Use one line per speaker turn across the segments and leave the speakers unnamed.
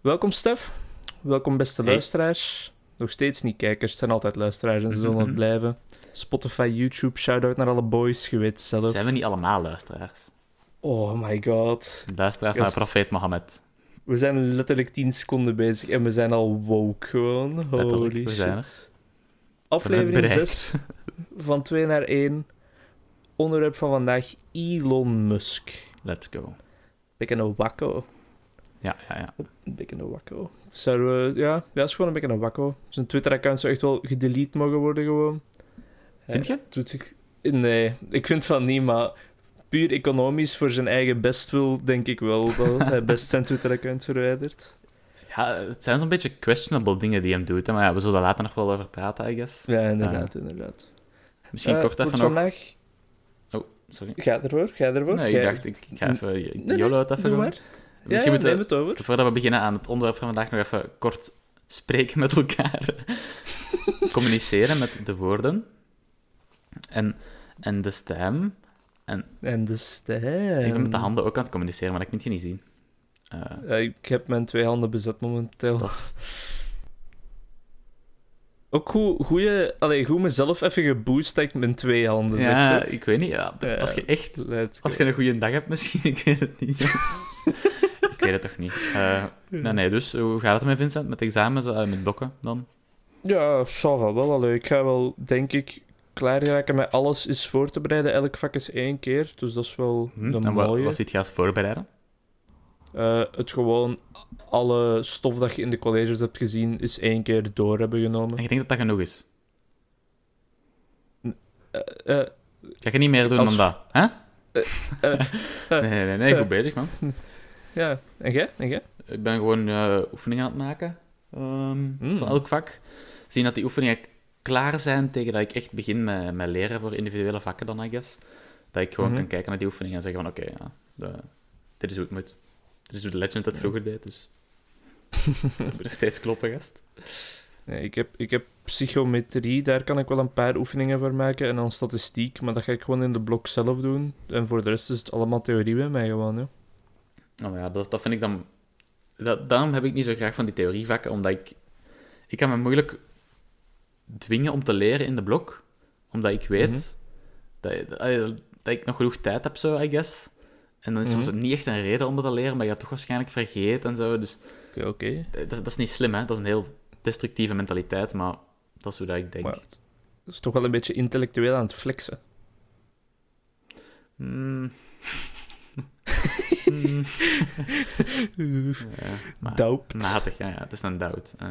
Welkom Stef, welkom beste
Hey.
luisteraars. Nog steeds niet kijkers, het zijn altijd luisteraars en ze zullen het
Mhm.
blijven. Spotify, YouTube, shout-out naar alle boys, je weet het zelf.
Zijn we niet allemaal luisteraars?
Oh my god.
Luisteraars naar
Juist.
profeet Mohammed.
We zijn letterlijk 10 seconden bezig en we zijn al woke gewoon.
Letterlijk,
Holy
we
shit.
zijn
Aflevering
bereikt.
6 van 2 naar 1. Onderwerp van vandaag Elon Musk.
Let's go.
Beetje een wakko.
Ja, ja, ja.
Een beetje een wakko. Zouden we, ja, ja, is gewoon een beetje een wakko. Zijn Twitter-account zou echt wel gedelete mogen worden gewoon.
Vind je?
doet zich... Nee, ik vind van niet, maar puur economisch voor zijn eigen bestwil denk ik wel dat hij best zijn Twitter-account verwijdert.
Ja, het zijn zo'n beetje questionable dingen die hem doet, hè, maar ja, we zullen daar later nog wel over praten, I guess.
Ja, inderdaad, inderdaad.
Ah. Misschien
Eh,
kort
voor
even nog...
vandaag...
Sorry.
Ga ervoor, ga ervoor.
Nee,
Jij-
ik dacht, ik ga even...
nee,
YOLO het even
doe
doen.
maar. Ja, ja,
Misschien moeten
neem het over.
we, voordat we beginnen aan het onderwerp van vandaag, nog even kort spreken met elkaar. Communiceren met de woorden. En, en de stem.
En de stem.
Ik ben met de handen ook aan het communiceren, maar dat kun je niet zien. Eh,
Ja, ik heb mijn twee handen bezet momenteel.
dat is
Ook goed, goeie, allee, goed mezelf even geboost dat ik mijn twee handen
ja,
zet.
ik weet niet. Ja,
Ja.
Als je echt...
hoor. Let's
Als
go.
je een goede dag hebt misschien, ik weet het niet. ik weet het toch niet. Eh, nee, nee, dus hoe gaat het met Vincent? Met examens, eh, met blokken dan?
Ja, Sava, wel allee. Ik ga wel, denk ik, klaar raken met alles is voor te bereiden. Elk vak is één keer, dus dat is wel
Hm?
de
En wat,
mooie.
wat zit je als voorbereiden?
Eh, het gewoon, alle stof dat je in de colleges hebt gezien, is één keer door hebben genomen.
En je denkt dat dat genoeg is?
Eh, eh,
Ga je niet meer doen
Als-
dan dat? Hè?
eh,
Nee, nee, nee, nee, goed bezig, man.
ja, en jij? En jij?
Ik ben gewoon eh, oefeningen aan het maken. ehm,
Mm.
Van elk vak. Zien dat die oefeningen klaar zijn tegen dat ik echt begin met, met leren voor individuele vakken dan, I guess. Dat ik gewoon
Mhm.
kan kijken naar die oefeningen en zeggen van, oké, ja, de- dit is hoe het moet. Dit is hoe de legend dat vroeger deed, dus... dat moet nog steeds kloppen, gast.
Nee, ik, heb, ik heb psychometrie, daar kan ik wel een paar oefeningen voor maken. En dan statistiek, maar dat ga ik gewoon in de blok zelf doen. En voor de rest is het allemaal theorie bij mij gewoon. Hè.
Nou ja, dat, dat vind ik dan... Dat, daarom heb ik niet zo graag van die theorievakken, omdat ik... Ik kan me moeilijk dwingen om te leren in de blok, omdat ik weet
Mhm.
dat, dat, dat ik nog genoeg tijd heb, zo, I guess. En dan is er
Mhm.
zo niet echt een reden om dat te leren, maar je hebt toch waarschijnlijk vergeet en zo. Dus
Oké, oké.
dat, dat is niet slim, hè. Dat is een heel destructieve mentaliteit, maar dat is hoe dat ik denk.
Maar het is toch wel een beetje intellectueel aan het flexen.
Mm. Mm. Ja, maar- Mm.
Doop.
Matig, ja, ja. Het is een doubt. Eh,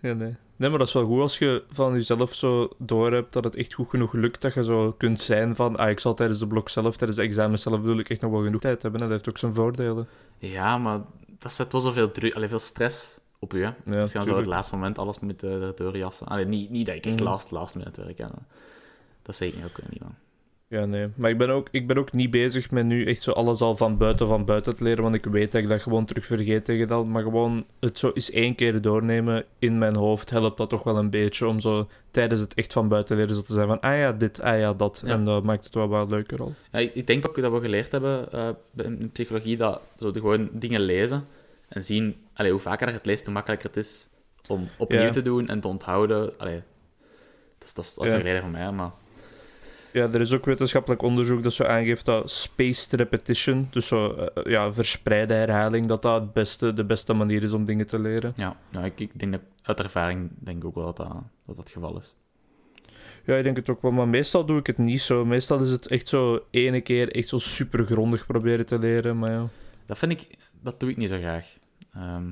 Ja, nee. nee, maar dat is wel goed als je van jezelf zo doorhebt dat het echt goed genoeg lukt. Dat je zo kunt zijn van, ah, ik zal tijdens de blok zelf, tijdens de examen zelf, bedoel ik echt nog wel genoeg tijd hebben. En dat heeft ook zijn voordelen.
ja, maar dat zet wel zoveel druk, allee, veel stress op u, hè.
Ja,
Als je dan zo op
tuurlijk.
het laatste moment alles moet eh, erdoor jassen. Allee, niet, niet dat ik echt
Mhm.
last, last minute werk, hè. Dat zeg ik ook eh, niet, man.
Ja, nee. Maar ik ben, ook, ik ben ook niet bezig met nu echt zo alles al van buiten van buiten te leren, want ik weet dat ik dat gewoon terug vergeet tegen dat. Maar gewoon het zo eens één keer doornemen in mijn hoofd helpt dat toch wel een beetje om zo tijdens het echt van buiten leren zo te zijn van, ah ja, dit, ah ja, dat.
Ja.
En dat maakt het wel wat leuker al.
Ja, ik, ik denk ook dat we geleerd hebben eh, in in psychologie dat zo de- gewoon dingen lezen en zien allee, hoe vaker dat je het leest, hoe makkelijker het is om opnieuw
Ja.
te doen en te onthouden. Allee, dat is, dat is dat is
Ja.
een reden van mij, maar
Ja, er is ook wetenschappelijk onderzoek dat zo aangeeft dat spaced repetition, dus zo eh, ja, verspreide herhaling, dat dat het beste, de beste manier is om dingen te leren.
ja, ja ik, ik denk dat uit ervaring denk ik ook wel dat dat, dat, dat het geval is.
Ja, ik denk het ook wel, maar meestal doe ik het niet zo. Meestal is het echt zo ene keer echt zo super grondig proberen te leren, maar ja.
Dat vind ik, dat doe ik niet zo graag. Ehm,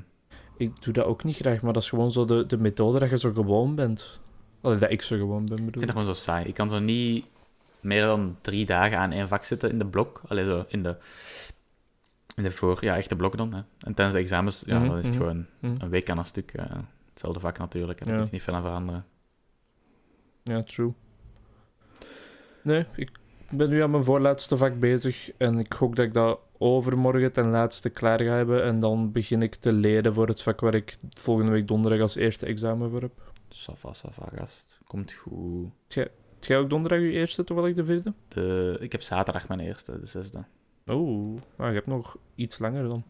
Ik doe dat ook niet graag, maar dat is gewoon zo de, de methode dat je zo gewoon bent. Allee, dat ik zo gewoon ben,
ik
bedoel
vind dat gewoon zo saai. Ik kan zo niet meer dan drie dagen aan één vak zitten in de blok. Allee, zo in de, in de voor, ja, echte blok dan. Hè. En tijdens de examens, ja,
Mhm,
dan is het
mhm.
gewoon
Hm.
een week aan een stuk. eh, hetzelfde vak natuurlijk, en daar
Ja.
is niet veel aan veranderen.
Ja, true. Nee, ik ben nu aan mijn voorlaatste vak bezig en ik gok dat ik dat overmorgen ten laatste klaar ga hebben en dan begin ik te leren voor het vak waar ik volgende week donderdag als eerste examen voor heb.
Safa, safa, gast. Komt goed.
Heb jij ook donderdag je eerste, terwijl ik de vierde?
De... Ik heb zaterdag mijn eerste, de zesde.
Oeh, ah, je hebt nog iets langer dan.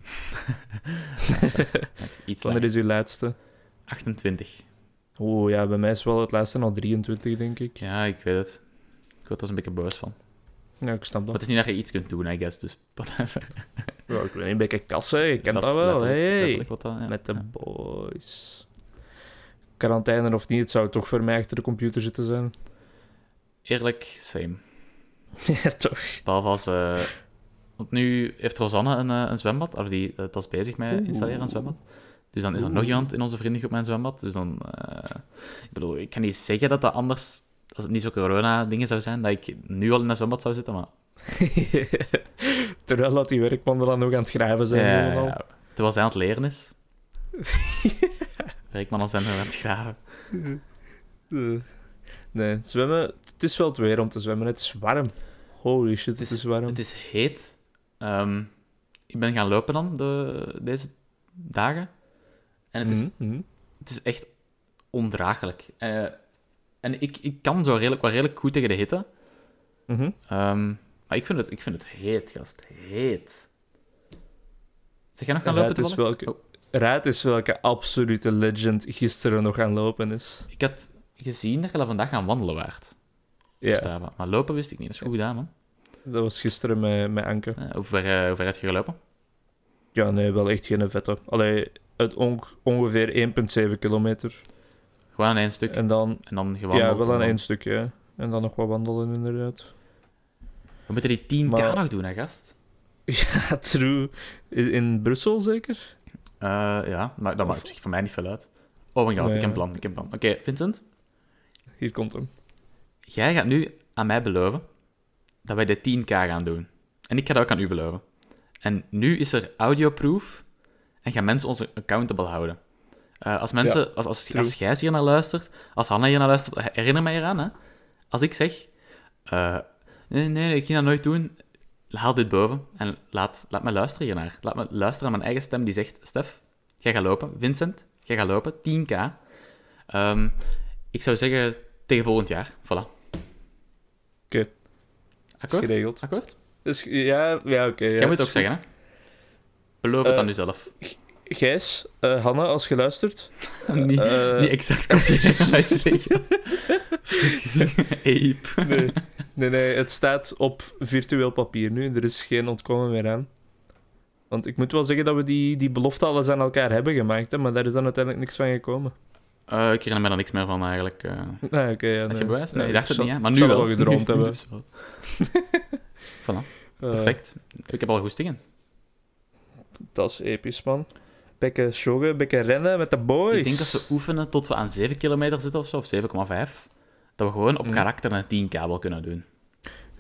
Ja, dat is waar. Ik heb iets
Wanneer
langer.
is uw laatste?
28.
Oeh, ja, bij mij is wel het laatste al 23, denk ik.
Ja, ik weet het. Ik word er een beetje boos van.
Ja, ik snap
Maar
dat.
het is niet dat je iets kunt doen, I guess. Dus whatever.
Ja, ik weet niet, een beetje kassen, je kent dat,
is
wel.
letterlijk-
Hey.
letterlijk wat dat- ja,
Met de
ja.
boys. Quarantaine of niet, het zou toch voor mij achter de computer zitten zijn.
Eerlijk, same.
ja, toch.
Behalve als... eh, want nu heeft Rosanne een, eh, een zwembad. Of die eh, dat is bezig met installeren een
Oeh.
zwembad. Dus dan is er
Oeh.
nog iemand in onze vriendengroep met een zwembad. Dus dan... eh, ik bedoel, ik kan niet zeggen dat dat anders... Als het niet zo corona-dingen zou zijn, dat ik nu al in dat zwembad zou zitten, maar...
Terwijl dat die werkman er dan ook aan het graven zijn.
Ja,
gewoon al.
ja. Terwijl zij aan het leren is. Werkman al zijn we aan het graven.
Eh. Nee, zwemmen, het is wel het weer om te zwemmen. Het is warm. Holy shit, het is warm.
Het is heet. Ehm, ik ben gaan lopen dan de, deze dagen. En het is,
Mhm, mhm.
het is echt ondraaglijk. Eh, en ik, ik kan zo redelijk, wel redelijk goed tegen de hitte.
Mhm.
Ehm, maar ik vind, het, ik vind het heet, gast. Heet. Zeg jij nog gaan lopen?
Raad, is
toevallig?
welke, raad is welke absolute legend gisteren nog aan lopen is.
Ik had gezien dat je daar vandaag gaan wandelen waard.
Ja,
Maar lopen wist ik niet. Dat is goed gedaan, man.
dat was gisteren met, met Anke.
Eh, hoe, ver, eh, hoe ver heb je gelopen?
Ja, nee, wel echt geen vette. Allee, het on- ongeveer 1,7 kilometer.
Gewoon aan één stuk en,
En dan,
dan gewandeld.
ja, wel
en
aan
dan-
één stuk, ja. En dan nog wat wandelen, inderdaad.
We moeten die 10k
Maar-
nog doen, hè, gast? Ah,
Ja, true. In, in Brussel zeker?
Eh, ja, maar dat maakt zich voor mij niet veel uit. Oh mijn god,
Nee.
ik heb een plan, ik heb een plan. Oké, Vincent.
Hier komt
Ah,
hem.
Jij gaat nu aan mij beloven dat wij de 10k gaan doen. En ik ga dat ook aan u beloven. En nu is er audioproof en gaan mensen ons accountable houden. Eh, als mensen, als, als,
true.
als Gijs hier naar luistert, als Hanna hier naar luistert, eh, herinner mij eraan, hè. Als ik zeg, eh, nee, nee, nee, ik ga dat nooit doen, haal dit boven en laat, laat me luisteren hiernaar. Laat me luisteren aan mijn eigen stem die zegt, Stef, jij gaat lopen. Vincent, jij gaat lopen, 10k. Ehm, ik zou zeggen, tegen volgend jaar, voilà.
Oké.
Akkoord?
Is geregeld.
Akkoord?
Dus, ja, ja oké. ja,
Jij moet het ook
is goed.
zeggen, hè? Beloof het
Eh,
aan uzelf.
Gijs, eh, Hanna, als je luistert.
niet,
eh,
niet exact kopiëren, maar ik zeg het. Fucking ape.
Nee. nee, nee, het staat op virtueel papier nu. Er is geen ontkomen meer aan. Want ik moet wel zeggen dat we die, die belofte alles aan elkaar hebben gemaakt, hè, maar daar is dan uiteindelijk niks van gekomen.
Eh, ik herinner me daar niks meer van, eigenlijk. eh.
Ah, oké, ja,
Had
nee.
je bewijs? Nee,
Ja,
je dacht het
zal-
niet, hè? Maar nu
zal het
wel.
wel gedroomd
Nu- nu
hebben.
dus wel.
Eh,
Perfect. Ik heb al goestingen.
dat is episch, man. Bekken joggen, bekken rennen met de boys.
Ik denk dat we oefenen tot we aan 7 kilometer zitten of zo, of 7,5. Dat we gewoon op
Mm.
karakter een 10 kabel kunnen doen.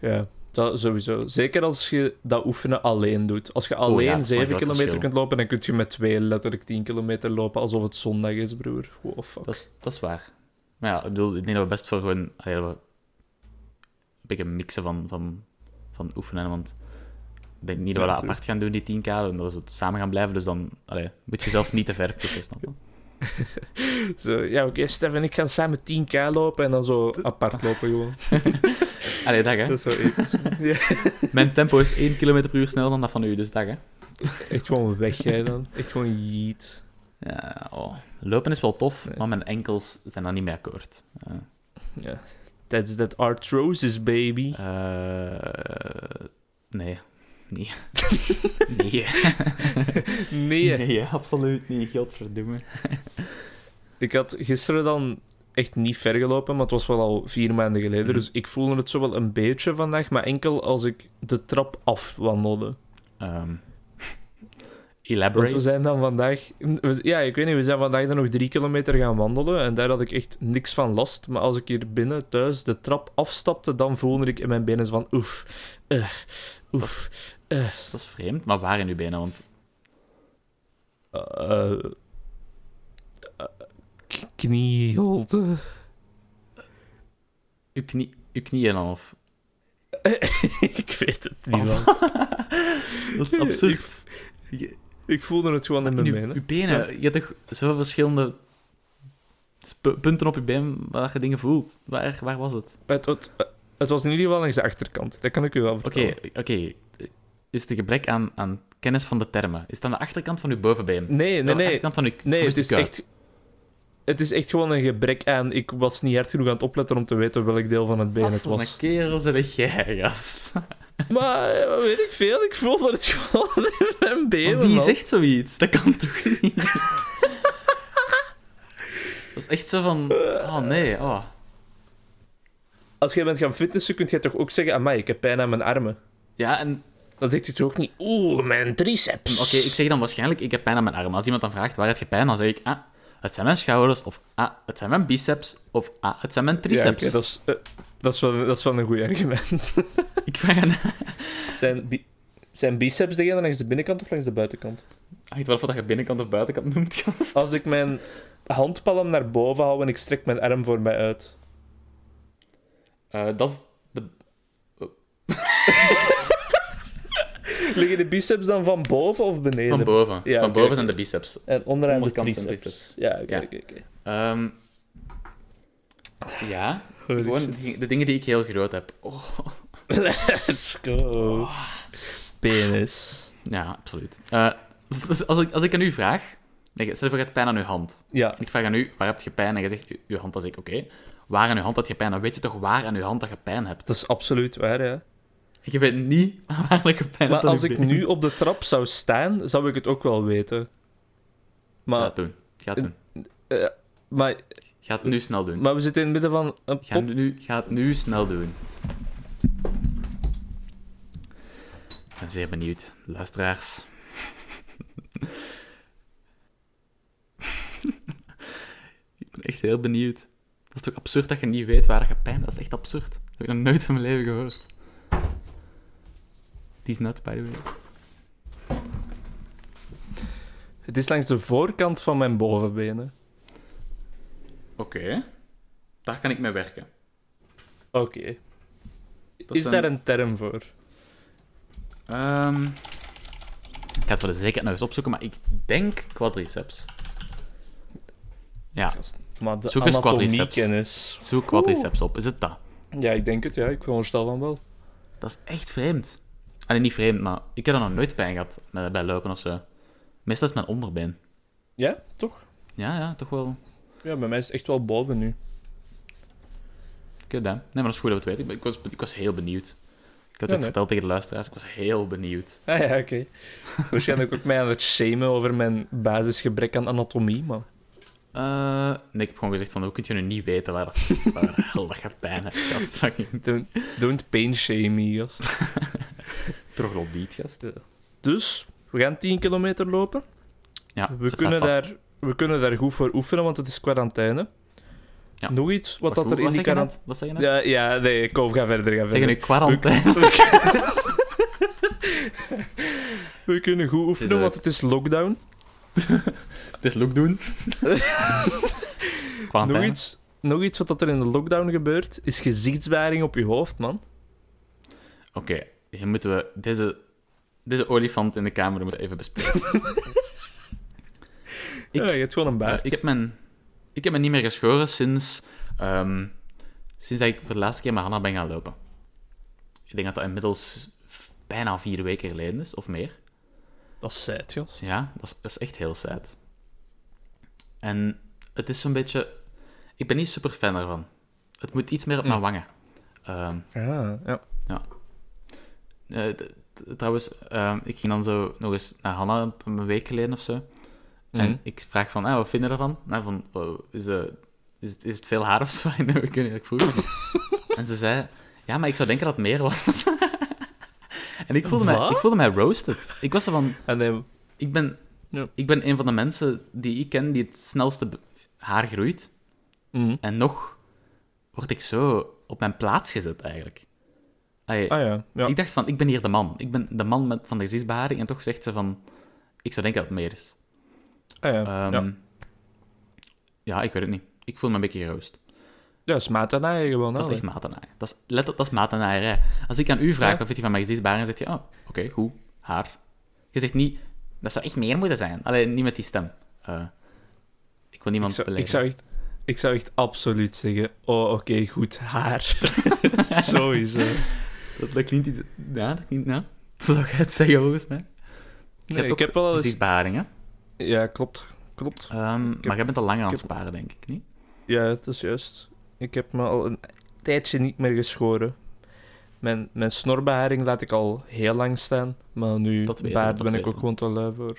Ja, dat sowieso. Zeker als je dat oefenen alleen doet. Als je
ja,
alleen
dat is wel een
7
groot
kilometer
verschil.
kunt lopen, dan kun je met twee letterlijk 10 kilometer lopen alsof het zondag is, broer. Wow, fuck.
Dat is, dat is waar. Maar ja, ik bedoel, ik denk dat we best voor gewoon allee, dat we een beetje mixen van, van, van oefenen. Want ik denk niet dat we
Ja,
dat apart gaan doen, die 10k. En dat we het samen gaan blijven. Dus dan allee, moet je zelf niet te ver pushen, snap je?
Zo, ja, oké, Stef en ik gaan samen 10k lopen en dan zo apart lopen gewoon.
Allee, dag hè.
Dat is zo episch. Ja,
Mijn tempo is 1 km per uur sneller dan dat van u, dus dag hè.
echt gewoon weg, jij dan. Echt gewoon jeet.
Ja, oh. Lopen is wel tof,
Nee.
maar mijn enkels zijn daar niet mee akkoord. Eh,
Ja. That's that arthrosis, baby.
eh, nee. Nee. nee.
Nee.
absoluut niet. Godverdomme.
Ik had gisteren dan echt niet ver gelopen, maar het was wel al vier maanden geleden.
Mhm.
Dus ik voelde het zo wel een beetje vandaag, maar enkel als ik de trap afwandelde.
Ehm
Want we
elaborate.
zijn dan vandaag... we- Ja, ik weet niet, we zijn vandaag dan nog drie kilometer gaan wandelen en daar had ik echt niks van last. Maar als ik hier binnen thuis de trap afstapte, dan voelde ik in mijn benen zo van oef, eh, oef, eh.
Dus Dat is vreemd, maar waar in uw benen? Want
eh, eh, k- knieholte.
uw, knie, uw knieën dan of...
ik weet het niet
Of-
wel.
Dat is absurd. Je,
Ik voelde het gewoon in mijn
uw,
benen.
uw benen, je hebt toch zoveel verschillende sp- punten op je been waar je dingen voelt. Waar, waar was het?
Het, het, het was in ieder geval langs de achterkant. Dat kan ik u wel
Oké,
vertellen.
oké. is de gebrek aan, aan kennis van de termen. Is het aan de achterkant van uw bovenbeen?
Nee, nee,
Aan de
nee.
achterkant van uw
Nee,
of
het is
uw kuit?
echt... Het is echt gewoon een gebrek aan... Ik was niet hard genoeg aan het opletten om te weten welk deel van het been
Wat
het
voor een
was.
kerel zijn jij, gast.
Maar eh, wat weet ik veel, ik voel dat het gewoon in mijn benen
Wie
was.
zegt zoiets? Dat kan toch niet? dat is echt zo van... Oh, nee. Oh.
Als jij bent gaan fitnessen, kun je toch ook zeggen... Amai, ik heb pijn aan mijn armen.
Ja, en
Dan zegt je toch ook niet... Oeh, mijn triceps.
Oké, ik zeg dan waarschijnlijk, ik heb pijn aan mijn arm. Als iemand dan vraagt, waar heb je pijn? Dan zeg ik, ah, het zijn mijn schouders, of ah, het zijn mijn biceps, of ah, het zijn mijn
Ja,
triceps.
oké, dat, is, eh, dat, is wel, dat is wel een goed argument.
Ik vraag aan...
Zijn, bi- zijn biceps degene langs de binnenkant of langs de buitenkant?
Hangt wel van dat je binnenkant of buitenkant noemt, gast.
Als ik mijn handpalm naar boven hou en ik strek mijn arm voor mij uit.
Eh, dat is de...
Liggen de biceps dan van boven of beneden?
van boven.
Ja,
van
oké,
boven
oké.
zijn de biceps.
En onderaan de
Onderkant zijn
triceps. Ja, oké,
Ja.
oké, oké.
Ehm, ja, gewoon
shit.
de, de dingen die ik heel groot heb. Oh.
Let's go. Penis.
Ja, absoluut. Eh, als, ik, als ik aan u vraag... Nee, stel voor je hebt pijn aan uw hand.
Ja,
En ik vraag aan u, waar heb je pijn? En je zegt, "U- uw hand. Dan zeg ik, oké. Waar aan uw hand had je pijn? Dan weet je toch waar aan uw hand dat je pijn hebt?
dat is absoluut waar, ja.
Je weet niet waar ik een pijn
Maar
hebt aan
als
je
ik
been.
nu op de trap zou staan, zou ik het ook wel weten.
Ga
Maar,
het doen. Ga het doen.
maar,
Ga het nu snel doen.
maar we zitten in het midden van een
Ga
pot.
het nu, ga het nu snel doen. Ik ben zeer benieuwd, luisteraars. ik ben echt heel benieuwd. Dat is toch absurd dat je niet weet waar je pijn Dat is echt absurd. Dat heb ik nog nooit in mijn leven gehoord. Die is nut, by the way.
Het is langs de voorkant van mijn bovenbenen.
Oké. Daar kan ik mee werken.
Oké. Is
zijn-
daar een term voor?
Ehm, ik ga het voor de zekerheid nog eens opzoeken, maar ik denk quadriceps. Ja,
Gast, Maar de
Zoek eens
anatomiekennis.
zoek quadriceps op. Is het dat?
Ja, ik denk het, ja. Ik veronderstel van wel.
Dat is echt vreemd. Allee, niet vreemd, maar ik heb er nog nooit pijn gehad met- bij lopen of zo. Meestal is het mijn onderbeen.
Ja, toch?
Ja, ja, toch wel.
Ja, bij mij is het echt wel boven nu.
Kut, hè? Nee, maar dat is goed dat we het weten. Ik ben- Ik was, ik was heel benieuwd. Ik heb het
Ja,
ook
nee.
verteld tegen de luisteraars. Ik was heel benieuwd.
Ah ja, oké. Waarschijnlijk ook mij aan het shamen over mijn basisgebrek aan anatomie, maar...
Eh, nee, ik heb gewoon gezegd van, hoe kun je nu niet weten waar, dat- waar de hel dat je pijn hebt, gast?
Don't, don't pain shame me, gast.
Troglodyt, gast.
eh. Dus, we gaan 10 kilometer lopen.
Ja, dat
We
staat
kunnen,
vast.
daar, we kunnen daar goed voor oefenen, want het is quarantaine.
Ja.
Nog iets wat
Wacht,
dat er
hoe-
in die
zeg je
quarantaine...
net? Wat zeg je net?
Ja, ja, nee, kom, ga verder, ga verder.
Zeggen nu quarantaine.
We kunnen goed oefenen,
Dus, eh,
want het is lockdown.
Het is look doen.
dus Nog
quarantaine.
iets, nog iets wat dat er in de lockdown gebeurt, is gezichtsbaring op je hoofd, man.
Oké, hier moeten we deze, deze olifant in de kamer moeten we even bespreken. ik,
ja, je hebt gewoon een
eh,
baard.
ik, heb mijn, ik heb me niet meer geschoren sinds, ehm, sinds dat ik voor de laatste keer met Hanna ben gaan lopen. Ik denk dat dat inmiddels v- bijna vier weken geleden is, of meer.
Dat is sad, gast.
Ja, dat is, dat is echt heel sad. En het is zo'n beetje... Ik ben niet super fan ervan. Het moet iets meer op mijn wangen. Ehm,
Ja, Ah, ja.
eh, t- t- trouwens, ehm, ik ging dan zo nog eens naar Hanna een- een week geleden of zo.
Mm.
En ik vraag van, ah, wat vinden ervan? Nou, van, wow, is, de, is, het, is het veel haar of zo? En ik weet niet, ik vroeg. en ze zei, ja, maar ik zou denken dat het meer was. en ik voelde, mij,
Wat?
ik voelde mij roasted. Ik was er van,
En dan-
ik ben,
Ja.
ik ben een van de mensen die ik ken die het snelste be- haar groeit.
Mhm.
En nog word ik zo op mijn plaats gezet, eigenlijk. Ai,
Ah ja, ja.
Ik dacht van, ik ben hier de man. Ik ben de man met, van de gezichtsbeharing. En toch zegt ze van, ik zou denken dat het meer is.
ah, ja.
Ehm,
ja.
ja. ik weet het niet. Ik voel me een beetje geroost.
ja, smaat en naaien gewoon.
Dat is
hè.
echt maatenaar. Dat is, let op, dat is maatenaaierij. Als ik aan u vraag
Ja.
wat vind je van mijn gezichtsbeharing, dan zegt je, oh, oké, goed, haar. Je zegt niet, dat zou echt meer moeten zijn. Alleen niet met die stem. Eh, ik wil
ik,
niemand
zou, ik,
beledigen.
zou echt, ik zou echt absoluut zeggen, oh, oké, goed haar. Sowieso.
Dat, dat klinkt iets... Ja, dat klinkt... Ja. Zo zou jij het zeggen, volgens mij. Je
Nee,
hebt ook
ik heb wel eens...
zichtbaring, hè?
Ja, klopt. Klopt.
Ehm, maar jij bent al lang aan het
ik
sparen, denk ik, niet?
Ja, dat is juist. Ik heb me al een tijdje niet meer geschoren. Mijn, mijn snorbeharing laat ik al heel lang staan. Maar nu
Dat weten we,
baard
dat
ben ik
weten
ook
we.
gewoon te lui voor.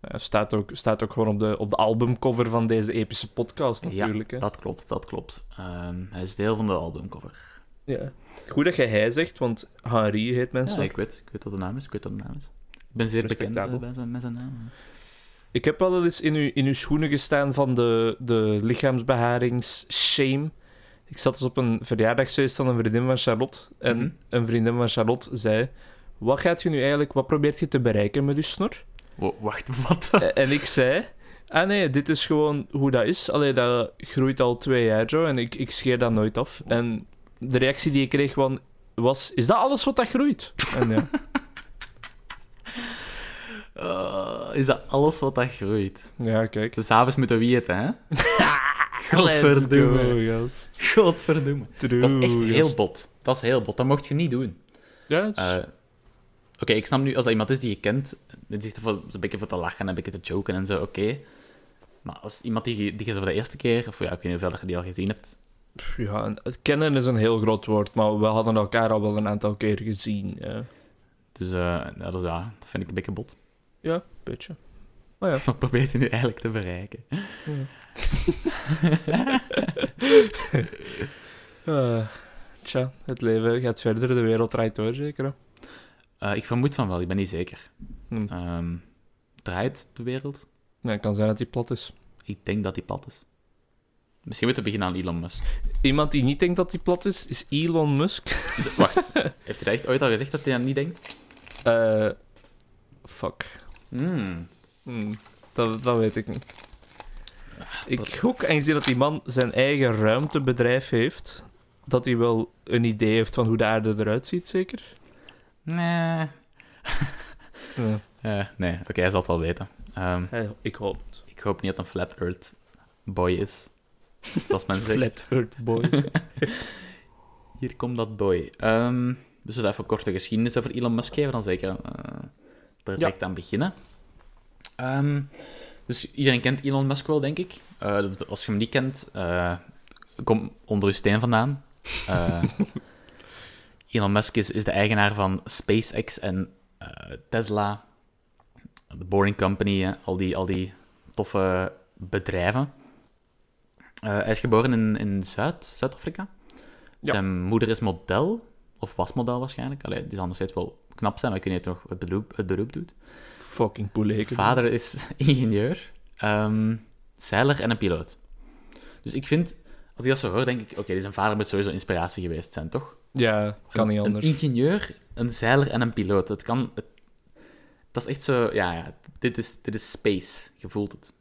Ja, staat, ook, staat ook gewoon op de, op de albumcover van deze epische podcast
Ja,
natuurlijk. hè.
Dat klopt, dat klopt. Ehm, hij is deel van de albumcover.
Ja. Goed dat je hij zegt, want Henri heet mensen.
Ja, ik weet, ik weet wat de naam is, ik weet wat de naam is. Ik ben zeer bekend
Respectabel.
eh, bij zijn, met zijn naam.
Ik heb wel eens in uw, in uw schoenen gestaan van de, de lichaamsbeharings-shame. Ik zat dus op een verjaardagsfeest van een vriendin van Charlotte. En
Mhm.
een vriendin van Charlotte zei... Wat gaat je nu eigenlijk... Wat probeert je te bereiken met je snor?
Wo- wacht, wat?
E- en ik zei... Ah nee, dit is gewoon hoe dat is. Allee, dat groeit al twee jaar zo. En ik, ik scheer dat nooit af. En de reactie die ik kreeg van- was... Is dat alles wat dat groeit? En ja,
Eh, is dat alles wat dat groeit?
ja kijk.
Dus s'avonds moeten we eten, hè? Godverdomme.
Let's go, gast.
Godverdomme. Dat is echt
True,
heel
gast.
bot. Dat is heel bot. Dat mocht je niet doen.
Ja, het is-
Eh, Oké, ik snap nu, als dat iemand is die je kent, die zit er voor- een beetje voor te lachen en een beetje te joken en zo, oké. Maar als iemand die, je- die je zo voor de eerste keer, of ja, ik weet niet hoeveel dat je die al gezien hebt.
Pff, Ja, en het kennen is een heel groot woord, maar we hadden elkaar al wel een aantal keer gezien. hè. Een
Dus eh, ja, dat, is, ja, dat vind ik een beetje bot.
beetje.
Wat probeert hij nu eigenlijk te bereiken?
Eh, tja, het leven gaat verder, de wereld draait door, zeker. hè?
Eh, ik vermoed van wel, ik ben niet zeker.
Hm.
Ehm, draait de wereld?
Ja, het kan zijn dat hij plat is.
Ik denk dat die plat is. Misschien moeten we beginnen aan Elon Musk.
Iemand die niet denkt dat hij plat is, is Elon Musk.
Z- Wacht, heeft hij dat echt ooit al gezegd dat hij dat niet denkt?
Eh, fuck.
Hmm.
Hm, dat, dat weet ik niet. Ik gok, aangezien dat die man zijn eigen ruimtebedrijf heeft, dat hij wel een idee heeft van hoe de aarde eruit ziet, zeker?
Nee.
Ja,
Eh, nee, oké, hij zal het wel weten. Ehm,
hij- Eh, ik hoop het.
Ik hoop niet dat een flat earth boy is. Zoals men zegt.
Flat Earth Boy.
Hier komt dat boy. Ehm, we zullen even korte geschiedenis over Elon Musk geven, dan zeker eh, direct aan beginnen. Ehm, dus iedereen kent Elon Musk wel, denk ik. Eh, dat- als je hem niet kent, eh, kom onder uw steen vandaan. Eh, Elon Musk is, is de eigenaar van SpaceX en eh, Tesla, de Boring Company, hè, al, die, al die toffe bedrijven. Eh, hij is geboren in, in Zuid, Zuid-Afrika.
Ja.
Zijn moeder is model, of was model waarschijnlijk. Allee, die zal nog steeds wel knap zijn, maar ik weet niet of hij nog het beroep, het beroep doet.
Fucking poeleken.
Vader is ingenieur, ehm, zeiler en een piloot. Dus ik vind, als ik dat zo hoor, denk ik... Oké, zijn vader moet sowieso inspiratie geweest zijn, toch?
Ja, kan niet
Een-
anders.
Een ingenieur, een zeiler en een piloot. Het kan... het- dat is echt zo... Ja, ja dit, is, dit is space. Je voelt het.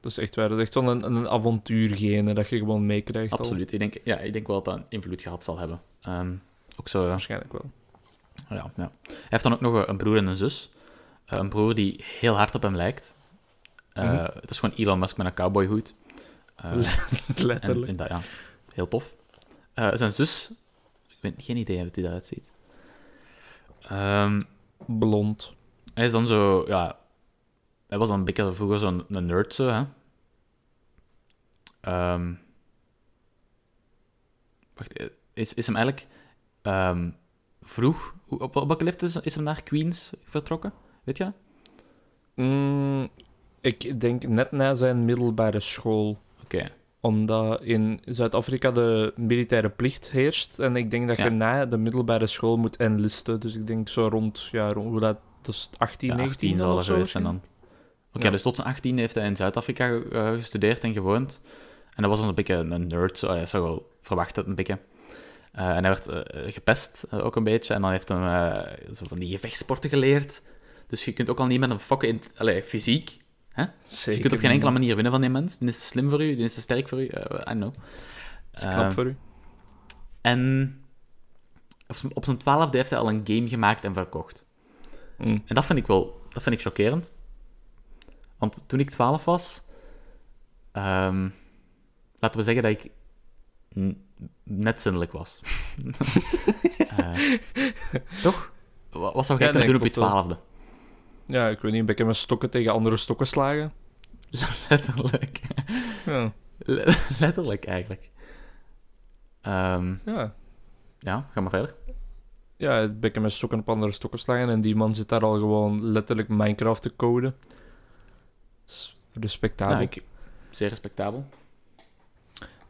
Dat is echt waar. Dat is echt wel een, een avontuurgene dat je gewoon meekrijgt. al.
Absoluut. Ik denk, ja, ik denk wel dat dat een invloed gehad zal hebben. Ehm, ook zo... ja,
Waarschijnlijk wel.
ja, ja. Hij heeft dan ook nog een- een broer en een zus. Eh, een broer die heel hard op hem lijkt. Eh,
Mhm.
Het is gewoon Elon Musk met een cowboyhoed. Eh, En,
Letterlijk.
en dat, ja, heel tof. Eh, zijn zus, ik weet geen idee hoe die eruit ziet. Ehm,
Blond.
hij is dan zo, ja, hij was dan een beetje vroeger zo'n een nerd zo, hè. Ehm, wacht, eh, is, is hem eigenlijk ehm, vroeg, hoe- op, op welke leeftijd is, is hem naar Queens vertrokken? Weet je dat?
Mm, ik denk net na zijn middelbare school.
Oké.
Omdat in Zuid-Afrika de militaire plicht heerst. En ik denk dat
Ja.
je na de middelbare school moet enlisten. Dus ik denk zo rond, ja, rond hoe dat, dat is 18,
Ja,
19
18
dan
zal
of
er
zo
geweest zijn dan.
misschien?
Oké,
Ja.
dus tot zijn 18 heeft hij in Zuid-Afrika eh, gestudeerd en gewoond. En dat was dan een beetje een nerd, zo. hij zou wel verwachten, een beetje. Eh, en hij werd eh, gepest eh, ook een beetje. En dan heeft hij eh, zo van die gevechtsporten geleerd. Dus je kunt ook al niet met hem fokken in allee, fysiek. Dus je
Zeker. Mm.
kunt op geen enkele
niet.
manier winnen van die mens. Die is te slim voor u, die is te sterk voor u. eh, I know.
Dat is knap
Eh,
voor u.
en op zijn- op zijn twaalfde heeft hij al een game gemaakt en verkocht.
Mm.
En dat vind ik wel, dat vind ik chockerend. Want toen ik 12 was, ehm, laten we zeggen dat ik n- net zinnelijk was. Eh, toch? Wa- Wat zou jij
Ja,
kunnen
nee,
doen op je
klopt wel.
twaalfde?
Ja, ik weet niet, ben ik met stokken tegen andere stokken slagen?
Letterlijk.
Ja,
Le- Letterlijk, eigenlijk. Ehm,
ja.
ja, ga maar verder.
Ja, ben ik met stokken op andere stokken slagen en die man zit daar al gewoon letterlijk Minecraft te coden. Dat is respectabel.
Nou, ik, zeer respectabel.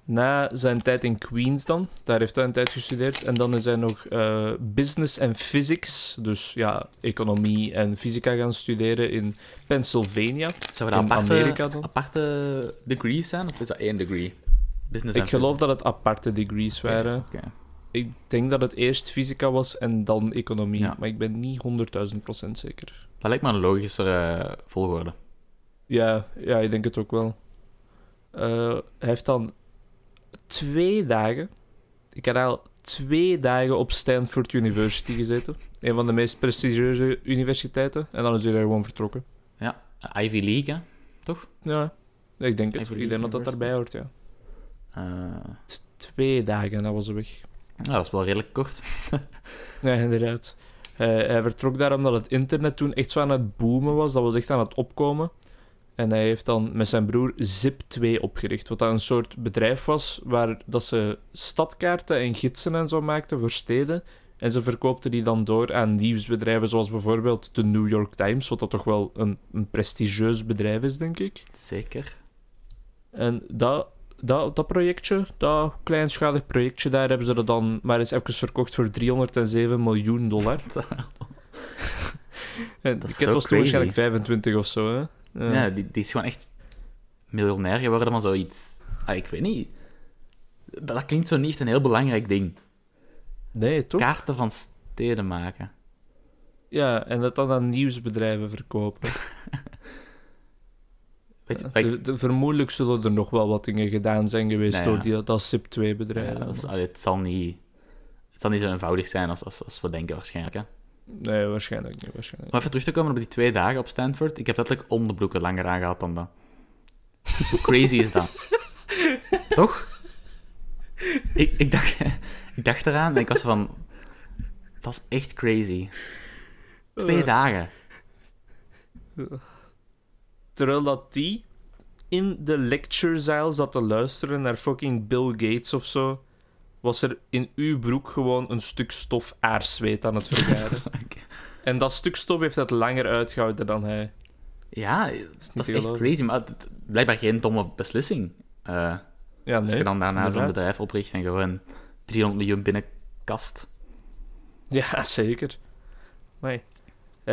Na zijn tijd in Queens dan, daar heeft hij een tijd gestudeerd. En dan is hij nog eh, business en physics, dus ja, economie en fysica gaan studeren in Pennsylvania,
Zouden
in
dat aparte,
Amerika dan.
aparte degrees zijn? Of is dat één degree? Business
Ik
and
geloof dat het aparte degrees
business.
waren.
Oké, oké.
Ik denk dat het eerst fysica was en dan economie,
Ja.
maar ik ben niet 100.000% zeker.
Dat lijkt me een logischere volgorde.
Ja, ja, ik denk het ook wel. Eh, hij heeft dan twee dagen, ik had al twee dagen op Stanford University gezeten. Een van de meest prestigieuze universiteiten. En dan is hij daar gewoon vertrokken.
Ivy League, hè?
Ja, ik denk het.
Ivy
Ik denk dat dat
League
daarbij hoort, ja.
Eh,
T- twee dagen en dan was hij weg.
nou, dat is wel redelijk kort.
Ja, inderdaad. Eh, hij vertrok daar omdat het internet toen echt zo aan het boomen was. Dat was echt aan het opkomen. En hij heeft dan met zijn broer Zip2 opgericht. Wat dan een soort bedrijf was waar dat ze stadkaarten en gidsen en zo maakten voor steden. En ze verkoopten die dan door aan nieuwsbedrijven zoals bijvoorbeeld de New York Times. Wat dat toch wel een, een prestigieus bedrijf is, denk ik.
Zeker.
En dat, dat, dat projectje, dat kleinschalig projectje, daar hebben ze dat dan maar eens even verkocht voor 307 miljoen dollar. en
Dat
dat
is
kind
zo
was
crazy.
toen waarschijnlijk 25 of zo, hè?
Ja,
Ja.
die, die is gewoon echt miljonair geworden van zoiets. Ah, ik weet niet. Dat, dat klinkt zo niet echt een heel belangrijk ding.
Nee, toch?
Kaarten van steden maken.
Ja, en dat dan aan nieuwsbedrijven verkopen.
Weet je,
Ja,
ik-
de, de- vermoedelijk zullen er nog wel wat dingen gedaan zijn geweest
Nou ja.
door die, dat
ja,
SIP2-bedrijf.
dat is- allee, het, zal niet, het zal niet zo eenvoudig zijn als, als, als we denken waarschijnlijk. Hè?
Nee, waarschijnlijk niet. Waarschijnlijk.
Maar even terug te komen op die twee dagen op Stanford. Ik heb letterlijk onderbroeken langer aangehad dan dat. Hoe crazy is dat? Toch? Ik, ik, dacht, ik dacht eraan en ik was van... Dat is echt crazy. Twee
Eh.
dagen.
Terwijl dat die in de lecturezaal zat te luisteren naar fucking Bill Gates of zo, was er in uw broek gewoon een stuk stof aarzweet aan het vergaren.
Oké.
en dat stuk stof heeft dat langer uitgehouden dan hij.
Ja, dat
te
is echt
geloven.
crazy. Maar het- blijkbaar geen domme beslissing. Eh,
Ja,
als je
nee.
dan daarna zo'n
inderdaad.
bedrijf opricht en gewoon 300 miljoen binnenkast.
Ja, zeker. Maar hij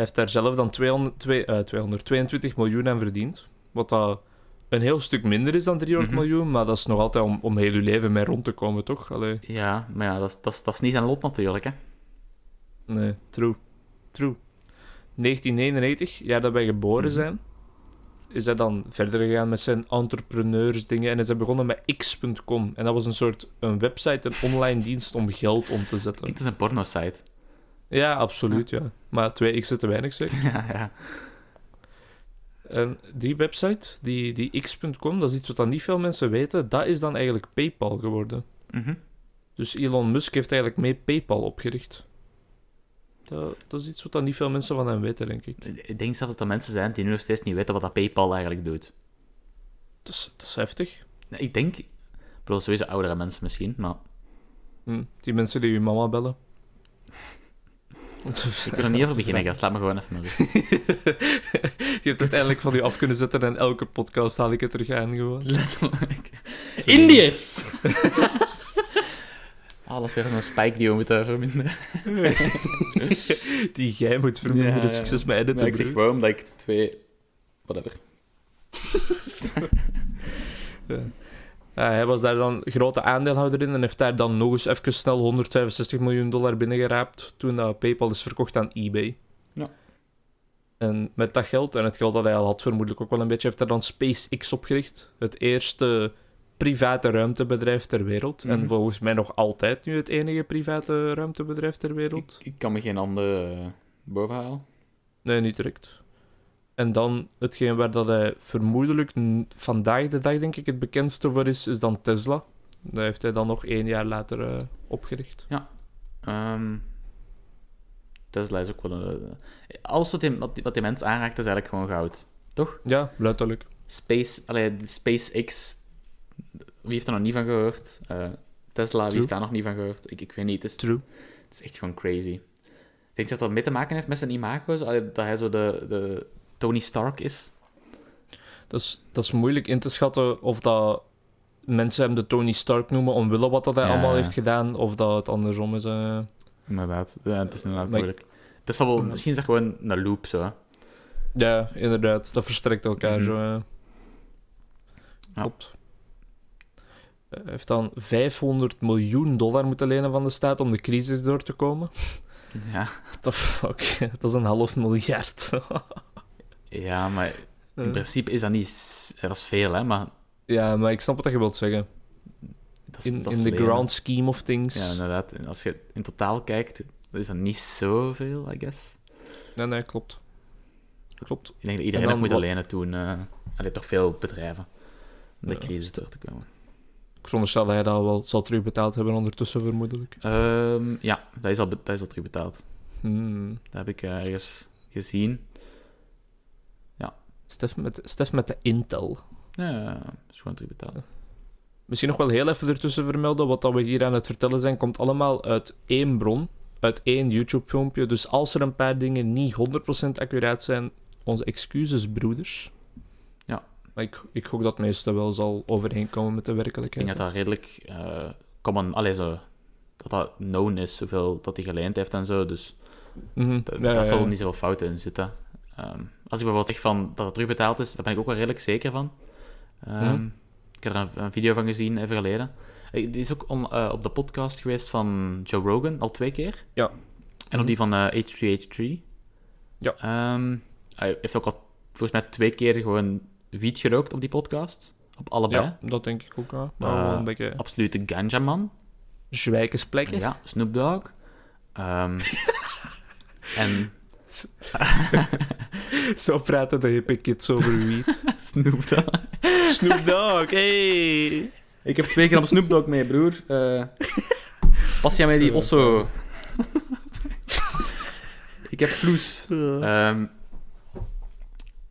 heeft daar zelf dan 200, twee- eh, 222 miljoen aan verdiend. Wat dat een heel stuk minder is dan 300
Mhm.
miljoen, maar dat is nog altijd om, om heel uw leven mee rond te komen, toch? Allee.
Ja, maar ja, dat, is- dat, is- dat is niet zijn lot natuurlijk, hè.
Nee, true. True. 1991, jaar dat wij geboren
Mhm.
zijn, is hij dan verder gegaan met zijn entrepreneursdingen en is hij begonnen met x.com. En dat was een soort een website, een online dienst om geld om te zetten.
Dit is een porno-site.
Ja, absoluut, ja. Maar twee x'en te weinig, zeg.
ja, ja.
En die website, die, die x.com, dat is iets wat dan niet veel mensen weten, dat is dan eigenlijk PayPal geworden.
Mhm.
Dus Elon Musk heeft eigenlijk mee PayPal opgericht. Dat, dat is iets wat dan niet veel mensen van hem weten, denk ik.
Ik denk zelfs dat er mensen zijn die nu nog steeds niet weten wat dat PayPal eigenlijk doet.
Dat is, dat is heftig.
Ik denk, ik bedoel, sowieso oudere mensen misschien, maar
Hm, Die mensen die uw mama bellen.
ik wil er niet over beginnen, gast. Laat me gewoon even nog.
Je hebt het eindelijk van je af kunnen zetten en elke podcast haal ik het terug aan gewoon.
Indiërs! Ah, dat is weer een spike die we moeten verminderen.
Die jij moet verminderen,
Ja, ja.
succes met
Maar
editen.
ik zeg
broer.
gewoon omdat ik twee... Whatever.
Ja, Eh, hij was daar dan grote aandeelhouder in en heeft daar dan nog eens even snel 165 miljoen dollar binnengeraapt toen dat PayPal is verkocht aan eBay.
Ja.
En met dat geld, en het geld dat hij al had vermoedelijk ook wel een beetje, heeft hij dan SpaceX opgericht. Het eerste private ruimtebedrijf ter wereld.
Mhm.
En volgens mij nog altijd nu het enige private ruimtebedrijf ter wereld.
Ik, ik kan me geen andere eh, boven halen.
Nee, niet direct. En dan hetgeen waar dat hij vermoedelijk n- vandaag de dag denk ik het bekendste voor is, is dan Tesla. Dat heeft hij dan nog één jaar later eh, opgericht.
Ehm, Tesla is ook wel een... Alles wat die, wat die, wat die mens aanraakt, is eigenlijk gewoon goud. Toch?
Ja, letterlijk.
Space, allee, die SpaceX, wie heeft daar nog niet van gehoord? Eh, Tesla, wie
True.
heeft daar nog niet van gehoord? Ik, ik weet niet, het is,
True.
het is echt gewoon crazy. Ik denk dat dat mee te maken heeft met zijn imago, zo, allee, dat hij zo de, de Tony Stark is.
Dat is, dat is moeilijk in te schatten of dat mensen hem de Tony Stark noemen omwille wat dat hij
Ja.
allemaal heeft gedaan, of dat het andersom is. eh.
Inderdaad, ja, het is inderdaad
Maar ik-
moeilijk. Het is al wel, misschien is dat gewoon een loop, zo. hè.
Ja, inderdaad. Dat verstrekt elkaar
Mhm.
zo. eh.
Ja.
Klopt. Eh, Hij heeft dan 500 miljoen dollar moeten lenen van de staat om de crisis door te komen.
Ja.
What the fuck? Dat is een half miljard.
ja, maar in
Eh,
principe is dat niet... s- ja, Dat is veel, hè, maar...
ja, maar ik snap wat dat je wilt zeggen.
Dat is,
In,
dat is
in the
lelijk.
grand scheme of things.
Ja, inderdaad. En als je in totaal kijkt, dan is dat niet zoveel, I guess.
nee, nee, klopt. Klopt.
Ik denk dat iedereen
En dan
dat moet
wat-
lenen toen. eh er toch veel bedrijven Eh, om de
Ja.
crisis door te komen.
Ik veronderstel dat hij dat wel zal terugbetaald hebben ondertussen, vermoedelijk.
Ehm, ja, dat is, al, be- dat is al terug betaald.
Hmm.
Dat heb ik eh, ergens gezien.
Stef, met, Stef met de Intel.
Ja, dat is gewoon terug betaald.
Misschien nog wel heel even ertussen vermelden. Wat dat we hier aan het vertellen zijn, komt allemaal uit één bron. Uit één YouTube-filmpje. Dus als er een paar dingen niet 100% accuraat zijn, onze excuses, broeders.
Ja.
Maar ik, ik gok dat het meeste wel zal overeenkomen met de
Ik denk
werkelijkheid.
dat dat redelijk eh common... Allee, zo... Dat dat known is, zoveel dat hij geleend heeft en zo. Dus
Mhm.
Dat,
Ja,
daar
ja,
zal
ja.
niet zoveel fouten in zitten. Ehm, als ik bijvoorbeeld zeg van dat het terugbetaald is, daar ben ik ook wel redelijk zeker van. Ehm,
Mhm.
Ik heb er een, een video van gezien, even geleden. Eh, Die is ook on- eh, op de podcast geweest van Joe Rogan, al twee keer.
Ja. Hm.
En op die van eh, H3H3.
Ja.
Ehm, hij heeft ook al volgens mij twee keer gewoon wiet gerookt op die podcast. Op allebei.
Ja, dat denk ik ook. Ja. Maar
Eh,
wel een beetje
Absolute ganjaman.
zwijkensplekken.
Ja, Snoop Dogg. Ehm, en
Zo praten de hippe kids over wiet.
Snoop Dogg.
Snoop Dogg, hey!
Ik heb twee keer op Snoop Dogg mee, broer. pas jij mij die osso? ik heb vloes. Ehm,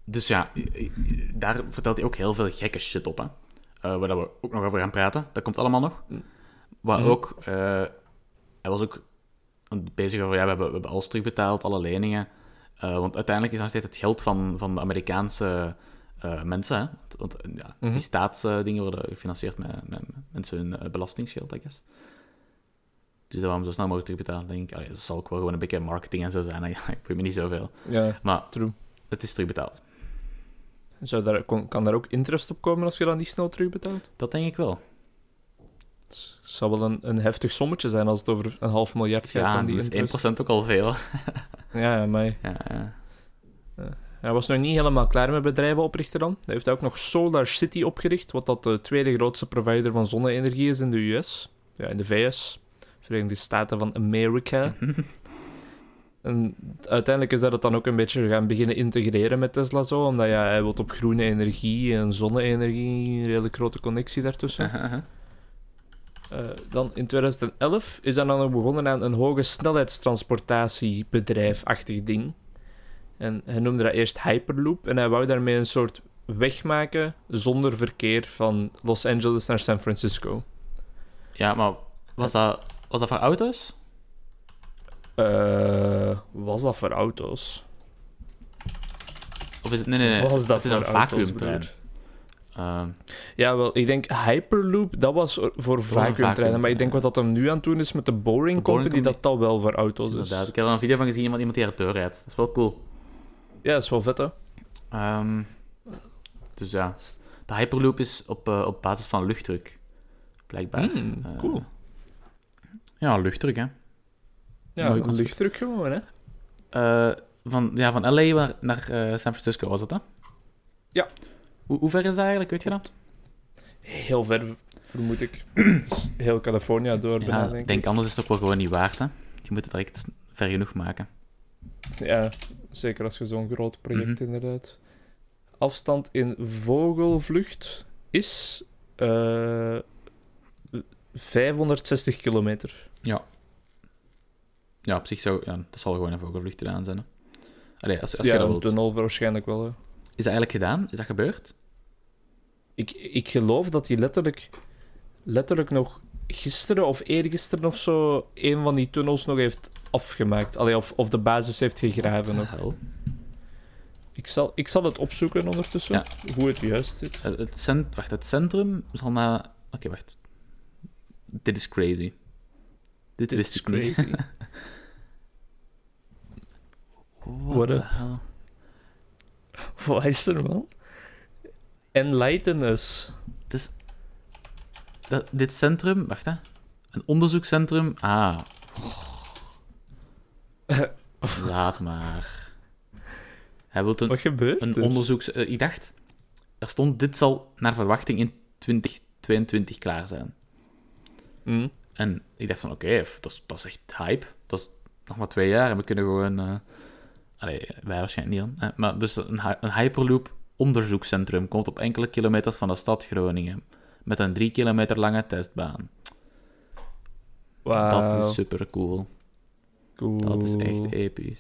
dus ja, i- i- daar vertelt hij ook heel veel gekke shit op, hè. Eh, waar dat we ook nog over gaan praten. Dat komt allemaal nog. Maar
Mhm.
ook, eh, hij was ook bezig over, ja, we hebben, we hebben alles terugbetaald, alle leningen. Eh, want uiteindelijk is nog steeds het geld van, van de Amerikaanse eh, mensen, hè. Want, want, eh, ja,
Mhm.
die staatsdingen worden gefinancierd met, met mensen hun eh, belastingsgeld, I guess. Dus dat we hem zo snel mogelijk terugbetalen, denk ik. Allee, dat zal ook wel gewoon een beetje marketing en zo zijn. Ik weet me niet zoveel.
Ja,
Maar
True.
het is terugbetaald.
Zou daar, kon- kan daar ook interest op komen als je dat niet snel terugbetaalt?
Dat denk ik wel.
Het zou wel een, een heftig sommetje zijn als het over een half miljard gaat.
Ja,
aan die
dat is
interest.
1% ook al veel.
Ja, maar
Ja, ja.
hij was nog niet helemaal klaar met bedrijven oprichten dan. Hij heeft ook nog Solar City opgericht, wat dat de tweede grootste provider van zonne-energie is in de US. Ja, in de VS. Verenigde Staten van Amerika.
Mhm.
En uiteindelijk is dat het dan ook een beetje gaan beginnen integreren met Tesla zo, omdat ja, hij wil op groene energie en zonne-energie, een redelijk grote connectie daartussen. Eh, dan in 2011 is hij dan nog begonnen aan een hoge snelheidstransportatiebedrijf-achtig ding. En hij noemde dat eerst Hyperloop en hij wou daarmee een soort weg maken zonder verkeer van Los Angeles naar San Francisco.
ja, maar was dat, was dat voor auto's?
Eh, was dat voor auto's?
Of is het... Nee, nee, nee.
was dat
het is een
voor auto's,
vacuümtrein.
broer?
Ehm,
Ja, wel, ik denk Hyperloop, dat was er- voor vacuümtreinen. Maar ik denk
ja.
wat dat hem nu aan het doen is met de Boring,
Boring
Company,
Company.
dat dat wel voor auto's is. dus-
inderdaad. Ik heb er een video van gezien van iemand die er deur rijdt. Dat is wel cool.
Ja, dat is wel vet, hè?
Ehm, dus ja. De Hyperloop is op, eh, op basis van luchtdruk. Blijkbaar.
Hmm,
Eh,
cool.
Ja, luchtdruk, hè.
Ja,
mooi
een
concept.
luchtdruk gewoon, hè?
Eh, van, ja, van LA naar, naar eh, San Francisco was dat, hè?
Ja.
Hoe, hoe ver is dat eigenlijk, weet je dat?
Heel ver, vermoed ik. dus heel Californië door
Ja,
bijna,
ik
denk
denk anders is het ook wel gewoon niet waard, hè? Je moet het direct ver genoeg maken.
ik. Ja, zeker als je zo'n groot project
Mhm.
inderdaad. Afstand in vogelvlucht is eh, 560 kilometer.
Ja. Ja, op zich zou... Ja, dat zal gewoon een vogelvlucht gedaan zijn. Hè. Allee, als, als
ja,
je dat
een
wilt.
tunnel waarschijnlijk wel. Hè.
Is dat eigenlijk gedaan? Is dat gebeurd?
Ik, ik geloof dat hij letterlijk, letterlijk nog gisteren of eergisteren of zo een van die tunnels nog heeft afgemaakt. Allee, of, of de basis heeft gegraven. nog.
Hel.
Ik, zal, ik zal het opzoeken ondertussen, hoe het juist is.
Eh, Het, het cent, wacht, het centrum zal na... Oké, wacht. Dit is crazy. Dit,
Dit
wist
is
ik niet.
crazy.
What
the
the hell?
Wat is er, man? Enlighten us.
Het is... Dat, dit centrum... Wacht, hè. Een onderzoekscentrum... Ah. Laat maar. Hij wil een,
Wat gebeurt
een
er?
onderzoeks... eh, ik dacht... Er stond... Dit zal naar verwachting in 2022 klaar zijn.
Hm?
En ik dacht van, oké, f- dat, is, dat is echt hype. Dat is nog maar twee jaar en we kunnen gewoon... eh allee, wij waarschijnlijk niet dan. eh, maar dus een, hy- een Hyperloop onderzoekscentrum komt op enkele kilometers van de stad Groningen. Met een drie kilometer lange testbaan.
Wauw.
Dat is super cool.
cool.
Dat is echt episch.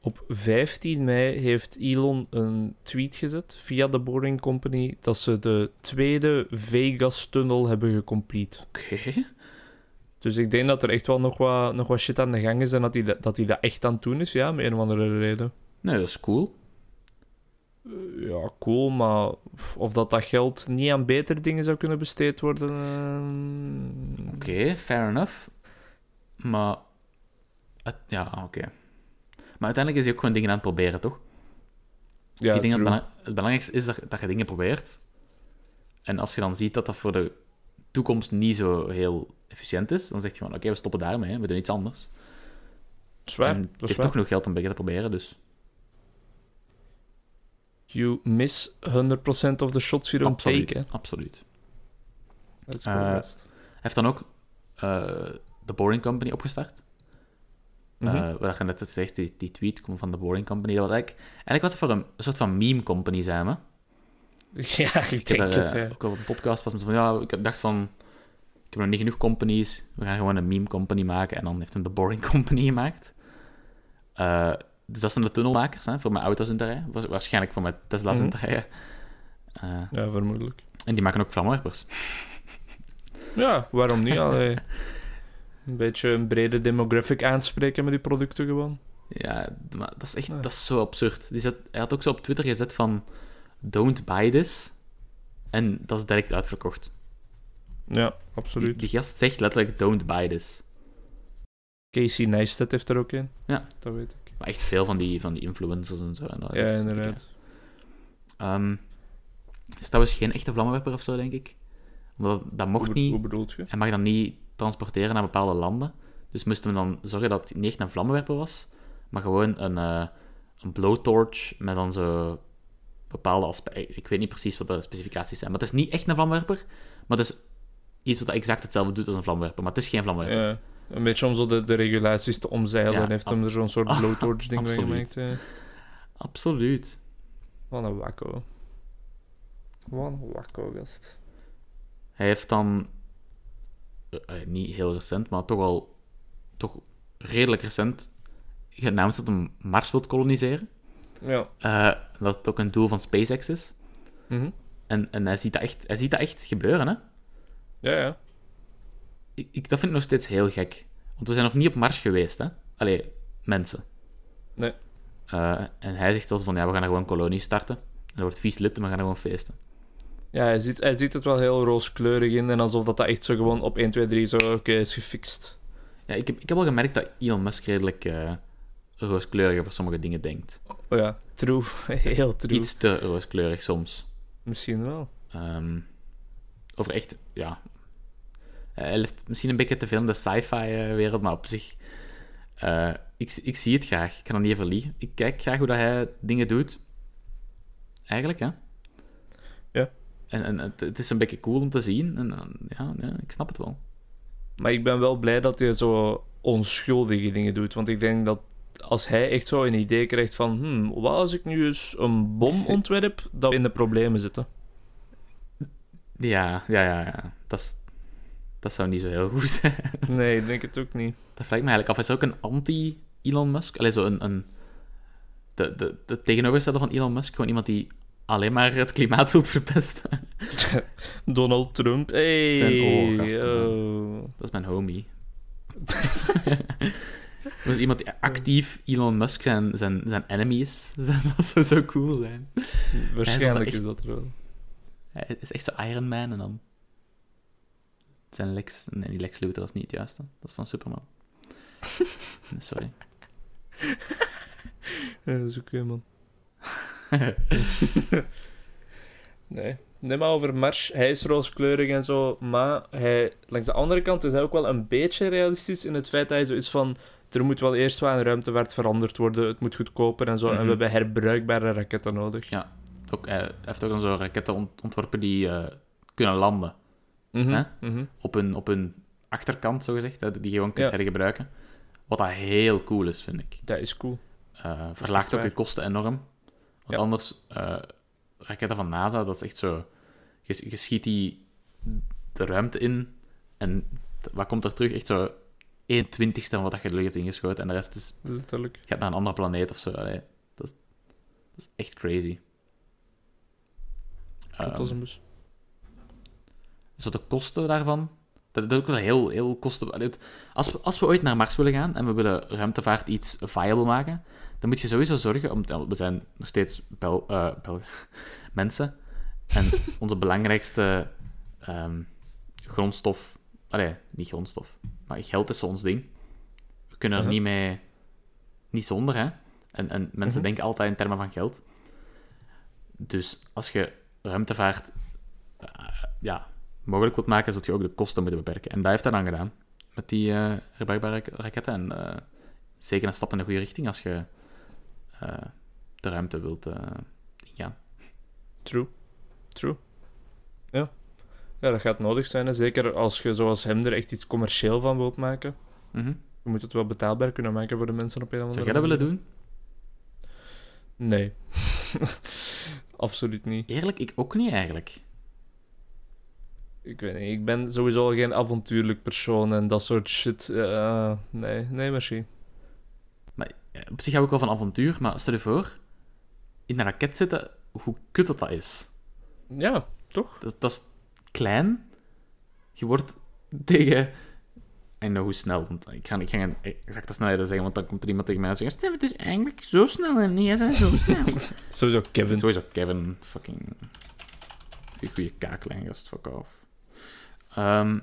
Op 15 mei heeft Elon een tweet gezet via de Boring Company dat ze de tweede Vegas-tunnel hebben gecomplete.
Oké.
Dus ik denk dat er echt wel nog wat, nog wat shit aan de gang is en dat hij dat, dat, hij dat echt aan het doen is, ja, om een of andere reden.
Nee, dat is cool.
Eh, Ja, cool, maar of- of dat dat geld niet aan betere dingen zou kunnen besteed worden... eh,
Oké, fair enough. Maar... het- ja, ah, oké. Maar uiteindelijk is hij ook gewoon dingen aan het proberen, toch?
Ja,
ik denk dat
true.
het, belang- het belangrijkste is dat, dat je dingen probeert. En als je dan ziet dat dat voor de toekomst niet zo heel efficiënt is, dan zeg je van oké, we stoppen daarmee, hè, we doen iets anders.
Zwaar,
en
dat
je
is
hebt
waar.
toch genoeg geld om dingen te proberen, dus
You miss 100% of the shots you don't
absoluut.
take, hè.
absoluut.
Dat is
Oh, Eh,
wel best.
Hij heeft dan ook eh The Boring Company opgestart. Eh
Mhm.
waar je net het zegt, die, die tweet komt van The Boring Company. Dat was eigenlijk, eigenlijk was het voor een, een soort van meme company zijn, hè?
ja, ik
Ik heb
denk
daar,
het,
eh,
ja.
ook op een podcast was mensen van, ja, ik heb- dacht van, ik heb nog niet genoeg companies, we gaan gewoon een meme company maken. En dan heeft hem de Boring Company gemaakt. Eh, dus dat zijn de tunnelmakers, hè, voor mijn auto's in te rijden. Wa- Waarschijnlijk voor mijn Tesla's in te
Mhm.
rijden. Eh,
Ja, vermoedelijk.
en die maken ook vlamwerpers.
Ja, waarom niet? Allee. Een beetje een brede demographic aanspreken met die producten gewoon.
Ja, maar dat is echt,
Ja.
dat is zo absurd. Die zet, hij had ook zo op Twitter gezet van, don't buy this. En dat is direct uitverkocht.
Ja,
Die,
absoluut.
die gast zegt letterlijk, don't buy this.
Casey Neistat heeft er ook een.
Ja.
Dat weet ik.
Maar echt veel van die, van die influencers en zo. En dat
Ja,
is-
inderdaad.
Ehm is trouwens geen echte vlammenwerper of zo, denk ik. Omdat dat mocht
Hoe-
niet.
Hoe bedoelt je?
Hij mag dat niet transporteren naar bepaalde landen. Dus moesten we dan zorgen dat het niet echt een vlammenwerper was, maar gewoon een, eh, een blowtorch met dan zo bepaalde aspecten. Ik weet niet precies wat de specificaties zijn. Maar het is niet echt een vlammenwerper, maar het is iets wat exact hetzelfde doet als een vlammenwerper. Maar het is geen vlammenwerper.
Ja. Een beetje om zo de, de regulaties te omzeilen.
Ja,
en heeft hem
ab-
er zo'n soort blowtorch-ding van
Absoluut.
gemaakt. Ja.
Absoluut.
Wat een wakko. Wat een wakko, gast.
Hij heeft dan, eh, eh, niet heel recent, maar toch al toch redelijk recent, genaamd dat hij Mars wilt koloniseren.
Ja.
Eh, dat het ook een doel van SpaceX is.
Mhm.
En, en hij, ziet dat echt, hij ziet dat echt gebeuren, hè.
Ja, ja.
Ik, ik- dat vind ik nog steeds heel gek. Want we zijn nog niet op Mars geweest, hè. Allee, mensen.
Nee.
Eh, en hij zegt zelfs van, ja, we gaan er gewoon kolonies starten. En dat wordt vies lid, en we gaan er gewoon feesten.
Ja, hij ziet, hij ziet het wel heel rooskleurig in. En alsof dat, dat echt zo gewoon op 1, 2, 3 zo... Oké, is gefixt.
Ja, ik heb, ik heb al gemerkt dat Elon Musk redelijk eh rooskleuriger voor sommige dingen denkt.
Oh ja, true. Heel true.
Iets te rooskleurig soms.
Misschien wel.
Ehm, over echt, ja. Eh, Hij leeft misschien een beetje te veel in de sci-fi-wereld, maar op zich. eh, ik, ik zie het graag. Ik kan er niet over liegen. Ik kijk graag hoe dat hij dingen doet. Eigenlijk, hè?
Ja.
En, en het, het is een beetje cool om te zien. En, eh, ja, ja, ik snap het wel.
Maar ik ben wel blij dat hij zo onschuldige dingen doet. Want ik denk dat als hij echt zo een idee krijgt van... Hmm, wat als ik nu eens een bom ontwerp, dat we in de problemen zitten.
Ja, ja, ja. ja. Dat, is, dat zou niet zo heel goed zijn.
Nee, ik denk het ook niet.
Dat vraag ik me eigenlijk af. Is hij ook een anti-Elon Musk? Allee, zo een... een de, de, de tegenovergestelde van Elon Musk. Gewoon iemand die alleen maar het klimaat wilt verpesten.
Donald Trump. Hey,
Zijn oorgasten,
oh.
Dat is mijn homie. Dus iemand die actief Elon Musk zijn, zijn, zijn enemy is. Dat zou zo cool zijn.
Waarschijnlijk
echt-
is dat er wel.
Hij is echt zo Iron Man en dan... Het zijn Lex... Nee, die Lex Luthor, dat is niet het juiste. Dat is van Superman. Nee, Sorry.
Ja, dat is oké, man. nee. Nee, maar over Mars. Hij is rooskleurig en zo. Maar hij, langs de andere kant is hij ook wel een beetje realistisch in het feit dat hij zoiets van... Er moet wel eerst wel een ruimtevaart veranderd worden. Het moet goedkoper en zo. En
Mhm.
we hebben herbruikbare raketten nodig.
Ook, eh, hij heeft ook dan zo raketten ont- ontworpen die eh, kunnen landen.
Mhm,
Hè?
mhm.
Op hun, op hun achterkant, zogezegd. Dat je die gewoon kunt
Ja.
hergebruiken. Wat dat heel cool is, vind ik.
Dat is cool.
Eh,
echt
verlaagt ook
waar.
je kosten enorm. Want
Ja.
anders, eh, raketten van NASA, dat is echt zo... Je, je schiet die de ruimte in en t- wat komt er terug? Echt zo 1 twintigste van wat je de lucht hebt ingeschoten. En de rest is,
Letterlijk.
gaat naar een andere planeet of zo. Allee, dat, is, dat is echt crazy.
Klopt
Ehm,
als een bus.
zo de kosten daarvan. Dat, dat is ook wel heel, heel kosten. allee, het- Als we, als we ooit naar Mars willen gaan en we willen ruimtevaart iets viable maken, dan moet je sowieso zorgen. Om, we zijn nog steeds Bel, eh, Bel- mensen. En onze belangrijkste ehm, grondstof. Allee, niet grondstof. Maar geld is zo ons ding. We kunnen er
Mhm.
niet mee. Niet zonder, hè? En, en mensen
Mhm.
denken altijd in termen van geld. Dus als je ruimtevaart eh, ja, mogelijk wilt maken, zult je ook de kosten moeten beperken. En dat heeft hij dan gedaan. Met die eh herbruikbare rak- raketten. En eh, zeker een stap in de goede richting als je eh, de ruimte wilt eh, ingaan.
True. True. Ja. Ja, dat gaat nodig zijn. Hè. Zeker als je zoals hem er echt iets commercieel van wilt maken.
Mhm.
Je moet het wel betaalbaar kunnen maken voor de mensen op een of andere
Zou jij dat
manier.
willen doen?
Nee. Absoluut niet.
Eerlijk, ik ook niet eigenlijk.
Ik weet niet. Ik ben sowieso geen avontuurlijk persoon en dat soort shit. eh, nee, nee, merci.
Eh, Op zich hou ik wel van avontuur, maar stel je voor, in een raket zitten, hoe kut dat dat is.
Ja, toch?
Dat, dat is klein. Je wordt tegen... Ik know hoe snel, want ik ga, ik ga geen exacte snelheden zeggen, want dan komt er iemand tegen mij en zegt Stef, het is eigenlijk zo snel en jij bent zo snel.
Sowieso Kevin.
Sowieso Kevin, fucking... Die goede kaaklijn, gast, fuck off. Ehm,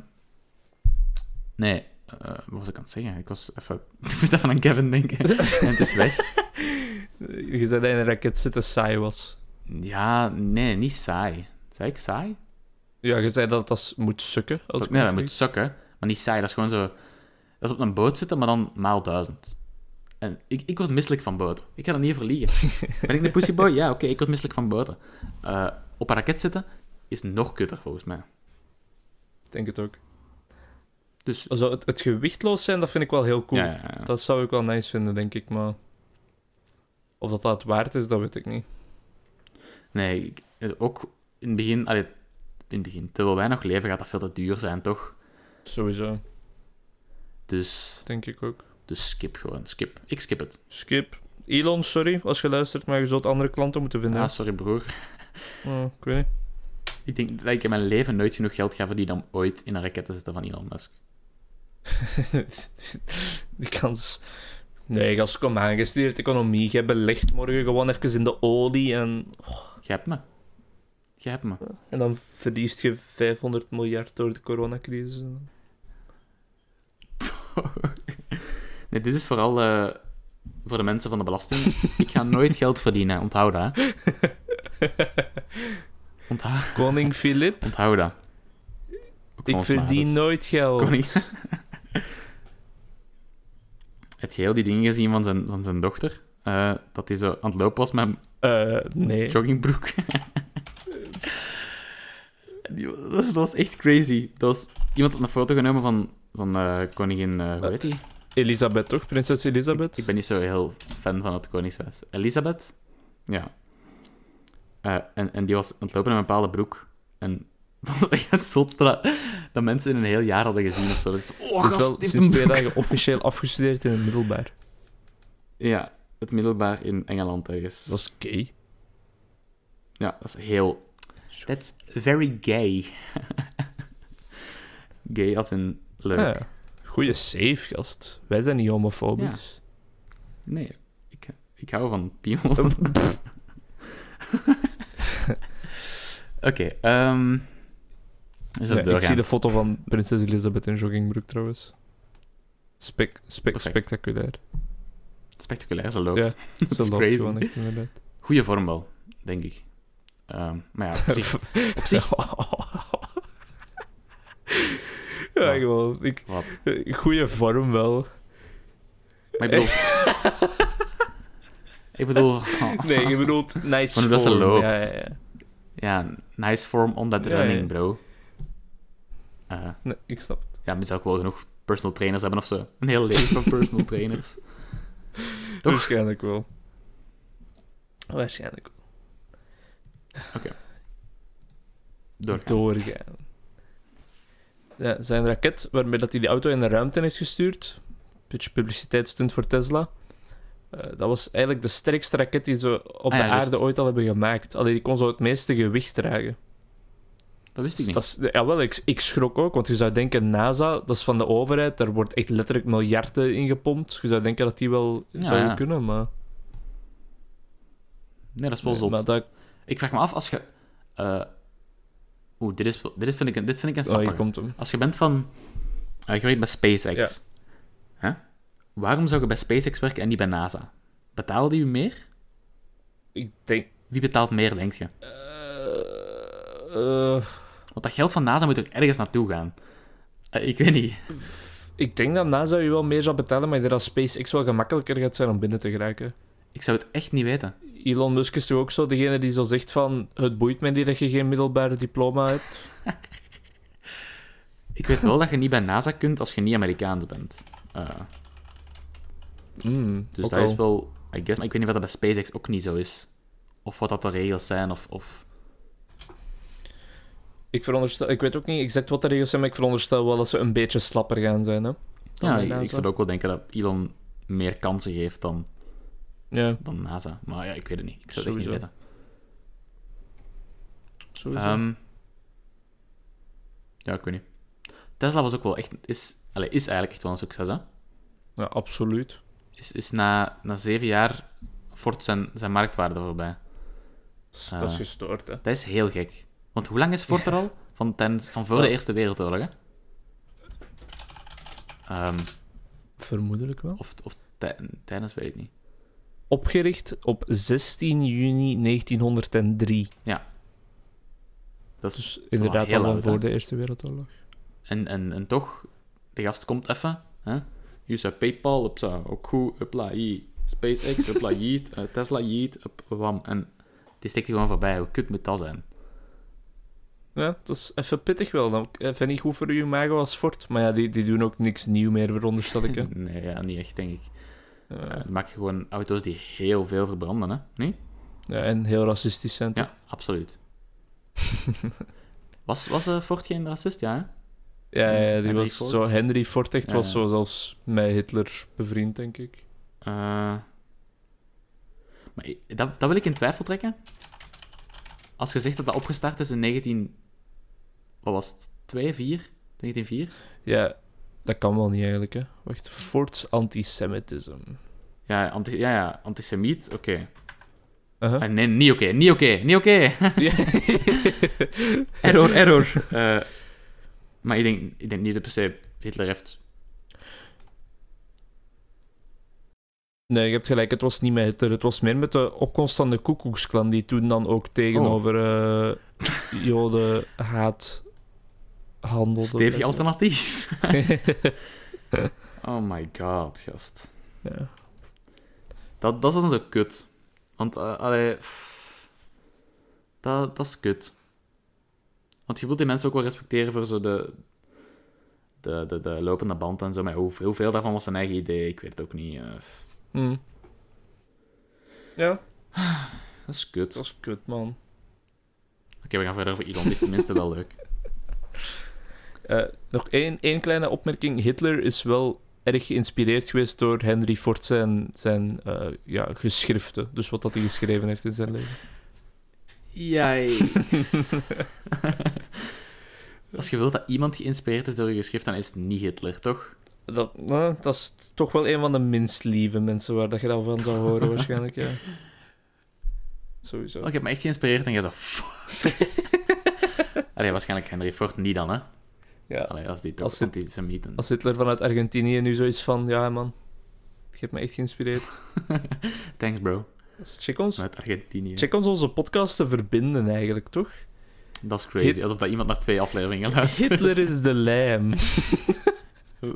nee, eh, wat was ik aan het zeggen? Ik was even... Ik moest even aan Kevin denken. en het is weg.
Eh, Je zei dat in een raket zitten saai was.
Ja, nee, niet saai. Zei ik saai?
Ja, je zei dat dat s- moet sukken. Als ik
nee,
me
dat
niet
moet zakken. Maar niet saai, dat is gewoon zo... Dat is op een boot zitten, maar dan maal duizend. En ik, ik word misselijk van boten. Ik ga er niet over liegen. Ben ik de pussyboy? Ja, oké, ik word misselijk van boten. Eh, op een raket zitten is nog kutter, volgens mij.
vergis. Ik denk het ook.
Dus...
Zo, het, het gewichtloos zijn, dat vind ik wel heel cool.
Ja, ja, ja.
Dat zou ik wel nice vinden, denk ik. Maar of dat dat het waard is, dat weet ik niet.
Nee, ik- eh, ook in het begin... allee, in het begin, terwijl wij nog leven, gaat dat veel te duur zijn, toch?
Sowieso,
Dus,
denk ik ook.
dus skip gewoon, skip. Ik skip het.
Skip. Elon, sorry als je luistert, maar je zult andere klanten moeten vinden.
Ah, sorry broer.
Oh, ik weet niet.
Ik denk dat ik in mijn leven nooit genoeg geld ga verdienen om ooit in een raket te zitten van Elon Musk.
Die kans. Nee, gast, kom aan. Je studeert economie. Jij belegt morgen gewoon even in de olie. En,
Jij hebt me. Jij hebt me.
en dan verliest je 500 miljard door de coronacrisis.
nee, dit is vooral eh, voor de mensen van de belasting. ik ga nooit geld verdienen, onthoud dat. hè. Onthoud,
Koning Filip,
onthoud dat. Ook
ik
volgens mij,
verdien
dus.
nooit geld.
Koning- Het geheel die dingen gezien van zijn, van zijn dochter. eh, dat hij zo aan het lopen was met een
Eh, nee.
joggingbroek. Die- dat was echt crazy. Dat was, iemand had een foto genomen van, van eh, koningin, eh hoe heet die?
Elisabeth, toch? Prinses Elisabeth?
Ik, ik ben niet zo heel fan van het Koningshuis. Elisabeth? Ja. Eh, en, en die was aan het lopen in een bepaalde broek. En dat was echt het zotste dat- dat mensen in een heel jaar hadden gezien of zo. Dus,
Het
oh,
is
gast,
wel
die heeft
sinds
een
twee
boek.
dagen officieel afgestudeerd in het middelbaar.
Ja, het middelbaar in Engeland ergens.
Dat is gay.
Ja, dat is heel... That's very gay. gay als in leuk.
Ja. Ah, Goeie safe, gast. Wij zijn niet homofobisch.
Nee, ik, ik hou van piemels. Oké, ehm...
Nee,
Dus dat
ik zie
doorgaan.
de foto van prinses Elizabeth in joggingbroek trouwens. Spek, spek,
Perfect.
spectaculair.
Spectaculair, ze loopt.
Ze loopt
crazy.
gewoon echt inderdaad.
Goeie vorm wel, denk ik. Ehm, maar ja, op zich, op zich
ja,
Ja.
gewoon. Ik,
wat?
goeie vorm wel.
Maar ik bedoel... ik bedoel...
Nee, je bedoelt nice
Maar dat ze
vorm.
loopt.
Ja, ja, ja.
Ja, nice form on that
Ja,
running,
ja.
bro. Eh
Nee, ik snap het.
ja, moet ook wel genoeg personal trainers hebben of zo. Een heel leven van personal trainers. Toch?
Waarschijnlijk wel. Waarschijnlijk wel.
Doorgaan.
Doorgaan. Ja, zijn raket waarmee dat hij die auto in de ruimte heeft gestuurd. Beetje publiciteitsstunt voor Tesla. Eh, dat was eigenlijk de sterkste raket die ze op
Ah ja,
de
juist.
aarde ooit al hebben gemaakt. Alleen die kon zo het meeste gewicht dragen.
Dat wist ik niet.
Dat is, jawel, ik, ik schrok ook, want je zou denken, NASA, dat is van de overheid, daar wordt echt letterlijk miljarden in gepompt. Je zou denken dat die wel
Ja,
zouden
ja.
kunnen, maar...
Nee, dat is wel
Nee,
zot.
maar dat, ah,
Ik vraag me af als je... eh Oeh, dit, is, dit, is vind ik, een- dit vind ik een
oh, hier
stapper.
komt hem.
Als je bent van... eh, je werkt bij SpaceX. Hè? Waarom zou je bij SpaceX werken en niet bij NASA? Betalen die u meer?
Ik denk...
Wie betaalt meer, denk je?
eh, eh,
Want dat geld van NASA moet ook ergens naartoe gaan. Eh, ik weet niet.
ik denk dat NASA je wel meer zou betalen, maar ik denk dat SpaceX wel gemakkelijker gaat zijn om binnen te geraken.
Ik zou het echt niet weten.
Elon Musk is toch ook zo degene die zo zegt van... Het boeit mij niet dat je geen middelbare diploma hebt.
Ik weet wel dat je niet bij NASA kunt als je niet Amerikaans bent. Eh,
Mm,
dus
ook
dat
al.
is wel, I guess, maar ik weet niet of dat bij SpaceX ook niet zo is. Of wat dat de regels zijn, of... of...
Ik, veronderstel, ik weet ook niet exact wat de regels zijn, maar ik veronderstel wel dat ze een beetje slapper gaan zijn. Hè? Dan
Ja,
bij
ik,
NASA.
ik zou ook wel denken dat Elon meer kansen geeft dan,
Ja,
dan NASA. Maar ja, ik weet het niet. Ik zou het echt niet
Sowieso.
weten.
sowieso.
Ehm, ja, ik weet niet. Tesla was ook wel echt... Is, allez, is eigenlijk echt wel een succes, hè?
ja, absoluut.
Is, is na, na zeven jaar fort zijn, zijn marktwaarde voorbij.
Dat is
Ah.
gestoord, hè.
Dat is heel gek. Want hoe lang is Ford er al? Van, ten, van voor
Ja.
de Eerste Wereldoorlog, hè? Ehm,
Vermoedelijk wel.
of of tij- tijdens, weet ik niet.
Opgericht op 16 juni 1903.
Dat is,
Dus inderdaad
heel
al van
oud, hè?
voor de Eerste Wereldoorlog.
en, en, en toch, de gast komt even. Hè? Je zei PayPal, upsa, ook goed, upla, yeet. SpaceX, upla, yeet. Eh, Tesla, yeet, up, wam. En die steekt er gewoon voorbij. Hoe kut moet dat zijn?
Ja, dat is even pittig wel. Dan even niet goed voor uw imago als Ford. Maar ja, die, die doen ook niks nieuw meer, veronderstel ik. hè.
Nee, ja, niet echt, denk ik. Eh,
Ja,
dan maak je gewoon auto's die heel veel verbranden, hè? Nee?
ja, en heel racistisch zijn. toch?
Ja, absoluut. was was eh, Ford geen racist? Ja, hè?
Ja, ja, die
Henry
was
Ford.
zo. Henry Ford echt
Ja,
was
ja.
zo zelfs met Hitler bevriend, denk ik.
Eh, maar i- dat, dat wil ik in twijfel trekken. Als je zegt dat dat opgestart is in 19... Wat was het? 2, 4? 1904?
Ja, dat kan wel niet eigenlijk, hè. Wacht, Ford's antisemitism.
Ja, anti, ja, ja, antisemiet, oké.
Uh-huh.
Ah, nee, niet oké, niet oké, niet oké.
Ja.
error, error. Eh, maar ik denk, ik denk niet dat per se Hitler heeft...
Nee, je hebt gelijk. Het was niet met Hitler. Het was meer met de opkomst van de Koekoeksklan, die toen dan ook tegenover eh Joden haat handelde.
Stevig alternatief. Oh my god, gast.
ja.
Dat, dat is dan zo kut. Want, eh, allee... pff, Dat, dat is kut. Want je wilt die mensen ook wel respecteren voor zo de... De, de, de lopende band en zo. Maar hoeveel, hoeveel daarvan was zijn eigen idee? Ik weet het ook niet. eh.
Hm. ja,
dat is kut.
het
Oké,
was kut, man.
we gaan verder over Elon. Die is tenminste wel leuk.
Eh, nog één, één kleine opmerking. Hitler is wel erg geïnspireerd geweest door Henry Ford zijn, zijn eh, ja, geschriften. Dus wat dat hij geschreven heeft in zijn leven.
Yikes. Als je wilt dat iemand geïnspireerd is door je geschrift, dan is het niet Hitler, toch?
Dat, nou, dat is toch wel een van de minst lieve mensen waar dat je dat van zou horen waarschijnlijk. Ja. Sowieso.
Oh, ik heb me echt geïnspireerd en je zo... Allee, waarschijnlijk Henry Ford niet dan, hè?
Ja.
Allee, als die
Als
toch
het-
antisemiet... en-
Als Hitler vanuit Argentinië nu zoiets van, ja man, je hebt me echt geïnspireerd.
Thanks, bro.
Check ons,
Vanuit Argentinië.
check ons onze podcast te verbinden eigenlijk, toch?
Dat is crazy.
Hit-
Alsof dat iemand naar twee afleveringen luistert.
Hitler is de lijm.
Oh,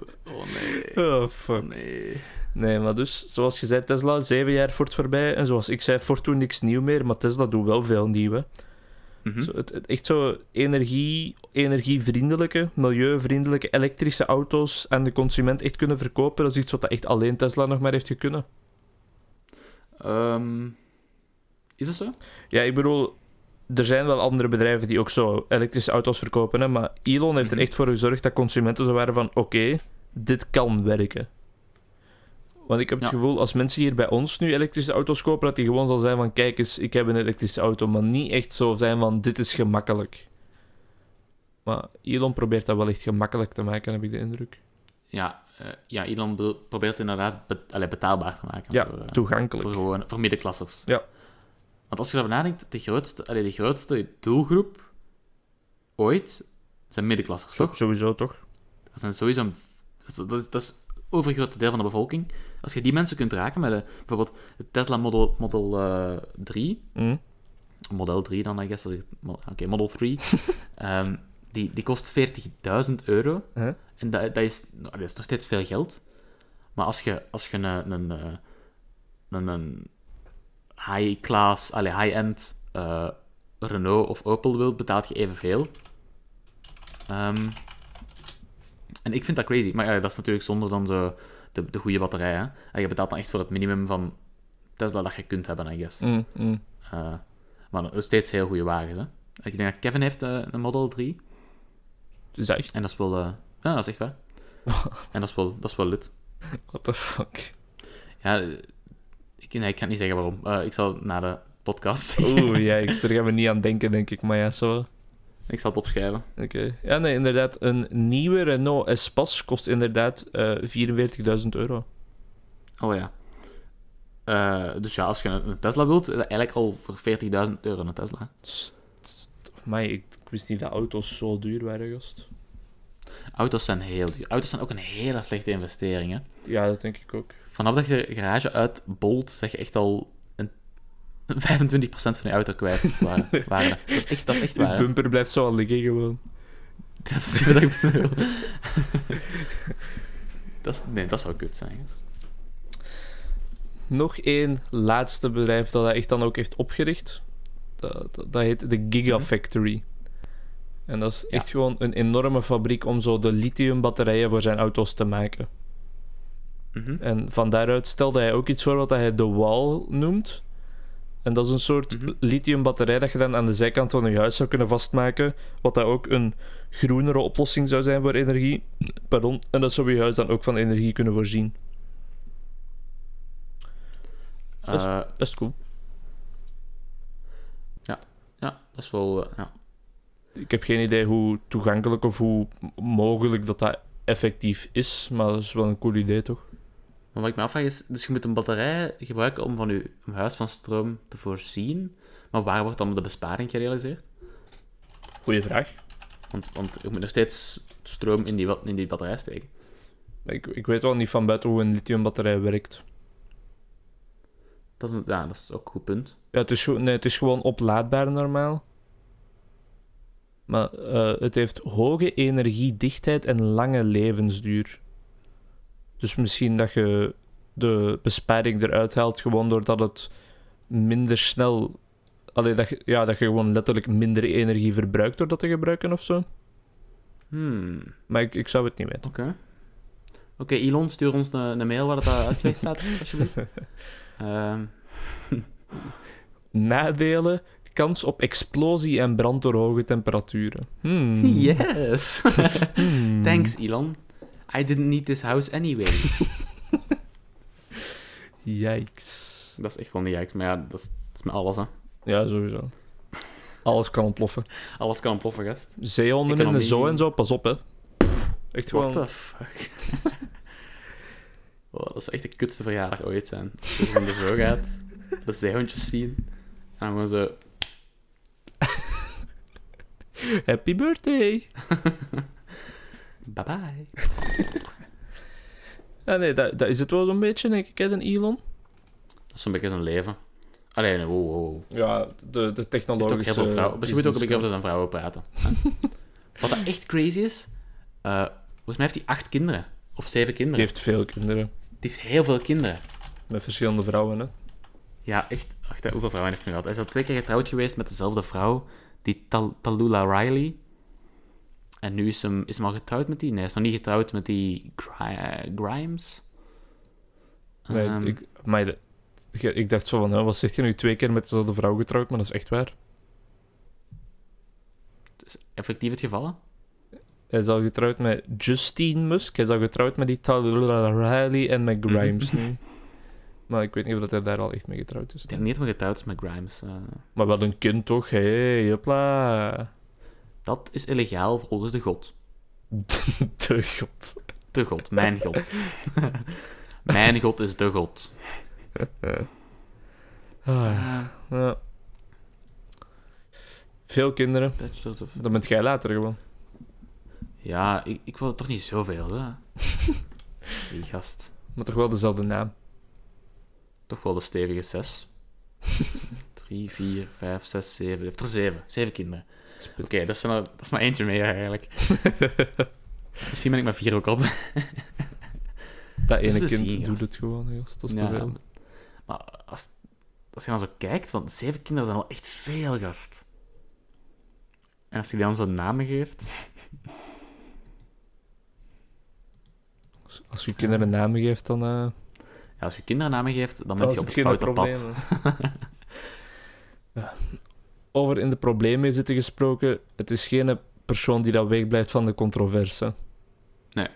nee.
Oh fuck.
Nee.
Nee, maar dus, zoals je zei, Tesla, zeven jaar Ford voorbij. En zoals ik zei, Ford doet niks nieuw meer, maar Tesla doet wel veel nieuw. Hè.
Mhm.
Zo, het, het- echt zo energie, energievriendelijke, milieuvriendelijke, elektrische auto's aan de consument echt kunnen verkopen. Dat is iets wat dat echt alleen Tesla nog maar heeft gekunnen.
Ehm, is dat zo?
Ja, ik bedoel, er zijn wel andere bedrijven die ook zo elektrische auto's verkopen, hè, maar Elon heeft er
Mhm.
echt voor gezorgd dat consumenten zo waren van, oké, dit kan werken. Want ik heb het
Ja.
gevoel, als mensen hier bij ons nu elektrische auto's kopen, dat die gewoon zal zijn van, kijk eens, ik heb een elektrische auto, maar niet echt zo zijn van, dit is gemakkelijk. Maar Elon probeert dat wel echt gemakkelijk te maken, heb ik de indruk.
Ja, eh, ja Elon be- probeert inderdaad be- allee, betaalbaar te maken.
Ja,
voor, eh,
toegankelijk.
voor, gewoon, voor middenklassers.
Ja.
Want als je erover nadenkt, de grootste, allee, de grootste doelgroep ooit zijn middenklassers, toch?
Sowieso toch?
Dat zijn sowieso een, dat, is, dat is het overgrote deel van de bevolking. Als je die mensen kunt raken met eh, bijvoorbeeld het Tesla Model, Model eh, 3,
Hm?
Model 3 dan, I guess. als ik- mo- Oké, Model 3. Ehm, die, die kost 40.000 euro.
Huh?
En dat, dat, is, nou, dat is nog steeds veel geld. Maar als je, als je een, een, eh, een, een high-class, allee, high-end eh, Renault of Opel wilt, betaalt je evenveel. Ehm, en ik vind dat crazy. Maar ja, dat is natuurlijk zonder dan zo de, de goede batterij. Hè? En je betaalt dan echt voor het minimum van Tesla dat je kunt hebben, I guess.
Hm, hm.
Eh, maar nog steeds heel goede wagens. Hè? Ik denk dat Kevin heeft eh, een Model 3.
Is dat echt?
En dat is wel... eh, ja, dat is echt waar. en dat is wel, dat is wel lut.
What the fuck?
Ja, eh, ik, nee, ik kan niet zeggen waarom. Eh, ik zal na de podcast zeggen.
Oeh, jijks, daar gaan we niet aan denken, denk ik. Maar ja, zo...
Ik zal het opschrijven.
Oké. Ja, nee, inderdaad. Een nieuwe Renault Espace kost inderdaad eh, 44.000 euro.
Oh ja. Eh, dus ja, als je een een Tesla wilt, is dat eigenlijk al voor 40.000 euro een Tesla.
Maar ik, ik wist niet dat auto's zo duur waren, gast.
Auto's zijn heel duur. Auto's zijn ook een hele slechte investering. Hè?
Ja, dat denk ik ook.
Vanaf dat je de garage uitbolt, zeg je echt al een 25% van je auto kwijt. Waarde. Waarde. Dat, is echt, dat is echt waar.
De
hè.
bumper blijft zo al liggen gewoon.
Dat is wat ik bedoel. dat is, nee, dat zou kut zijn.
Nog één laatste bedrijf dat hij echt dan ook heeft opgericht. Dat, dat, dat heet de Gigafactory. En dat is
Ja.
echt gewoon een enorme fabriek om zo de lithiumbatterijen voor zijn auto's te maken.
Mhm.
En van daaruit stelde hij ook iets voor wat hij de wall noemt. En dat is een soort
Mhm.
lithiumbatterij dat je dan aan de zijkant van je huis zou kunnen vastmaken. Wat dat ook een groenere oplossing zou zijn voor energie. Pardon. En dat zou je huis dan ook van energie kunnen voorzien. Dat is-
Eh,
Best cool.
ja, dat is wel. eh, ja.
Ik heb geen idee hoe toegankelijk of hoe m- mogelijk dat dat effectief is. Maar dat is wel een cool idee, toch?
Maar wat ik me afvraag is: dus je moet een batterij gebruiken om van je om je huis van stroom te voorzien. Maar waar wordt dan de besparing gerealiseerd?
Goeie vraag.
Want, want je moet nog steeds stroom in die, wat- in die batterij steken.
Ik, ik weet wel niet van buiten hoe een lithiumbatterij werkt.
Dat is, een- ja, dat is ook een goed punt.
Ja, het is, gewoon- nee, het is gewoon oplaadbaar normaal. Maar eh, het heeft hoge energiedichtheid en lange levensduur. Dus misschien dat je de besparing eruit haalt gewoon doordat het minder snel... Allee, dat je, ja, dat je gewoon letterlijk minder energie verbruikt door dat te gebruiken of zo.
Hmm, oké.
Maar ik, ik zou het niet weten.
Oké, Elon, stuur ons een, een mail waar dat uitgelegd staat, alsjeblieft. Ehm,
Nadelen, kans op explosie en brand door hoge temperaturen. Hmm.
Yes.
Hmm.
Thanks, Elon. I didn't need this house anyway.
Yikes.
dat is echt wel niet juist, maar ja, dat is, dat is met alles, hè.
Ja, sowieso. Alles kan ontploffen.
Alles kan ontploffen, gast.
Zeehonden in de
Economie.
zoo en zo, pas op, hè. Echt gewoon...
What the fuck? oh, dat zou echt de kutste verjaardag ooit zijn. Als je in de zoo gaat, de zeehondjes zien, en dan gewoon zo...
Happy birthday!
Bye-bye.
Ja, nee, dat, dat is het wel zo'n beetje, denk ik, hè, een Elon.
Dat is zo'n beetje zo'n leven. Alleen, wow, wow, wow.
Ja, de, de
Er is ook heel
technologische...
veel vrouwen. Misschien moet ook een beetje over zijn vrouwen praten. hè? Wat dat echt crazy is, eh, volgens mij heeft hij acht kinderen. Of zeven
Die
kinderen.
heeft veel kinderen.
Die heeft heel veel kinderen.
Met verschillende vrouwen, hè.
Ja, echt. Wacht, hè, hoeveel vrouwen heeft hij nu gehad? Hij is al twee keer getrouwd geweest met dezelfde vrouw, die Tal Tallulah Riley. En nu is hem, is hem al getrouwd met die? Nee, hij is nog niet getrouwd met die Gri- eh, Grimes.
Nee,
Ehm,
ik, maar de- ge- ik dacht zo van, hè, wat zeg je nu? Twee keer met dezelfde vrouw getrouwd, maar dat is echt waar.
is effectief het geval? hè?
Hij is al getrouwd met Justine Musk, hij is al getrouwd met die Tallulah Riley en met Grimes nu. Maar ik weet niet of dat hij daar al echt mee getrouwd is.
Ik denk niet dat hij getrouwd is met Grimes. eh.
Maar wel een kind toch, hé, hey, hopla.
dat is illegaal volgens de god.
De god.
De god, mijn god. mijn god is de god.
Ah, ja. Veel kinderen,
Bachelors of...
dan bent jij later gewoon.
Ja, ik, ik wil toch niet zoveel, hè? Die gast.
Maar toch wel dezelfde naam.
Toch wel de stevige zes. Drie, vier, vijf, zes, zeven. Hij heeft er zeven. Zeven kinderen. Oké, dat, zijn er- dat is maar eentje meer eigenlijk. Misschien ben ik maar vier ook op.
Dat
is
ene
de
kind
zin,
doet
gast.
het gewoon, hè, gast. Dat is
Ja,
te veel.
Maar als, als je dan zo kijkt, want zeven kinderen zijn al echt veel, gast. En als je die dan zo'n namen geeft...
Als je kinderen namen geeft, dan... eh
Ja, als je kinderen namen geeft, dan
dan
ben
is
je op
het
het
geen
foute
probleem,
pad.
hè. Ja. Over in de problemen zitten gesproken, het is geen persoon die dat wegblijft van de controverse.
Nee.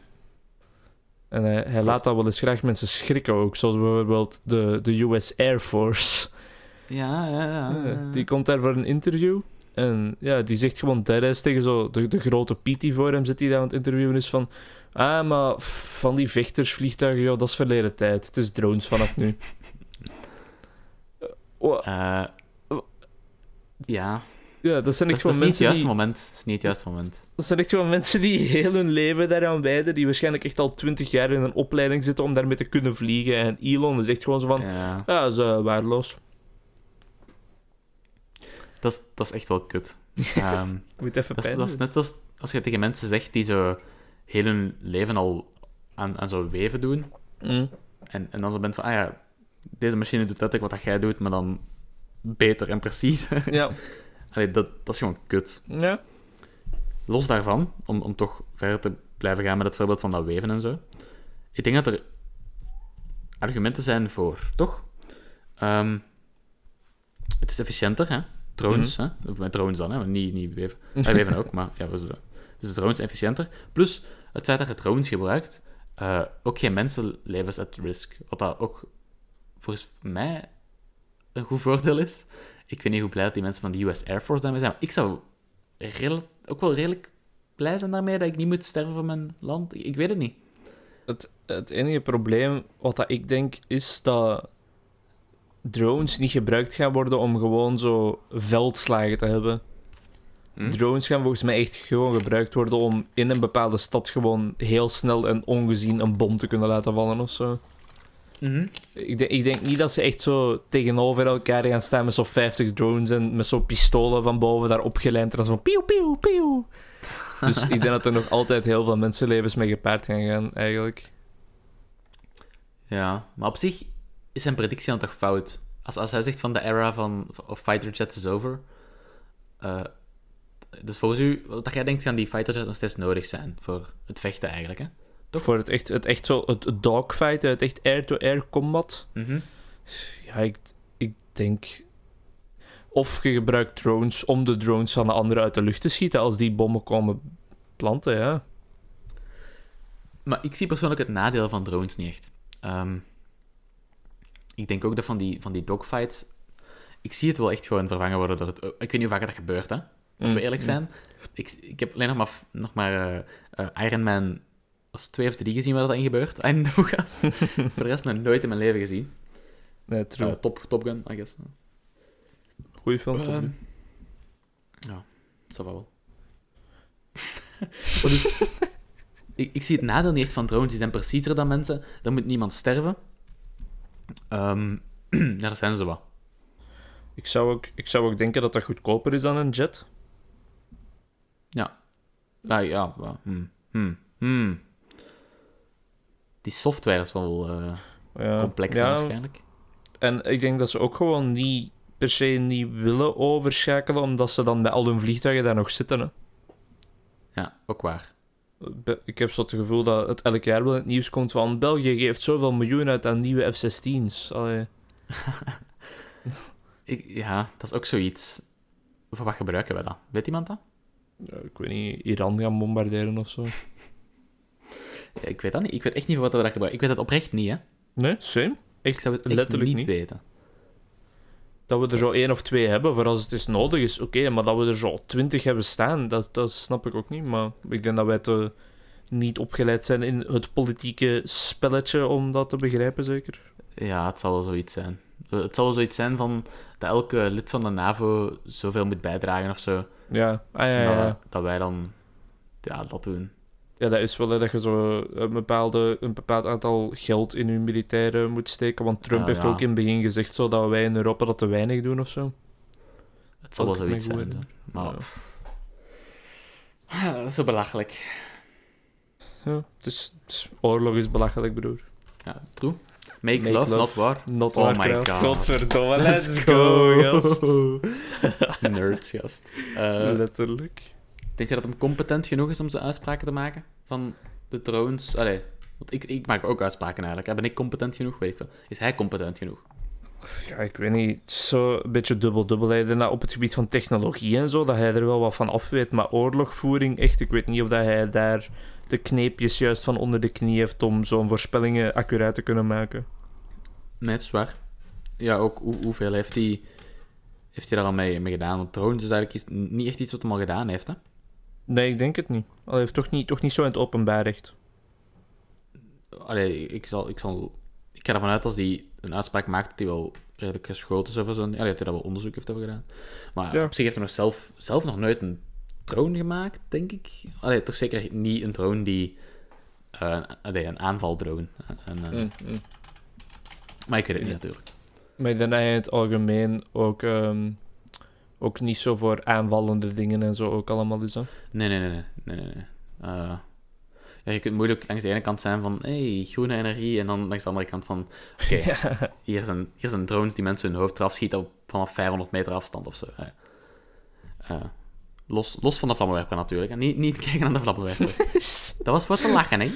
En hij, hij laat dat wel eens graag mensen schrikken ook, zoals bijvoorbeeld de, de US Air Force.
Ja, ja, ja.
Ja, Ah, die komt daar voor een interview. En ja, die zegt gewoon deadass tegen zo de, de grote Piet die voor hem zit, die daar aan het interviewen is van... Ah, maar f- van die vechtersvliegtuigen, joh, dat is verleden tijd. Het is drones vanaf nu. Eh, wa-
Eh, ja,
ja, dat zijn echt
dat is, dat is
gewoon
niet het
mensen
juiste
die...
moment. Dat is niet het juiste moment.
Dat zijn echt gewoon mensen die heel hun leven daaraan wijden, die waarschijnlijk echt al twintig jaar in een opleiding zitten om daarmee te kunnen vliegen. En Elon is echt gewoon zo van...
Ja,
Ja, dat is eh, waardeloos.
dat, is, dat is echt wel kut. Ehm,
Moet even
dat, is,
pijn dus.
dat is
doen.
net als als je tegen mensen zegt die zo heel hun leven al aan, aan zo'n weven doen.
Mm.
En, en dan zo bent van, ah ja, deze machine doet letterlijk wat dat jij doet, maar dan beter en preciezer.
Ja.
Allee, dat, dat is gewoon kut.
Ja.
Los daarvan, om, om toch verder te blijven gaan met het voorbeeld van dat weven en zo. Ik denk dat er argumenten zijn voor, toch? Ehm, het is efficiënter, hè? Drones, hè? Of met drones dan, hè? maar Niet, niet weven. Wij weven ook, maar ja, we zullen. Dus de drones zijn efficiënter. Plus het feit dat je drones gebruikt, eh, ook geen mensenlevens at risk. Wat dat ook volgens mij een goed voordeel is. Ik weet niet hoe blij dat die mensen van de US Air Force daarmee zijn, maar ik zou rel- ook wel redelijk blij zijn daarmee dat ik niet moet sterven voor mijn land. Ik, ik weet het niet.
Het, het enige probleem wat dat ik denk is dat drones niet gebruikt gaan worden om gewoon zo veldslagen te hebben.
Hm?
Drones gaan volgens mij echt gewoon gebruikt worden om in een bepaalde stad gewoon heel snel en ongezien een bom te kunnen laten vallen of zo. Ik, denk- ik denk niet dat ze echt zo tegenover elkaar gaan staan met zo'n 50 drones en met zo'n pistolen van boven daar opgelijnd en dan zo'n pieuw, pieuw, pieuw. Dus ik denk dat er nog altijd heel veel mensenlevens mee gepaard gaan gaan, eigenlijk.
Ja, maar op zich is zijn predictie dan toch fout. Als, als hij zegt van de era van of fighter jets is over. eh, dus volgens u, wat dat jij denkt, gaan die fighter jets nog steeds nodig zijn voor het vechten eigenlijk, hè?
Toch? Voor het echt, het echt zo, het het dogfight, het echt air-to-air combat.
Mhm.
Ja, ik, ik denk. Of je gebruikt drones om de drones van de anderen uit de lucht te schieten als die bommen komen planten, ja.
Maar ik zie persoonlijk het nadeel van drones niet echt. Ehm, ik denk ook dat van die, van die dogfights... Ik zie het wel echt gewoon vervangen worden door het... Ik weet niet hoe vaak dat gebeurt, hè. Laten
Mm.
we eerlijk zijn. Ik, ik heb alleen nog maar, f- nog maar eh, eh, Iron Man... was twee of drie gezien waar dat in gebeurt. En nog gast. Voor de rest nog nooit in mijn leven gezien.
Nee, true.
Eh, top, top Gun, I guess.
Goeie film.
Ehm,
Tom.
ja, dat wel. Maar dus, ik, ik zie het nadeel niet echt van drones. Die zijn preciezer dan mensen. Dan moet niemand sterven. Ehm ja, dat zijn ze wel.
ik, zou ook, ik zou ook denken dat dat goedkoper is dan een jet.
Nou ja, wel, hmm, hmm, hmm. Die software is wel eh,
Ja,
complex
ja,
waarschijnlijk.
En ik denk dat ze ook gewoon niet per se niet willen overschakelen, omdat ze dan met al hun vliegtuigen daar nog zitten. Hè.
Ja, ook waar.
Be- Ik heb zo het gevoel dat het elk jaar wel in het nieuws komt van België geeft zoveel miljoen uit aan nieuwe F-16's. Allee.
Ik, ja, dat is ook zoiets. Voor wat gebruiken we dat? Weet iemand dat?
Ja, ik weet niet, Iran gaan bombarderen of zo.
Ja, ik weet dat niet. Ik weet echt niet voor wat we dat gebruiken. Ik weet dat oprecht niet, hè.
Nee, same.
Ik zou het echt
Letterlijk
niet
niet.
weten.
Dat we er zo één of twee hebben voor als het is nodig is, oké, maar dat we er zo twintig hebben staan, dat, dat snap ik ook niet. Maar ik denk dat wij te niet opgeleid zijn in het politieke spelletje om dat te begrijpen, zeker.
Ja, het zal wel zoiets zijn. Eh, Het zal wel zoiets zijn van dat elke lid van de NAVO zoveel moet bijdragen of zo.
Ja, ah, ja,
En
ja.
dat,
ja.
we- dat wij dan ja, dat doen.
Ja, dat is wel hè, dat je zo eh, een, bepaalde, een bepaald aantal geld in je militairen moet steken. Want Trump
Ah,
heeft
ja.
ook in het begin gezegd zo, dat wij in Europa dat te weinig doen of zo.
Het zal wel
Dat kan ik
zoiets
me
zijn.
goed
zo. Maar
Ja.
pff, dat is zo belachelijk.
Ja, het is, het is- oorlog is belachelijk, broer.
Ja, true. Make,
Make
love,
love.
not war.
Not
Oh my
Warcraft.
God.
Godverdomme, let's,
Let's
go,
go.
gast.
Nerds, gast. Eh,
Letterlijk.
denk je dat hem competent genoeg is om zijn uitspraken te maken? Van de drones? Allee, want ik, ik maak ook uitspraken eigenlijk. hè. Ben ik competent genoeg? Weet ik veel. Is hij competent genoeg?
Ja, ik weet niet, het is zo een beetje dubbel-dubbel. hè. Ik denk dat Op het gebied van technologie en zo, dat hij er wel wat van af weet. Maar oorlogvoering, echt, ik weet niet of dat hij daar de kneepjes juist van onder de knie heeft om zo'n voorspellingen accuraat te kunnen maken.
Nee, dat is waar. Ja, ook hoe, hoeveel heeft hij, heeft hij daar al mee, mee gedaan? Want Thrones is eigenlijk iets, niet echt iets wat hem al gedaan heeft, hè?
Nee, ik denk het niet. Al heeft toch niet, toch niet zo in het openbaar echt.
Allee, ik zal... Ik, zal, ik ga ervan uit als hij een uitspraak maakt dat hij wel redelijk geschoten is of zo. Allee, dat hij daar wel onderzoek heeft over gedaan. Maar
Ja.
op zich heeft hij nog zelf, zelf nog nooit een drone gemaakt, denk ik. Allee, toch zeker niet een drone die... eh allee, een aanvaldrone. Een,
Mm, Hmm.
eh, Maar ik weet het niet, natuurlijk.
Maar ik denk dat hij in het algemeen ook, ehm, ook niet zo voor aanvallende dingen en zo ook allemaal is. Hè?
Nee, nee, nee. nee, nee, nee, nee. Eh, ja, je kunt moeilijk langs de ene kant zijn van hey, groene energie en dan langs de andere kant van oké, hier, zijn, hier zijn drones die mensen hun hoofd eraf schieten op, vanaf 500 meter afstand of zo. Eh, eh, los, los van de vlammenwerper natuurlijk. En niet, niet kijken aan de vlammenwerper. dat was voor te lachen, hè?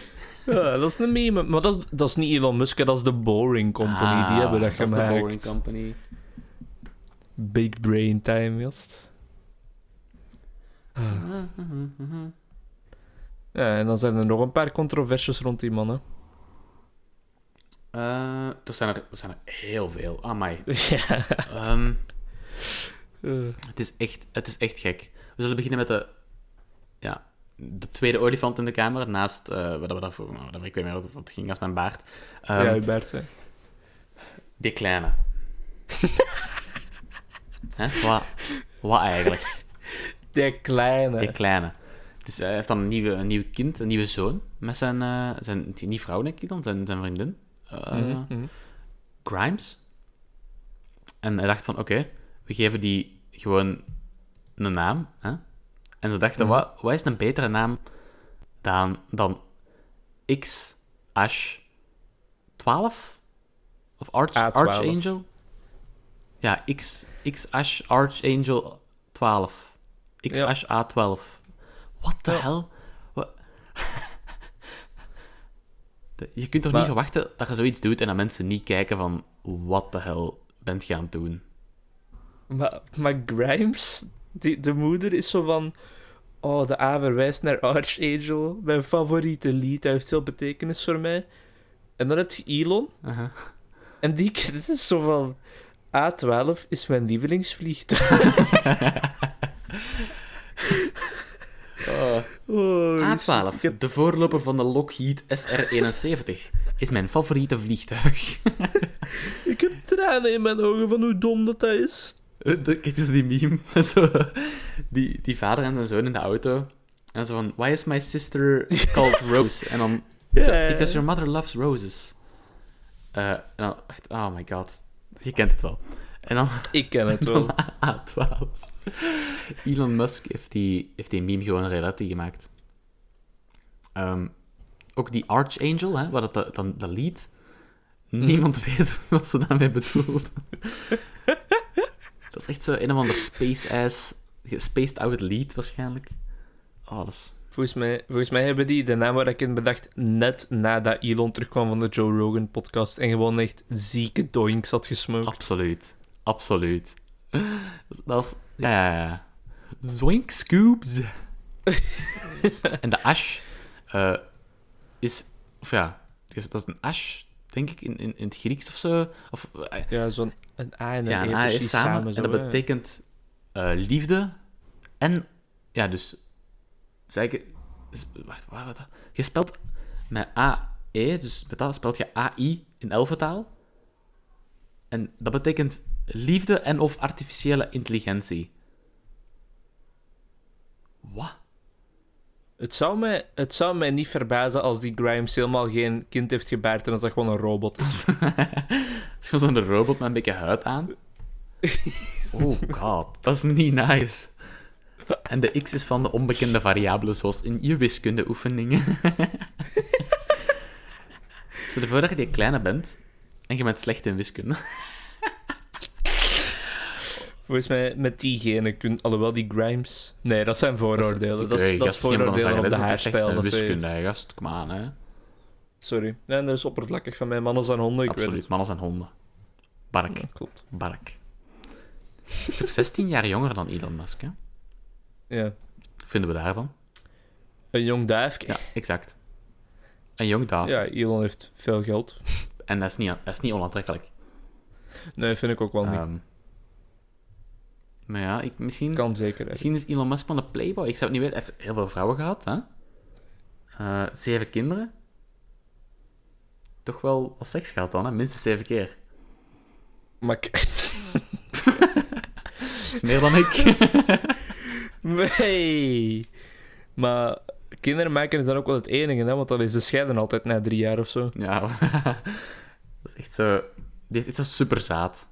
Ja, dat is een meme. Maar dat is, dat is niet Elon Musk, hè, dat is de Boring Company.
Ah,
Die hebben dat,
is
gemaakt.
de Boring Company.
Big brain time, gast. Ah. Ja, en dan zijn er nog een paar controversies rond die mannen.
Eh, er, zijn er, er zijn er heel veel. Amai.
ja. Ehm,
Ehm Het is echt, het is echt gek. We zullen beginnen met de, ja, de tweede olifant in de kamer. Naast, eh wat we daarvoor, nou, daarvoor- ik weet niet meer wat- wat ging als mijn baard. Ehm,
ja, Hubert. hè.
Die kleine. Hè? Wat, wat eigenlijk?
Die kleine.
Die kleine. Dus hij heeft dan een, nieuwe, een nieuw kind, een nieuwe zoon. Met zijn, eh, zijn niet vrouw denk ik dan, zijn, zijn vriendin. Eh,
Mhm, mhm.
Grimes. En hij dacht van, oké, we geven die gewoon een naam. Hè? En ze dachten,
Mhm.
wat, wat is een betere naam dan, dan X Ash 12? Of Arch,
A12.
Archangel? Ja, X, X Ash Archangel 12. X
Ja.
Ash A12. What the
Ja.
hell? Wa- De- Je kunt toch
Maar-
niet verwachten dat je zoiets doet en dat mensen niet kijken van wat de hel bent je aan het doen.
Maar, maar Grimes, die, de moeder, is zo van... Oh, de A verwijst naar Archangel. Mijn favoriete lied. Hij heeft veel betekenis voor mij. En dan heb je Elon.
Aha.
En die dit is zo van... A12 is mijn lievelingsvliegtuig.
Oh.
Oh,
A12, de voorloper van de Lockheed SR-71, is mijn favoriete vliegtuig.
Ik heb tranen in mijn ogen van hoe dom dat dat is.
Eh, Kijk eens die meme. met Zo, die, die vader en zijn zoon in de auto. En zo van, why is my sister called Rose? En dan,
Ja.
zo, because your mother loves roses. Eh, en dan, echt, oh my god, je kent het wel. En dan
Ik ken het wel.
A12. Elon Musk heeft die, heeft die meme gewoon een relatie gemaakt. Ehm, ook die Archangel, hè, waar dat, dat, dat, dat lied. Niemand weet wat ze daarmee bedoelt. dat is echt zo een of ander space-ass, gespaced out lied waarschijnlijk. Oh, dat is...
Volgens mij, volgens mij hebben die de naam waar ik in bedacht net nadat Elon terugkwam van de Joe Rogan podcast en gewoon echt zieke doinks had gesmokt.
Absoluut. Absoluut. Dat is... Ja, ja, ja. Zoink scoops. en de ash eh, is... Of ja, dus dat is een ash, denk ik, in, in, in het Grieks of zo. Of, eh,
Ja, zo'n een A en een
ja,
E
een A
precies
is samen.
samen zo,
en dat
hè.
betekent eh, liefde. En... Ja, dus... Zeg ik... is- Wacht, wat, wat? Je spelt met AE, dus met dat spelt je AI in elfentaal. En dat betekent liefde en of artificiële intelligentie. Wat?
Het, zou mij, het zou mij niet verbazen als die Grimes helemaal geen kind heeft gebaard en als dat gewoon een robot is.
Het is gewoon zo'n robot met een beetje huid aan. Oh god, dat is niet nice. En de x is van de onbekende variabelen zoals in je wiskundeoefeningen. Stel je voor dat je die kleine bent en je bent slecht in wiskunde.
Volgens mij met die genen kun... Alhoewel, die Grimes... Nee, dat zijn vooroordelen. Dat
Hey,
is, dat is
gast, je moet dan
vooroordelen op
zeggen,
de
dat is slecht
haarstijl.
in
Dat ze
wiskunde,
heeft.
hè, gast. Kom aan, hè.
Sorry. Nee, dat is oppervlakkig van mij. Mannen zijn honden, ik weet
Absoluut, mannen zijn honden. Bark,
het. Ja, klopt.
bark. Is ook 16 jaar jonger dan Elon Musk, hè?
Ja.
Vinden we daarvan?
Een jong duifje.
Ja, exact. Een jong daaf.
Ja, Elon heeft veel geld.
En dat is niet, dat is niet onaantrekkelijk.
Nee, vind ik ook wel niet.
Ehm, maar ja, ik, misschien,
Kan zeker. hè.
misschien is Elon Musk van de Playboy. Ik zou het niet weten. Hij heeft heel veel vrouwen gehad, hè? Eh, zeven kinderen. Toch wel wat seks gehad dan, hè? Minstens zeven keer.
Maar k-
Dat is meer dan ik.
nee. Maar kinderen maken is dan ook wel het enige, hè? want dan is de scheiden altijd na drie jaar of zo.
ja, dat is echt zo... Dit is echt zo superzaad.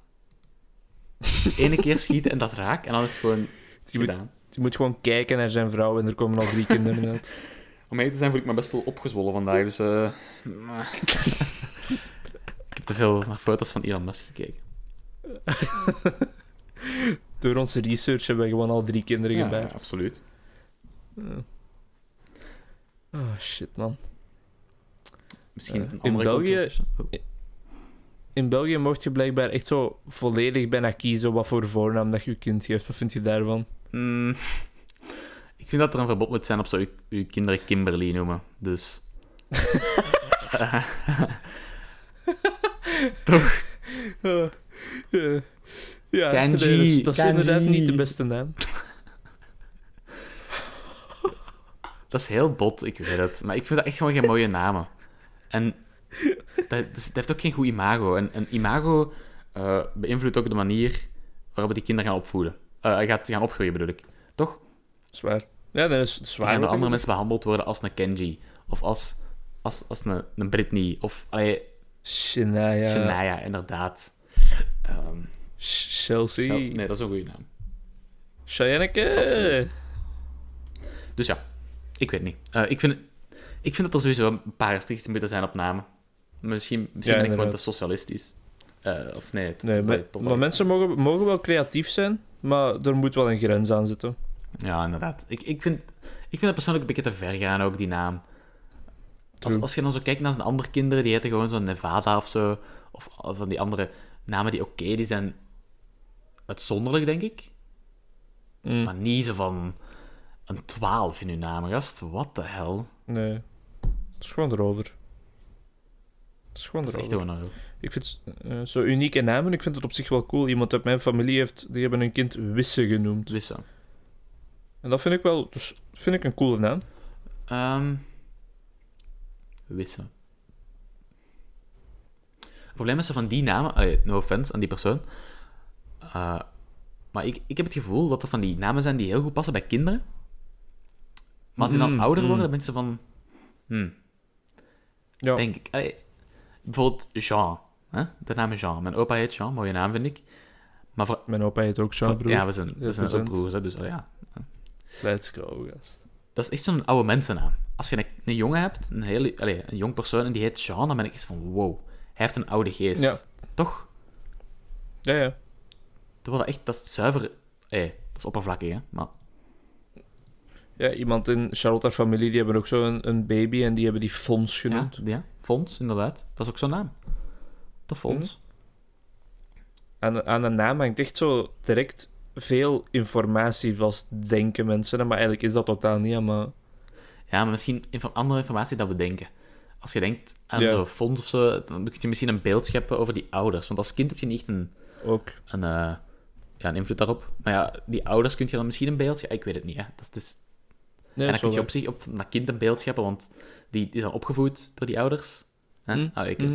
Eén keer schieten en dat is raak. En dan is het gewoon
Je moet,
gedaan.
je moet gewoon kijken naar zijn vrouw en er komen al drie kinderen uit.
Om mee te zijn voel ik me best wel opgezwollen vandaag, dus... eh, ik heb te veel naar foto's van Elon Musk gekeken.
Door onze research hebben we gewoon al drie kinderen
Ja,
gebaard.
absoluut.
Ja. Oh shit, man.
Misschien
Eh,
een
in
andere
België-
controverse. Oh.
In België mocht je blijkbaar echt zo volledig bijna kiezen wat voor voornaam dat je je kind geeft. Wat vind je daarvan?
Mm, ik vind dat er een verbod moet zijn op zo je, je kinderen Kimberly noemen, dus...
Ja, ja. ja,
Kanji,
nee, dat is, dat is
kanji.
inderdaad niet de beste naam.
Dat is heel bot, ik weet het. Maar ik vind dat echt gewoon geen mooie namen. En dat, dat heeft ook geen goed imago. En, en imago eh, beïnvloedt ook de manier waarop we die kinderen gaan opvoeden. Eh, gaat gaan opgroeien, bedoel ik. Toch?
Zwaar. Ja, dat is zwaar. wat ik
Gaan de andere
bedoel.
mensen behandeld worden als een Kenji. Of als, als, als een, een Britney. Of allee,
Shania.
Shania, inderdaad. Ehm,
Sh- Chelsea.
zo- nee, dat is een goede naam.
Cheyenneke.
Absoluut. Dus ja, ik weet niet. Eh, ik, vind, ik vind dat er sowieso een paar restricties moeten zijn op namen. Misschien, misschien
Ja,
ben ik gewoon
inderdaad.
te socialistisch. Eh, of nee, het,
Nee,
het-
maar,
het-
maar mensen mogen, mogen wel creatief zijn, maar er moet wel een grens aan zitten.
Ja, inderdaad. Ik, ik, vind, ik vind het persoonlijk een beetje te ver gaan, ook die naam. Als,
True.
als je dan zo kijkt naar zijn andere kinderen, die heten gewoon zo'n Nevada of zo. Of, of van die andere namen die oké, die zijn uitzonderlijk, denk ik.
Mm,
Maar niet zo van een 12 in uw naam, gast. Wat de hel?
Nee. Het is gewoon erover. Het is gewoon
Dat is echt
erover.
gewoon een
Ik vind eh, zo unieke namen, ik vind het op zich wel cool. Iemand uit mijn familie heeft, die hebben hun kind Wisse genoemd.
wisse.
En dat vind ik wel, dus vind ik een coole naam.
Ehm wisse. Het probleem is zo van die namen, allee, no offense aan die persoon. eh, maar ik, ik heb het gevoel dat er van die namen zijn die heel goed passen bij kinderen. Maar als die dan
Mm,
ouder
mm.
worden, dan ben ze van. Hmm,
Ja.
Denk ik. Allee, bijvoorbeeld Jean. Hè? De naam is Jean. Mijn opa heet Jean, mooie naam vind ik. Maar voor,
Mijn opa heet ook zo'n
voor-
broer.
ja, we zijn, we zijn ook
Represent.
broers, hè, dus oh ja.
Let's go, gast.
Dat is echt zo'n oude mensennaam. Als je een, een jongen hebt, een, hele, allee, een jong persoon, en die heet Sean, dan ben ik echt van, wow, hij heeft een oude geest.
Ja.
Toch?
Ja, ja.
Terwijl dat echt, dat is zuiver... eh, dat is oppervlakkig, hè? Maar
Ja, iemand in Charlotte, haar familie, die hebben ook zo'n een baby en die hebben die Fons
ja,
genoemd.
ja, Fons, inderdaad. Dat is ook zo'n naam. De Fons.
Mhm. Aan, aan een naam hangt echt zo direct veel informatie vast, denken mensen. hè, Maar eigenlijk is dat totaal niet, hè, maar...
Ja, maar misschien info- andere informatie dan we denken. Als je denkt aan
Ja.
zo'n Fons of zo, dan moet je misschien een beeld scheppen over die ouders. Want als kind heb je niet echt een,
Ook.
een, eh, ja, een invloed daarop. Maar ja, die ouders kun je dan misschien een beeld... Ja, ik weet het niet, hè. Dat is, dus
Nee,
en
zo
dan kun je
wel.
op zich op dat kind een beeld scheppen, want die is dan opgevoed door die ouders. Hè?
Mm,
Ah, ik,
Mhm.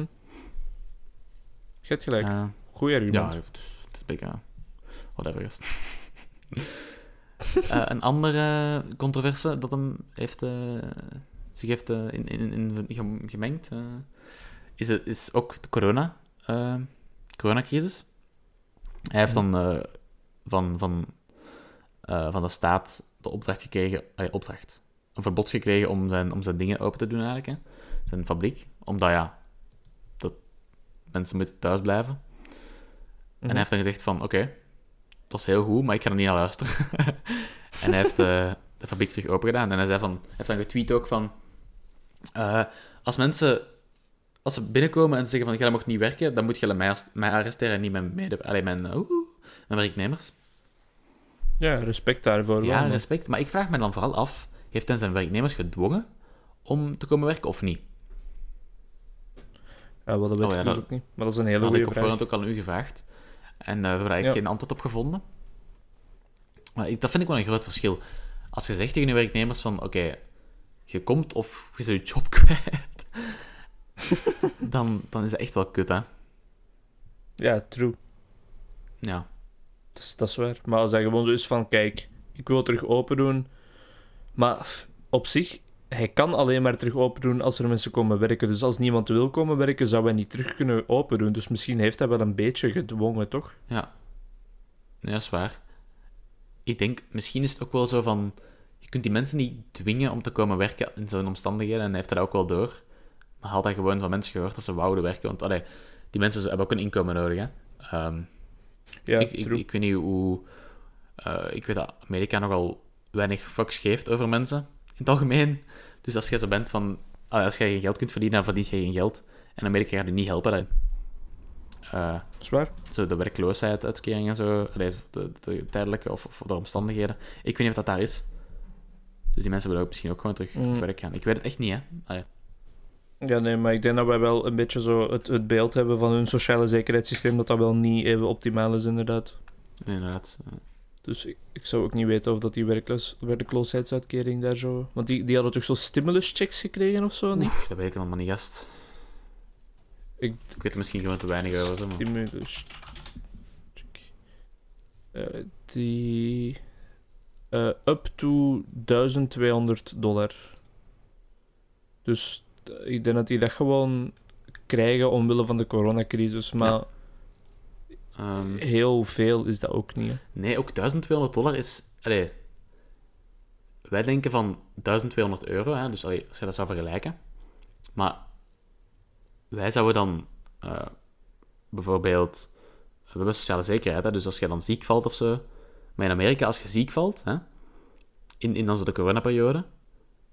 Je hebt gelijk.
eh,
Goeie
ja,
argument.
het het is een beetje... eh, Whatever, gast. Eh, een andere controverse dat hem heeft, eh, zich heeft eh, in, in, in gem- gemengd, eh, is, de- is ook de corona, eh, coronacrisis. Hij heeft dan eh, van, van, eh, van de staat de opdracht gekregen, eh, opdracht, een verbod gekregen om zijn, om zijn dingen open te doen eigenlijk, hè. zijn fabriek. Omdat ja, dat mensen moeten thuis blijven. En
Mhm.
hij heeft dan gezegd van, oké, het was heel goed, maar ik ga er niet naar luisteren. en hij heeft eh, de fabriek terug open gedaan. En hij zei van, hij heeft dan getweet ook van, eh, als mensen, als ze binnenkomen en ze zeggen van, jij mag niet werken, dan moet je mij, arrest- mij arresteren en niet mijn mede, alleen mijn, eh, oeh, mijn werknemers.
Ja, respect daarvoor. wel,
Ja,
man.
respect. Maar ik vraag me dan vooral af, heeft hij zijn werknemers gedwongen om te komen werken of niet?
Ja, wel, dat weet
Oh, ja,
ik dus
dat-
ook niet. Maar dat is een
Dat
hele
had ik
goede
op
vraag.
voorhand ook al aan u gevraagd. En eh, we hebben daar eigenlijk
Ja.
geen antwoord op gevonden. Maar ik, dat vind ik wel een groot verschil. Als je zegt tegen je werknemers van, oké, je komt of je zit je job kwijt, dan, dan is dat echt wel kut, hè.
Ja, true.
Ja,
Dat is, dat is waar. Maar als hij gewoon zo is van, kijk, ik wil terug open doen. Maar f- op zich, hij kan alleen maar terug open doen als er mensen komen werken. Dus als niemand wil komen werken, zou hij niet terug kunnen open doen. Dus misschien heeft hij wel een beetje gedwongen, toch?
ja. Nee, dat is waar. Ik denk, misschien is het ook wel zo van, je kunt die mensen niet dwingen om te komen werken in zo'n omstandigheden, en hij heeft dat ook wel door. Maar had hij gewoon van mensen gehoord dat ze wouden werken, want allee, die mensen hebben ook een inkomen nodig, hè. Ehm,
Ja,
ik, ik,
true.
ik weet niet hoe. eh, ik weet dat Amerika nogal weinig fucks geeft over mensen. In het algemeen. Dus als jij zo bent van. ah, als jij geen geld kunt verdienen, dan verdien je geen geld. En Amerika gaat je niet helpen daarin. Eh,
Dat is waar.
zo de werkloosheid, uitkering en zo. allee, de, de tijdelijke of, of de omstandigheden. Ik weet niet of dat daar is. Dus die mensen willen ook misschien ook gewoon terug
Mm.
het werk gaan. Ik weet het echt niet, hè? Allee.
Ja, nee, maar ik denk dat wij wel een beetje zo het, het beeld hebben van hun sociale zekerheidssysteem, dat dat wel niet even optimaal is, inderdaad.
Inderdaad.
Dus ik, ik zou ook niet weten of dat die werkloos, werkloosheidsuitkering daar zo... Want die, die hadden toch zo stimulus checks gekregen of zo, niet?
Oef, dat weet ik allemaal niet, gast.
Ik-
ik weet er misschien gewoon te weinig over. zo, Maar...
Stimulus. check. Eh, die... eh, up to 1200 dollar. Dus eh, ik denk dat die dat gewoon krijgen omwille van de coronacrisis, maar...
Ehm,
Heel veel is dat ook niet. hè.
Nee, ook 1200 dollar is. Allee, wij denken van 1200 euro, hè, dus allee, als je dat zou vergelijken. Maar wij zouden dan eh, bijvoorbeeld. We hebben sociale zekerheid, hè, dus als je dan ziek valt of zo. Maar in Amerika, als je ziek valt, hè, in, in dan zo de coronaperiode,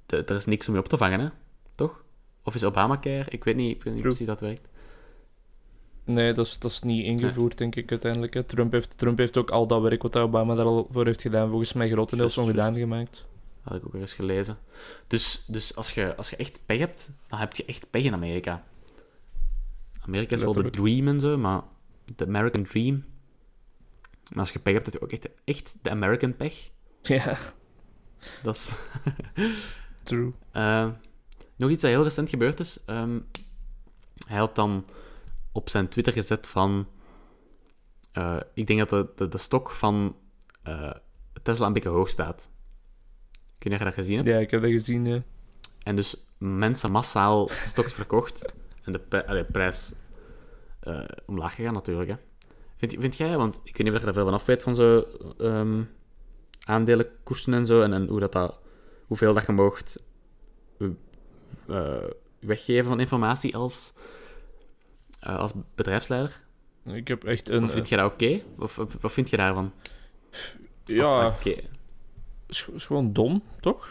de- er is niks om je op te vangen, hè? toch? Of is Obamacare? Ik weet niet, ik weet niet
True.
precies hoe dat werkt.
Nee, dat is, dat is niet ingevoerd, denk ik, uiteindelijk. Hè. Trump, heeft, Trump heeft ook al dat werk wat Obama daar al voor heeft gedaan, volgens mij grotendeels
Juist, juist.
ongedaan gemaakt.
Had ik ook ergens gelezen. Dus, dus als, je, als je echt pech hebt, dan heb je echt pech in Amerika. Amerika is wel de
Letterlijk.
dream en zo, maar... De American dream. Maar als je pech hebt, heb je ook echt, echt de American pech.
Ja,
Dat is...
true.
Eh, nog iets dat heel recent gebeurd is. Ehm, hij had dan op zijn Twitter gezet van... eh, ik denk dat de, de, de stok van eh, Tesla een beetje hoog staat. Kun je dat gezien hebben?
Ja, ik heb dat gezien, ja.
En dus mensen massaal stoks verkocht. En de pri- allee, prijs eh, omlaag gegaan natuurlijk. Hè. Vind, vind jij, want ik weet niet of je daar veel van af weet van zo ehm aandelenkoersen en zo. En, en hoe dat dat, hoeveel dat je moogt eh, weggeven van informatie als, eh, als bedrijfsleider.
Ik heb echt een... eh,
Of vind je dat oké? Of, of- wat vind je daarvan?
eh, ja,
Oké.
is, is gewoon dom, toch?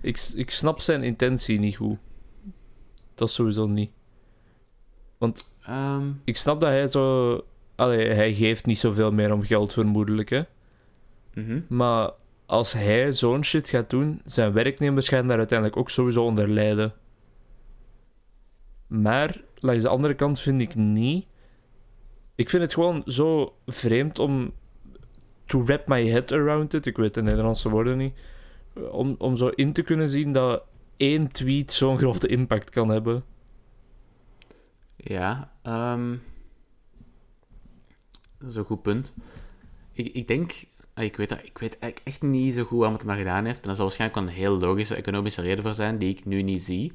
Ik, s- ik snap zijn intentie niet goed. Dat sowieso niet.
Ehm,
Ik snap dat hij zo... Allee, hij geeft niet zoveel meer om geld, vermoedelijk, hè.
mhm.
Maar als hij zo'n shit gaat doen, zijn werknemers gaan daar uiteindelijk ook sowieso onder lijden. Maar langs de andere kant vind ik niet. Ik vind het gewoon zo vreemd om. To wrap my head around it, ik weet de Nederlandse woorden niet. Om, om zo in te kunnen zien dat één tweet zo'n grote impact kan hebben.
Ja, ehm, dat is een goed punt. Ik, ik denk, ah, ik weet, dat- ik weet eigenlijk echt niet zo goed waarom het maar gedaan heeft. En daar zal waarschijnlijk wel een heel logische economische reden voor zijn, die ik nu niet zie.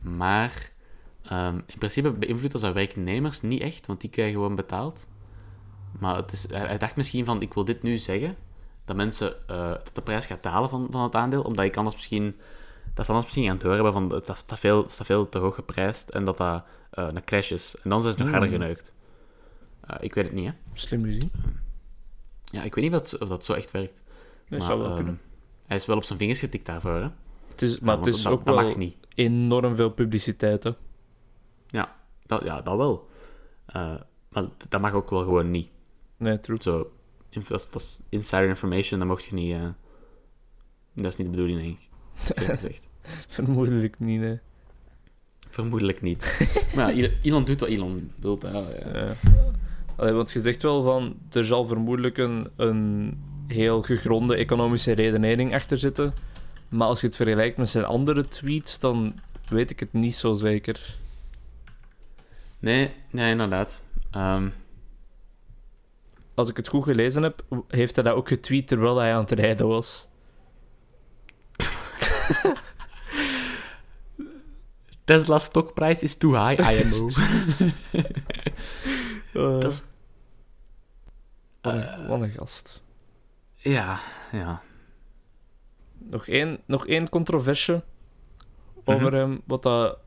Maar ehm, in principe beïnvloedt dat zijn werknemers niet echt, want die krijgen gewoon betaald. Maar het is, hij hij dacht misschien van, ik wil dit nu zeggen, dat mensen eh, dat de prijs gaat dalen van, van het aandeel, omdat ik anders misschien, dat ze anders misschien aan het horen hebben van, dat dat dat veel, dat veel te hoog geprijsd en dat dat eh, een crash is. En dan zijn ze nog
Hmm.
harder geneukt. Eh, ik weet het niet, hè.
Slim gezien.
Ja, ik weet niet of dat, of dat zo echt werkt.
Dat
Maar,
zou wel
ehm,
kunnen.
Hij is wel op zijn vingers getikt daarvoor, hè.
Het is,
Ja,
maar het
want
is
dat,
ook
dat
wel
mag niet.
enorm veel publiciteit. Hè.
Dat, ja, dat wel. Eh, maar d- dat mag ook wel gewoon niet.
Nee, true.
Zo, in- dat, is- dat is insider information, dat mocht je niet... eh, dat is niet de bedoeling, denk ik. eerlijk gezegd.
Vermoedelijk niet, nee.
Vermoedelijk niet. maar ja, Elon doet wat Elon wil. hè. Ja,
Ja. Eh, Allee, want je zegt wel van, er zal vermoedelijk een, een heel gegronde economische redenering achter zitten. Maar als je het vergelijkt met zijn andere tweets, dan weet ik het niet zo zeker.
Nee, nee, inderdaad. Ehm,
Als ik het goed gelezen heb, heeft hij dat ook getweet terwijl hij aan het rijden was.
Tesla stokprijs is too high, IMO.
Eh.
Dat is-
Wat een,
Eh,
wat een gast.
ja, ja.
Nog één, nog één controverse over
Mhm.
hem, wat dat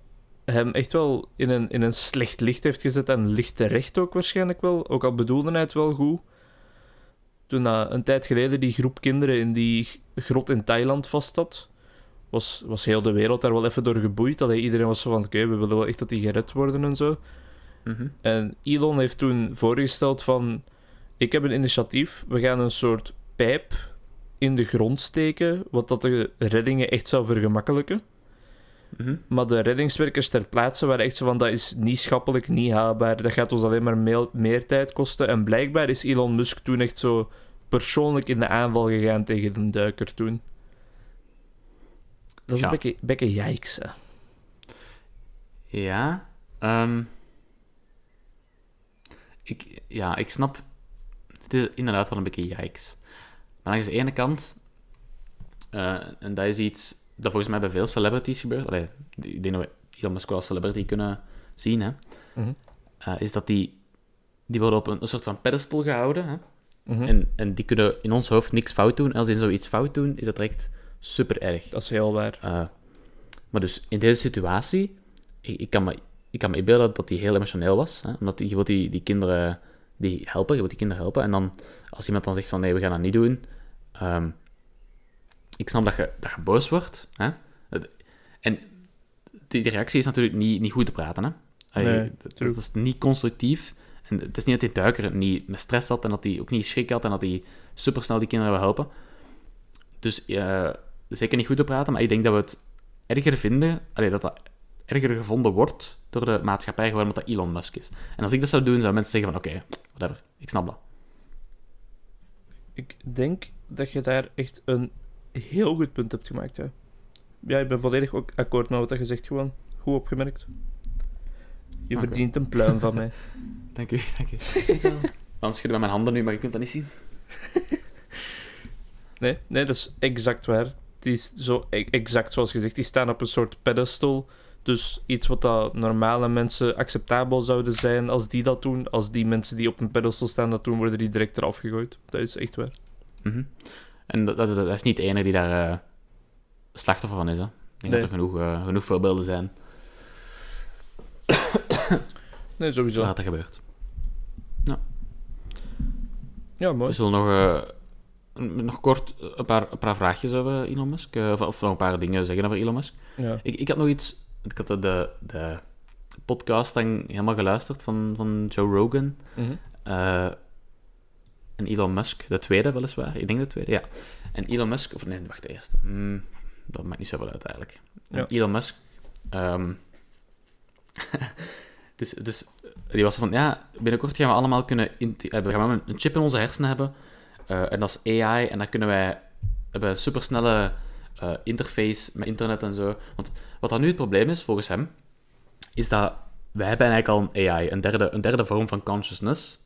hem echt wel in een, in een slecht licht heeft gezet. En licht terecht ook waarschijnlijk wel. Ook al bedoelde hij het wel goed. Toen dat een tijd geleden die groep kinderen in die g- grot in Thailand vast zat, was, was heel de wereld daar wel even door geboeid. Allee, iedereen was zo van, oké, we willen wel echt dat die gered worden en zo.
Mhm.
En Elon heeft toen voorgesteld van... Ik heb een initiatief. We gaan een soort pijp in de grond steken. Wat dat de reddingen echt zou vergemakkelijken.
Mhm.
Maar de reddingswerkers ter plaatse waren echt zo van... Dat is niet schappelijk, niet haalbaar. Dat gaat ons alleen maar meel- meer tijd kosten. En blijkbaar is Elon Musk toen echt zo persoonlijk in de aanval gegaan tegen een duiker toen. Dat is
Ja.
een beetje, beetje yikes, hè.
Ja. ehm, ik, ja, ik snap. Het is inderdaad wel een beetje yikes. Maar langs de ene kant, eh, en dat is iets dat volgens mij bij veel celebrities gebeurt. Allee, ik denk dat we Elon Musk wel als celebrity kunnen zien, hè.
Mhm.
Eh, is dat die, die worden op een, een soort van pedestal gehouden, hè.
Mhm.
En, en die kunnen in ons hoofd niks fout doen. En als die zoiets fout doen, is dat direct super erg.
Dat is heel waar.
Eh, maar dus in deze situatie, ik, ik, kan, me, ik kan me inbeelden dat hij heel emotioneel was. Hè? Omdat die- je wilt die, die kinderen die helpen, je wilt die kinderen helpen. En dan, als iemand dan zegt van nee, we gaan dat niet doen. ehm, ik snap dat je, dat je boos wordt. Hè? Het- En die, die reactie is natuurlijk niet, niet goed te praten. Hè? Allee,
Nee,
dat- dat,
true.
is niet constructief. En het is niet dat die duiker het niet met stress had en dat hij ook niet schrik had en dat hij supersnel die kinderen wil helpen. Dus eh, zeker niet goed te praten, maar ik denk dat we het erger vinden, allee, dat dat erger gevonden wordt door de maatschappij gewoon omdat dat Elon Musk is. En als ik dat zou doen, zouden mensen zeggen van oké, whatever, ik snap dat.
Ik denk dat je daar echt een heel goed punt hebt gemaakt. Ja, ja ik ben volledig ook akkoord met wat je zegt, gewoon. Goed opgemerkt. Je
Oké.
verdient een pluim van mij.
Dank u, dank u. Dan schudden we mijn handen nu, maar je kunt dat niet zien.
Nee, nee, dat is exact waar. Die is zo e- exact zoals gezegd. Die staan op een soort pedestal. Dus iets wat dat normale mensen acceptabel zouden zijn als die dat doen. Als die mensen die op een pedestal staan dat doen, worden die direct eraf gegooid. Dat is echt waar.
Mhm. En dat, dat, dat is niet de enige die daar eh, slachtoffer van is. Hè? Ik denk
Nee.
dat er genoeg, eh, genoeg voorbeelden zijn
Nee, sowieso.
waar
Ja,
dat gebeurt.
mooi.
We zullen nog, eh, een- nog kort eh, een paar, een paar vraagjes over Elon Musk. eh, of, of nog een paar dingen zeggen over Elon Musk.
Ja.
Ik, ik had nog iets... Ik had de, de, de podcast dan helemaal geluisterd van, van Joe Rogan.
Mhm.
Eh, en Elon Musk, de tweede weliswaar. Ik denk de tweede, ja. En Elon Musk, of nee, wacht, de eerste. Hmm, dat maakt niet zoveel uit eigenlijk. En
Ja.
Elon Musk, ehm, dus, dus die was van, ja, binnenkort gaan we allemaal kunnen... in- eh, We gaan allemaal een chip in onze hersenen hebben. eh, en dat is AI. En dan kunnen wij... Hebben een supersnelle eh, interface met internet en zo. Want wat dan nu het probleem is, volgens hem, is dat wij hebben eigenlijk al een AI, een derde, een derde vorm van consciousness.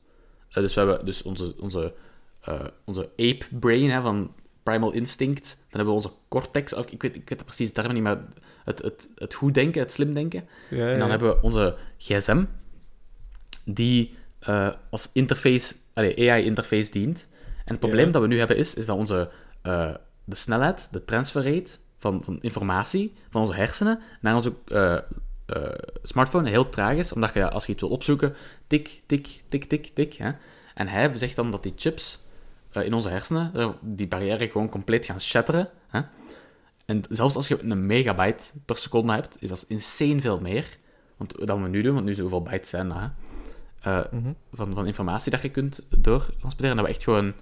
Eh, dus we hebben dus onze, onze, eh, onze ape brain hè, van primal instinct. Dan hebben we onze cortex, of ik weet, ik weet de precieze termen niet, maar het, het, het goed denken, het slim denken.
Ja,
En dan
ja.
hebben we onze gsm, die eh, als interface, AI-interface dient. En het probleem
Ja.
dat we nu hebben is, is dat onze, eh, de snelheid, de transfer rate van, van informatie van onze hersenen naar onze eh, eh, smartphone heel traag is, omdat je als je iets wil opzoeken, tik, tik, tik, tik, tik. Hè? En hij zegt dan dat die chips eh, in onze hersenen eh, die barrière gewoon compleet gaan shatteren. Hè? En zelfs als je een megabyte per seconde hebt, is dat insane veel meer. Want dan we nu doen, want nu zoveel bytes zijn dat, hè, eh,
Mhm.
van, van informatie dat je kunt doortransporteren. En dat we echt gewoon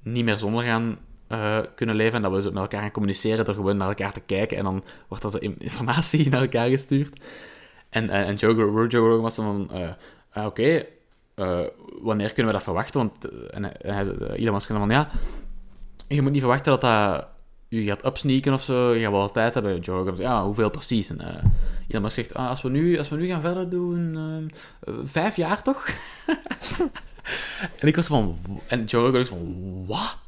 niet meer zonder gaan eh, kunnen leven. En dat we zo met elkaar gaan communiceren door gewoon naar elkaar te kijken. En dan wordt dat zo in- informatie naar elkaar gestuurd. En, eh, en, en Joe, Gro- Joe Rogan was dan van... eh, ah, Oké, eh, wanneer kunnen we dat verwachten? Want eh, en, hij- en hij, zei- eh, Elon Musk zei van... Ja, je moet niet verwachten dat dat... Je gaat upsneaken of zo, je gaat wel tijd hebben. Joe Rogan zegt, ja, hoeveel precies? En eh, Elon Musk zegt, ah, als, we nu, als we nu gaan verder doen, ehm, eh, vijf jaar toch? en ik was van, w- en Joe Rogan was van, wat?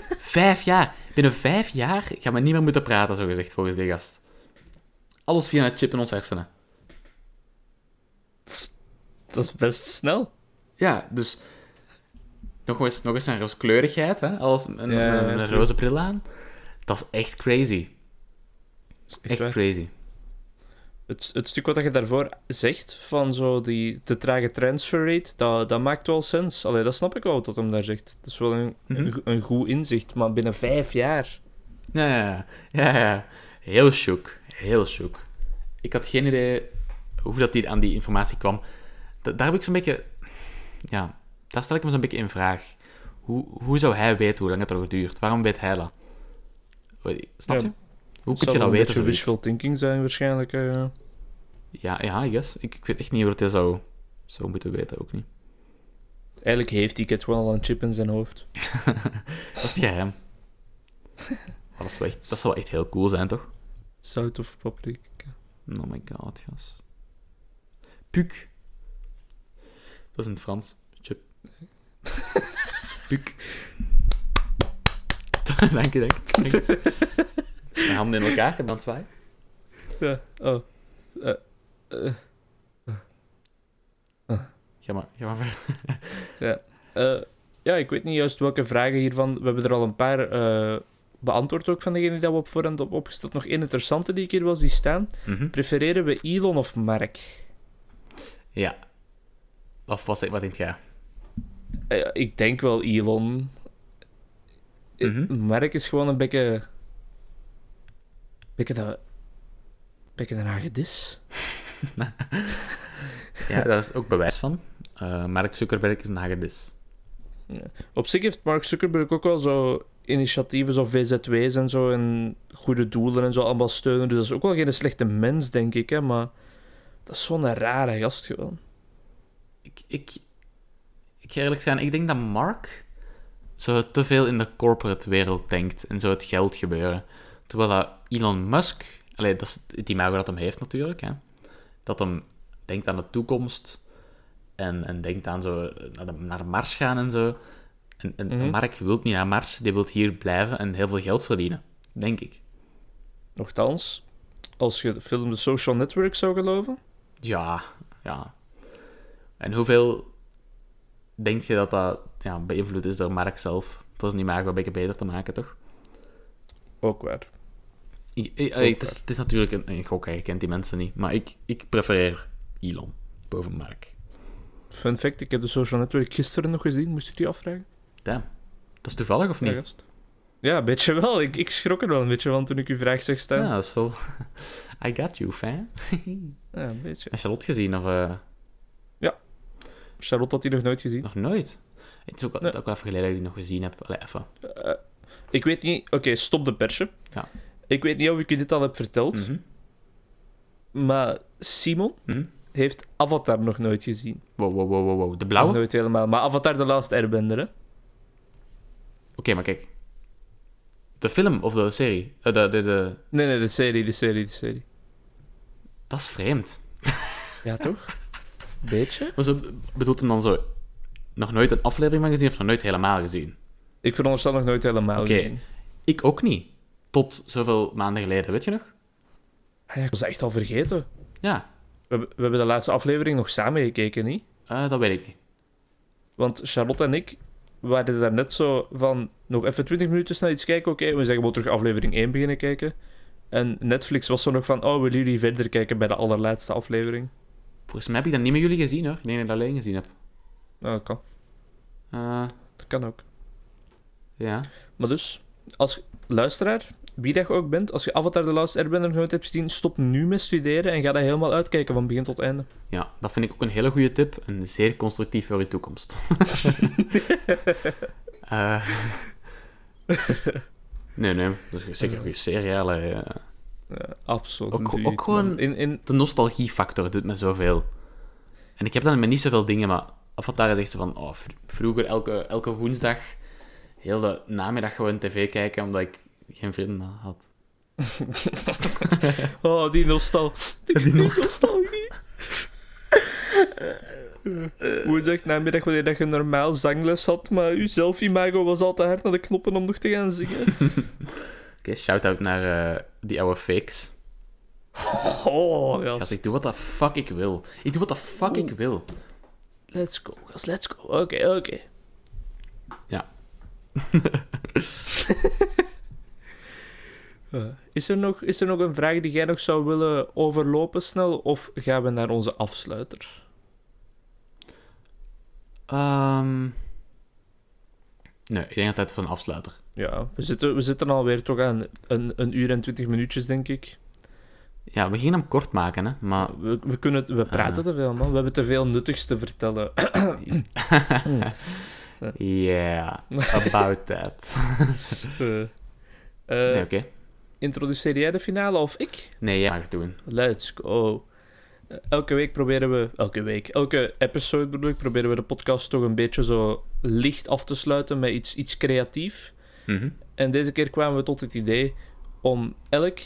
vijf jaar? Binnen vijf jaar gaan we niet meer moeten praten, zo gezegd, volgens die gast. Alles via een chip in ons hersenen.
Dat is best snel.
Ja, dus nog eens, nog eens een rooskleurigheid, hè? alles met
Ja, ja,
met- met een
true.
roze bril aan. Dat is echt crazy.
Dat is echt
Echt
waar.
crazy.
Het, het stuk wat je daarvoor zegt, van zo die te trage transfer rate, dat, dat maakt wel sens. Allee, dat snap ik wel wat hem daar zegt. Dat is wel een,
Mhm.
een, go- een goed inzicht, maar binnen vijf jaar.
Ja, ja, ja, ja. Heel shook. Heel shook. Ik had geen idee hoe dat die aan die informatie kwam. Da- daar heb ik zo'n beetje... Ja, daar stel ik hem zo'n beetje in vraag. Hoe, hoe zou hij weten hoe lang het al duurt? Waarom weet hij dat? Weet- Snap
Ja,
je? Hoe
Zal
kun
wel
je dat
een
weten?
beetje
zoiets?
wishful thinking zijn waarschijnlijk. hè, ja.
Ja, ja, I guess. Ik, ik weet echt niet hoe dat hij zou, zou moeten weten, ook niet.
Eigenlijk heeft die cat wel al een chip in zijn hoofd.
Dat is het geheim. Maar dat, zou echt, dat zou echt heel cool zijn, toch?
South of Public.
Oh my god, gas. Puk. Dat is in het Frans. Chip. Puk. dank je, dank je, dank je. Mijn handen in elkaar en dan zwaaien.
Ja, oh. Eh, eh,
Ga maar, ga maar verder.
eh, ja, ik weet niet juist welke vragen hiervan. We hebben er al een paar eh, beantwoord ook van degene die dat we op voorhand op opgesteld. Nog één interessante die ik hier wel zie staan.
Mhm.
Prefereren we Elon of Mark?
Ja. Of was ik, wat denk jij?
Eh, ik denk wel Elon. Eh,
Mhm.
Mark is gewoon een beetje... Beetje dat... Beetje een hagedis.
Ja, daar is ook bewijs van. Eh, Mark Zuckerberg is een hagedis.
Op zich heeft Mark Zuckerberg ook wel zo initiatieven zoals VZW's en zo en goede doelen en zo allemaal steunen. Dus dat is ook wel geen slechte mens, denk ik, hè, maar dat is zo'n rare gast gewoon.
Ik, ik, ik ga eerlijk zijn, ik denk dat Mark zo te veel in de corporate wereld denkt en zo het geld gebeuren. Terwijl dat Elon Musk, allee, dat is het imago dat hem heeft natuurlijk, hè, dat hem denkt aan de toekomst en, en denkt aan zo naar, de- naar Mars gaan en zo. En, en
Mhm.
Mark wil niet naar Mars, die wil hier blijven en heel veel geld verdienen, denk ik.
Nochtans, als je de film The Social Network zou geloven,
Ja, ja. En hoeveel denk je dat dat ja, beïnvloed is door Mark zelf? Volgens die maag wel een beetje beter te maken, toch?
ook waar.
Ik, ik-
Ook
het, is, het is natuurlijk een, een gok, hè. je kent die mensen niet. Maar ik, ik prefereer Elon boven Mark.
Fun fact, ik heb The Social Network gisteren nog gezien, moest ik die afvragen?
Damn. Dat is toevallig, of
Ja,
niet?
gast. Ja, een beetje wel. Ik, ik schrok er wel een beetje van toen ik uw vraag zag
Ja,
staan. Ja,
dat is wel... I got you, fan.
een beetje.
Heb je dat gezien, of... eh,
Charlotte had die nog nooit gezien.
nog nooit? Het is ook, al-
Nee.
ook wel even geleden dat ik die nog gezien heb. Allee, even.
Eh, ik weet niet... Oké, stop de persje.
Ja.
Ik weet niet of ik u dit al heb verteld,
Mhm.
maar Simon
Mhm.
heeft Avatar nog nooit gezien.
Wow, wow, wow, wow, wow. De
Nog
blauwe? Oké,
Nooit helemaal. Maar Avatar The Last Airbender, hè?
maar kijk. De film of de serie? Eh, de, de, de,
Nee, nee, de serie, de serie, de serie.
Dat is vreemd.
Ja, toch? Beetje?
Maar zo, bedoelt hem dan zo... Nog nooit een aflevering van gezien of nog nooit helemaal gezien?
Ik veronderstel nog nooit helemaal
Oké.
gezien.
Ik ook niet. Tot zoveel maanden geleden, weet je nog?
Ah ja, ik was dat echt al vergeten.
Ja,
We, hebben- we hebben de laatste aflevering nog samen gekeken, niet?
eh, dat weet ik niet.
Want Charlotte en ik waren daar net zo van... Nog even 20 minuten snel iets kijken, oké. We zijn gewoon terug aflevering 1 beginnen kijken. En Netflix was zo nog van... Oh, willen jullie verder kijken bij de allerlaatste aflevering?
Volgens mij heb ik dat niet met jullie gezien, hoor. Ik denk dat ik dat alleen gezien heb.
Nou, dat kan.
Eh,
Dat kan ook.
ja.
Maar dus, als luisteraar, wie dat je ook bent... Als je Avatar The Last Airbender nog nooit hebt gezien... Stop nu met studeren en ga dat helemaal uitkijken van begin tot einde.
ja, dat vind ik ook een hele goede tip. En zeer constructief voor je toekomst. Eh, nee, nee. Dat is zeker een goede serie, allee, eh.
Ja, absoluut.
Ook-
niet,
ook gewoon-
man. In, in,
de nostalgiefactor doet me zoveel. En ik heb dan met niet zoveel dingen, maar Avatar is echt zo van... Oh, vr- vroeger elke, elke woensdag heel de namiddag gewoon tv kijken, omdat ik geen vrienden had.
Oh, die nostal. Die, nostalgie. Woensdag Eh, namiddag wanneer dat je normaal zangles had, maar uw zelf-imago was al te hard naar de knoppen om nog te gaan zingen.
Oké, shout-out naar eh, die oude fakes.
Oh,
Gast,
gast.
ik doe wat de fuck ik wil. Ik doe wat de fuck ik wil.
Let's go, gast, let's go. Oké, oké.
Ja.
Eh, Is er, nog, is er nog een vraag die jij nog zou willen overlopen snel, of gaan we naar onze afsluiter?
Ehm, Nee, ik denk dat het van een afsluiter.
Ja, we zitten, we zitten alweer toch aan een, een uur en twintig minuutjes, denk ik.
Ja, we gingen hem kort maken, hè. Maar
We, we, kunnen het, we praten te veel, man. We hebben te veel nuttigs te vertellen.
yeah, about that.
Eh, eh,
Nee, oké.
Introduceer jij de finale of ik?
Nee, jij mag het doen.
Let's go. Eh, Elke week proberen we, elke week, elke episode bedoel ik, proberen we de podcast toch een beetje zo licht af te sluiten met iets, iets creatief.
Mhm.
En deze keer kwamen we tot het idee om elk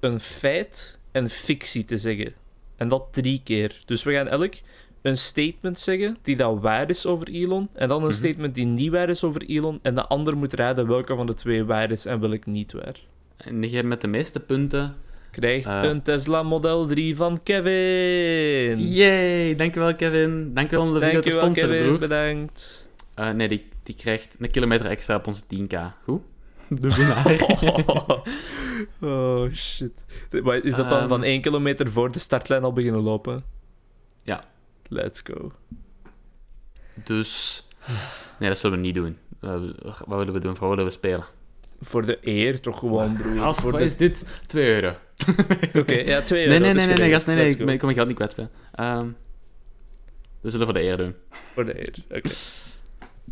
een feit en fictie te zeggen. En dat drie keer. Dus we gaan elk een statement zeggen die dan waar is over Elon. En dan een
Mhm.
statement die niet waar is over Elon. En de ander moet raden welke van de twee waar is en welk niet waar.
En degene met de meeste punten.
Krijgt
Eh.
een Tesla Model 3 van Kevin.
Yay, dankjewel Kevin. Dankjewel om de video te
Dankjewel
sponsoren,
Kevin,
broer.
bedankt.
Eh, nee, die, die krijgt een kilometer extra op onze 10k. Goed? De winnaar.
oh shit. Maar is dat dan
Ehm.
van 1 kilometer voor de startlijn al beginnen lopen?
Ja.
Let's go.
dus... Nee, dat zullen we niet doen. Eh, wat willen we doen? Voor wat willen we spelen?
Voor de eer toch gewoon, broer.
Gast,
Voor
wat
de-
is dit? 2 euro.
Oké, ja, 2 euro. dat
Nee, nee,
is
nee, nee, nee,
geregeld.
gast, nee, nee,
Let's
ik,
go.
ben- ik kom mijn geld niet kwijt. spelen. Ehm, We zullen voor de eer doen.
Voor de eer. Oké.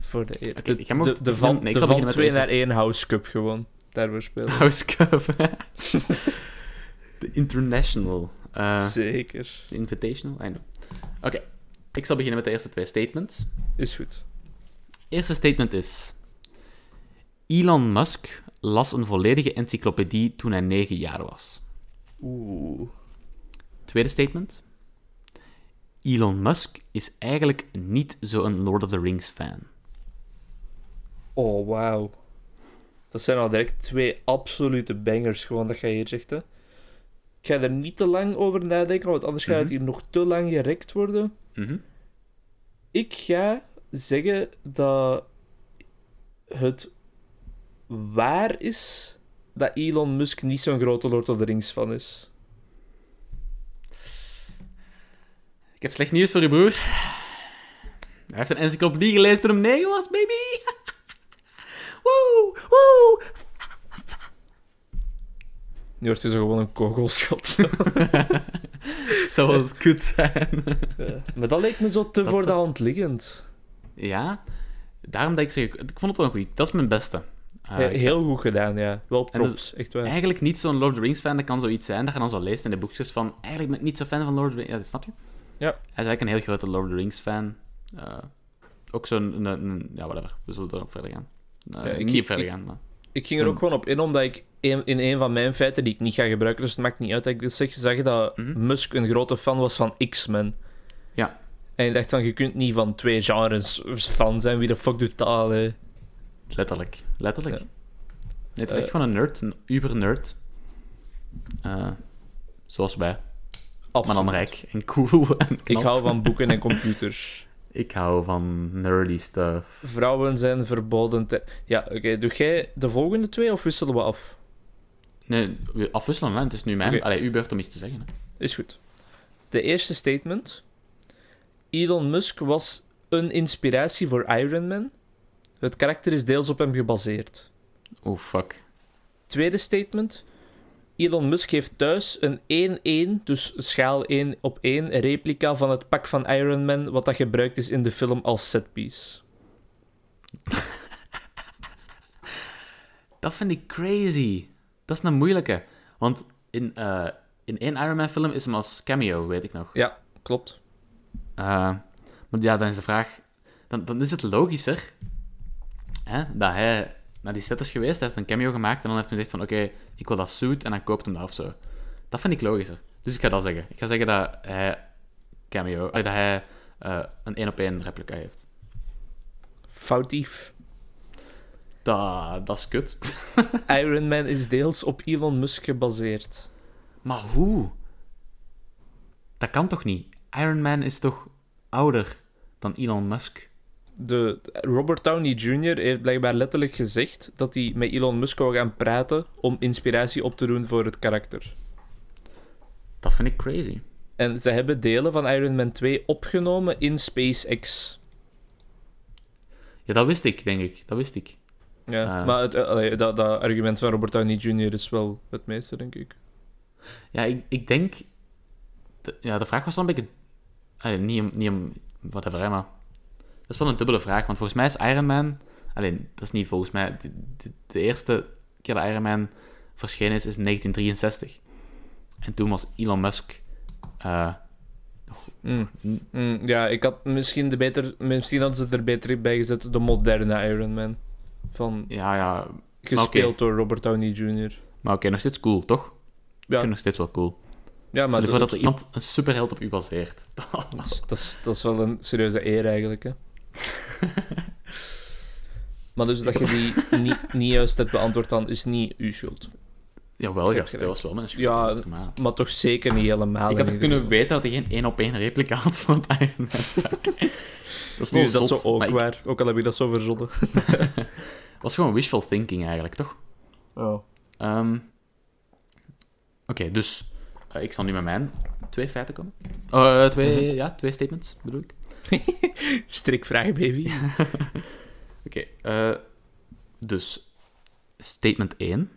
Voor de eer.
Oké,
de,
jij mag
de- de
beginnen.
van,
Nee, ik
de
zal beginnen
van
met de
2
eerste.
naar 1 House Cup gewoon. Daarvoor spelen.
House Cup. De International. Eh,
Zeker.
de Invitational? I know. Oké, ik zal beginnen met de eerste twee statements.
Is goed.
Eerste statement is... Elon Musk las een volledige encyclopedie toen hij 9 jaar was.
Oeh.
Tweede statement. Elon Musk is eigenlijk niet zo'n Lord of the Rings fan.
Oh, wauw. Dat zijn al direct twee absolute bangers, gewoon dat jij hier zegt. Hè. Ik ga er niet te lang over nadenken, want anders gaat het
Mhm.
hier nog te lang gerekt worden.
Mhm.
Ik ga zeggen dat het waar is dat Elon Musk niet zo'n grote Lord of the Rings fan is.
Ik heb slecht nieuws voor je broer. Hij heeft een encyclopedie gelezen toen hij 9 was, baby! Woe! Woe!
Nu wordt hij zo gewoon een kogelschot.
Zou het goed zijn.
Ja. maar dat leek me zo te
Dat
voor
zou-
de hand liggend.
ja, daarom dat ik zeg, ik vond het wel een goeie. Dat is mijn beste. Eh,
He-
ik-
Heel goed gedaan, ja. Wel
En dus-
props, echt waar.
Eigenlijk niet zo'n Lord of the Rings fan, dat kan zoiets zijn dat je dan zo leest in de boekjes van eigenlijk ben ik niet zo fan van Lord of the Rings. Ja, dat snap je?
Ja.
Hij is eigenlijk een heel grote Lord of the Rings fan. Eh, ook zo'n, een- een- ja, whatever. We zullen erop verder gaan. Eh,
Ja,
ik
ik-
ging verder
ik-
gaan, maar...
Ik ging er ook
Een-
gewoon op in, omdat ik een- in een van mijn feiten die ik niet ga gebruiken, dus het maakt niet uit dat ik dit zeg, zag dat
Mhm.
Musk een grote fan was van X-Men.
Ja.
En ik dacht van, je kunt niet van twee genres fan zijn, wie de fuck doet dat al, hè?
Letterlijk. Letterlijk.
Ja.
Nee, het is echt
Eh.
gewoon een nerd, een uber-nerd. Eh, zoals wij. Maar dan rijk en cool en
Ik
knap.
hou van boeken en computers.
Ik hou van nerdy stuff.
Vrouwen zijn verboden te... Ja, oké, doe jij de volgende twee of wisselen we af?
Nee, we afwisselen, hè. het is nu mijn...
Oké.
Allee, uw beurt om iets te zeggen. Hè.
Is goed. De eerste statement. Elon Musk was een inspiratie voor Iron Man. Het karakter is deels op hem gebaseerd.
Oh, fuck.
Tweede statement. Elon Musk heeft thuis een 1-1, dus schaal 1 op 1, replica van het pak van Iron Man, wat dat gebruikt is in de film als setpiece.
Dat vind ik crazy. Dat is een moeilijke. Want in, eh, in één Iron Man film is hem als cameo, weet ik nog.
Ja, klopt.
Eh, maar ja, dan is de vraag... Dan, dan is het logischer hè, dat hij naar die set is geweest, hij heeft een cameo gemaakt en dan heeft hij gezegd van oké, ik wil dat suit en dan koopt hem dat of zo. Dat vind ik logischer. Dus ik ga dat zeggen. Ik ga zeggen dat hij cameo... eh, dat hij eh, een één op één replica heeft.
Foutief.
Dat, dat is kut.
Iron Man is deels op Elon Musk gebaseerd.
Maar hoe? Dat kan toch niet? Iron Man is toch ouder dan Elon Musk?
De, Robert Downey Jr. heeft blijkbaar letterlijk gezegd dat hij met Elon Musk wou gaan praten om inspiratie op te doen voor het karakter.
Dat vind ik crazy.
En ze hebben delen van Iron Man 2 opgenomen in SpaceX.
Ja, dat wist ik, denk ik. Dat wist ik.
Ja,
Ah.
maar het, eh, allee, dat, dat argument van Robert Downey Jr. is wel het meeste, denk ik.
Ja, ik, ik denk... de- ja, de vraag was dan een beetje... Allee, niet om... Niet om whatever, hè, maar... Dat is wel een dubbele vraag, want volgens mij is Iron Man... Alleen, dat is niet volgens mij... De, de- de eerste keer dat Iron Man verschenen is, is 1963. En toen was Elon Musk... eh,
Mm. Mm, ja, ik had misschien, de beter, misschien hadden ze er beter bij gezet de moderne Iron Man. Van,
ja, ja...
gespeeld door Robert Downey Jr.
Maar oké, nog steeds cool, toch? Ik
Ja,
vind het nog steeds wel cool.
ja maar
Stel je voor dat
dat,
er iemand een superheld op u baseert.
dat, is- dat is, dat is wel een serieuze eer eigenlijk. Hè. maar dus dat je die niet, niet juist hebt beantwoord, dan is niet uw schuld.
Jawel,
Heb
gast. Dat
gelijk.
was wel mijn schuld.
Ja,
dat was toch maar.
Maar toch zeker niet helemaal. in
Ik had toch
ieder
kunnen
geval.
weten dat hij geen één op één replica had van het Iron Man pak. Dat is
Nu
wel
is dat
zot,
zo ook
maar ik-
waar, ook al heb ik dat zo verzonnen.
Het was gewoon wishful thinking eigenlijk, toch?
Oh.
Ehm, Oké, dus eh, ik zal nu met mijn twee feiten komen. Eh, twee,
Mhm.
ja, twee statements, bedoel ik.
Strikvraag, baby.
Oké, eh, dus statement 1.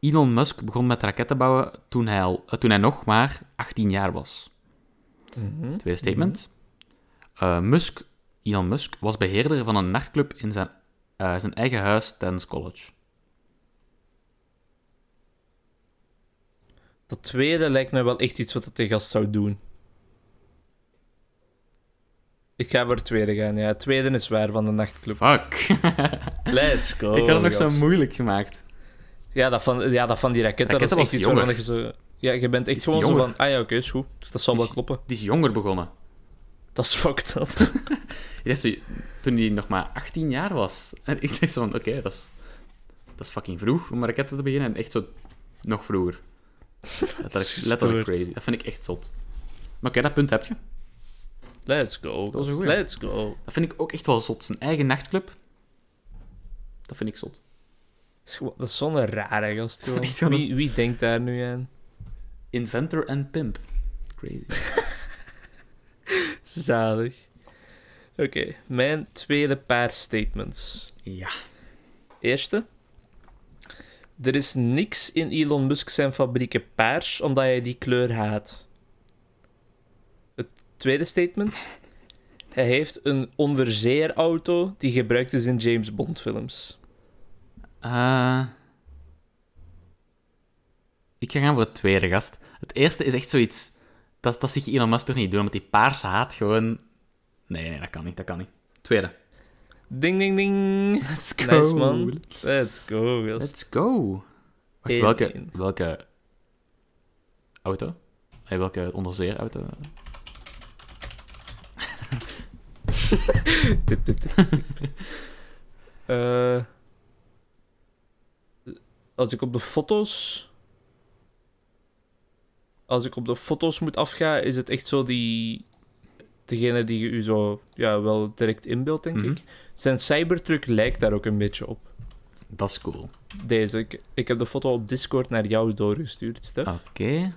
Elon Musk begon met raketten bouwen toen hij, al, eh, toen hij nog maar 18 jaar was.
Mhm.
Tweede statement. Eh, Musk, Elon Musk, was beheerder van een nachtclub in zijn, eh, zijn eigen huis tijdens college.
Mhm. Dat tweede lijkt mij wel echt iets wat dat de gast zou doen. Ik ga voor het tweede gaan, ja. Het tweede is waar van de nachtclub.
Fuck.
Let's go.
Ah. ik had het nog zo
Oh, gast.
moeilijk gemaakt.
Ja, dat van, ja, dat van die raketten,
Raketten
dat is echt
was
iets waarvan je zo... Ja, je bent echt
Is
gewoon zo
jonger.
van... Ah ja, oké, is goed. Dat zal wel
Is-
kloppen.
Die is jonger begonnen.
Dat is fucked up.
Ik dacht zo, toen hij nog maar 18 jaar was. En ik dacht zo van, oké, dat, is, dat is fucking vroeg om raketten te beginnen. En echt zo nog vroeger. Dat
is
is letterlijk
gestoord.
crazy. Dat vind ik echt zot. Maar oké, dat punt heb je.
Let's go.
Dat is een
gast.
goeie.
Let's go.
Dat vind ik ook echt wel zot. Zijn eigen nachtclub. Dat vind ik zot.
Dat is, gewoon- dat is zo'n rare gast, gewoon.
Echt wel een-
Wie, wie denkt daar nu aan?
Inventor en pimp. Crazy.
Zalig. Oké, mijn tweede paar statements.
Ja.
Eerste. Er is niks in Elon Musk zijn fabrieken paars, omdat hij die kleur haat. Het tweede statement. Hij heeft een onderzeeërauto die gebruikt is in James Bond films.
Eh, ik ga gaan voor het tweede gast. Het eerste is echt zoiets. Dat, dat zie je Elon Musk toch niet doen, omdat die paars haat gewoon. Nee, nee, dat kan niet, dat kan niet. Tweede.
Ding, ding, ding.
Let's
Nice, man. Let's go, gast.
Let's go. Wacht,
Eén,
welke,
één.
welke auto? Hey, welke onderzeeauto?
Eh, als ik op de foto's. Als ik op de foto's moet afgaan, is het echt zo die. Degene die je u zo ja, wel direct inbeeldt, denk
Mhm.
ik. Zijn Cybertruck lijkt daar ook een beetje op.
Dat is cool.
Deze. Ik, ik heb de foto op Discord naar jou doorgestuurd, Stef.
Oké.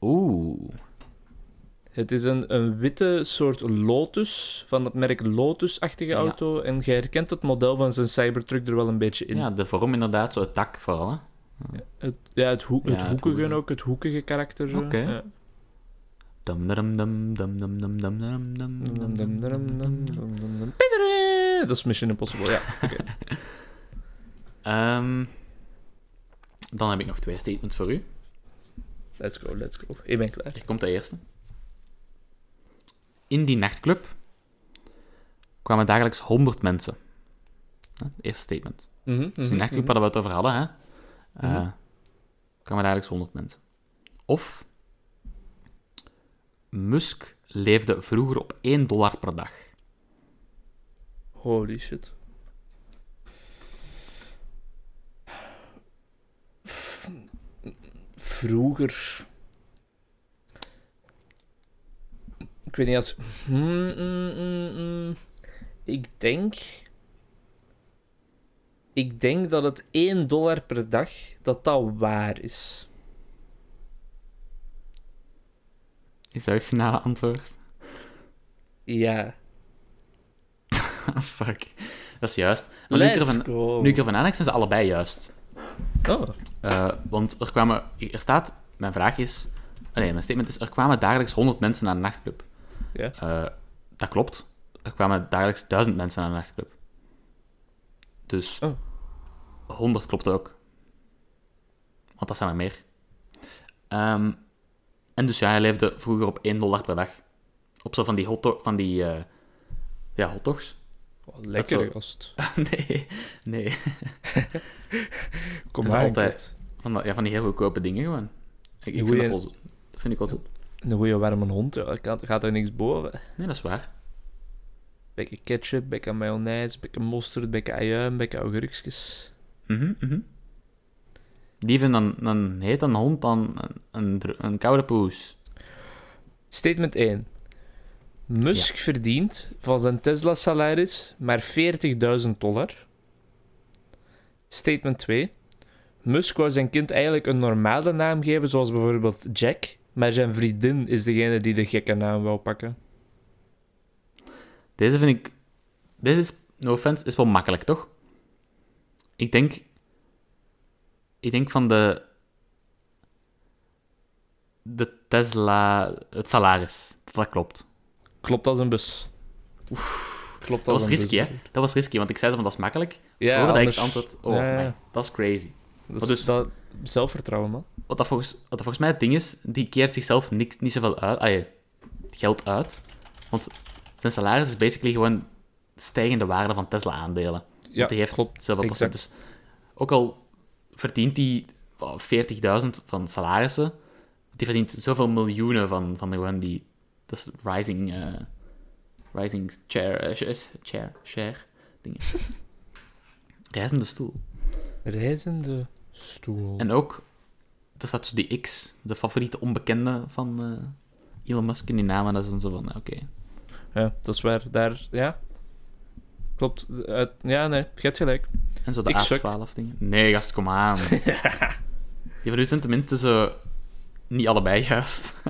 Oeh.
Het is een, een witte soort Lotus, van het merk Lotus-achtige
Ja.
auto. En je herkent het model van zijn Cybertruck er wel een beetje in.
Ja, de vorm inderdaad, zo het dak vooral. Hè?
Het, ja, het, hoek-
Ja,
het
het
hoekige
hoekige.
ook, het hoekige karakter. zo.
Oké.
Ja.
Dum, dum, dum, dum, dum, dum, dum, dum, dum, dum, dum, dum, dum, dum.
Pidere! Dat is Mission Impossible, ja.
Ehm, dan heb ik nog twee statements voor u.
Let's go, let's go. Ik ben klaar.
Hier komt de eerste. In die nachtclub kwamen dagelijks 100 mensen. Hè, het Eerste statement.
Mhm,
Dus die
mhm,
nachtclub
mhm.
hadden we het over hadden, hè? Eh
Mhm.
Kwamen dagelijks 100 mensen. Of Musk leefde vroeger op 1 dollar per dag.
Holy shit. Vroeger. Ik weet niet als. Hmm, mm, mm, mm. Ik denk. Ik denk dat het 1 dollar per dag dat dat waar is.
Is dat je finale antwoord?
Ja.
Ah, Fuck. Dat is juist. Maar nu ik,
Let's
ervan,
go.
nu ik ervan aandacht, zijn ze allebei juist.
Oh,
Eh, want er kwamen... Er staat... Mijn vraag is... ah, Nee, mijn statement is... Er kwamen dagelijks 100 mensen naar de nachtclub.
Ja.
Eh, dat klopt. Er kwamen dagelijks 1000 mensen naar de nachtclub. Dus...
Oh.
100 klopt ook. Want dat zijn er meer. Ehm, en dus ja, hij leefde vroeger op 1 dollar per dag. Op zo van die hotdog... Van die... eh, ja, hotdogs.
Oh, wat
zo-
lekker gast.
nee, nee.
Kom
dat is
maar.
altijd- Van, dat- ja, van die heel goedkope dingen gewoon. Ik, ik vind
Goeie-
dat, wel, zo- dat vind ik wel zo.
Een goede warme hond, ja. Ik had- gaat er niks boven.
Nee, dat is waar.
Beetje ketchup, beetje mayonaise, beetje mosterd, beetje ajuin, beetje augurkjes.
Mhm, mhm. Die vindt dan, dan heet een hond dan een, een, dr- een koude poes.
Statement 1. Musk verdient van zijn Tesla-salaris maar 40.000 dollar. Statement 2. Musk wou zijn kind eigenlijk een normale naam geven, zoals bijvoorbeeld Jack, maar zijn vriendin is degene die de gekke naam wou pakken.
Deze vind ik... Deze is, no offense, is wel makkelijk, toch? Ik denk... Ik denk van de... De Tesla... Het salaris. Dat, dat klopt.
Klopt als een bus. Klopt
Dat was
dan
risky,
dus.
hè? Dat was risky, want ik zei zo van dat is makkelijk.
Ja,
voordat
anders-
ik het antwoord, oh
Ja, ja.
my, dat is crazy.
Dat is
Maar dus-
dat zelfvertrouwen, man.
Wat dat, volgens, wat dat volgens mij het ding is, die keert zichzelf niks, niet zoveel uit, ah, ja, geld uit. Want zijn salaris is basically gewoon stijgende waarde van Tesla-aandelen.
Ja,
Want die heeft
klopt.
zoveel procent.
exact.
Dus ook al verdient hij oh, 40.000 van salarissen, die verdient zoveel miljoenen van, van gewoon die... Dat is rising... eh, rising chair... eh, sh- sh- chair... Share... Dingen. Reizende stoel.
Reizende stoel.
En ook... Er staat zo die X, de favoriete onbekende van eh, Elon Musk in die naam. En dat is dan zo van, eh, oké.
Ja, dat is waar. Daar, ja. Klopt. Uit- ja, nee, je hebt gelijk.
En zo de
Ik suk.
A12 dingen. Nee, gast, kom aan. Je verdoet zijn tenminste zo... Niet allebei juist.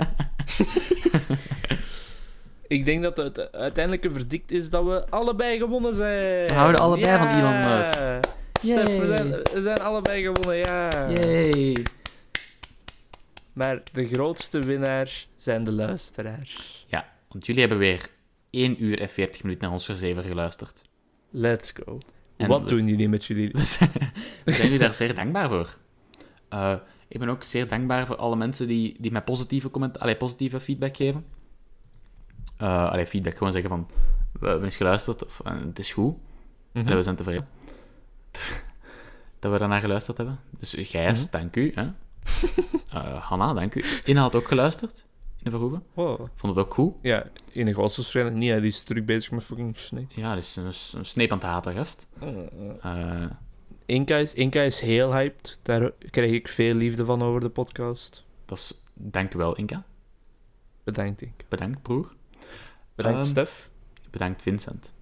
Ik denk dat het uiteindelijke verdict is dat we allebei gewonnen zijn.
We houden allebei van Elon Musk.
Stef, we
Yay.
zijn, we zijn allebei gewonnen, ja.
Yay.
Maar de grootste winnaars zijn de luisteraars.
Ja, want jullie hebben weer 1 uur en 40 minuten naar ons gezever geluisterd.
Let's go.
En
Wat
we-
doen jullie met jullie?
We zijn, we zijn jullie daar zeer dankbaar voor. Eh, ik ben ook zeer dankbaar voor alle mensen die, die mij positieve, comment, allee, positieve feedback geven. Eh allee, feedback gewoon zeggen van, we hebben eens geluisterd, of eh, het is goed.
Mhm.
En we zijn tevreden. Dat we daarnaar geluisterd hebben. Dus Gijs,
Mhm.
dank u. Hè? Eh, Hanna, dank u. Ina had ook geluisterd in de Verhoeven.
Wow.
Vond het ook goed.
Oh. Ja, enige was waarschijnlijk niet. Hij is terug bezig met fucking Snake.
Ja, dat is een, een sneep aan het haten, gast. Eh,
Inka is, Inka is heel hyped. Daar krijg ik veel liefde van over de podcast.
dat is... Dank u wel, Inka.
Bedankt, Inka.
Bedankt, broer.
Bedankt,
Ehm,
Stef.
Bedankt, Vincent.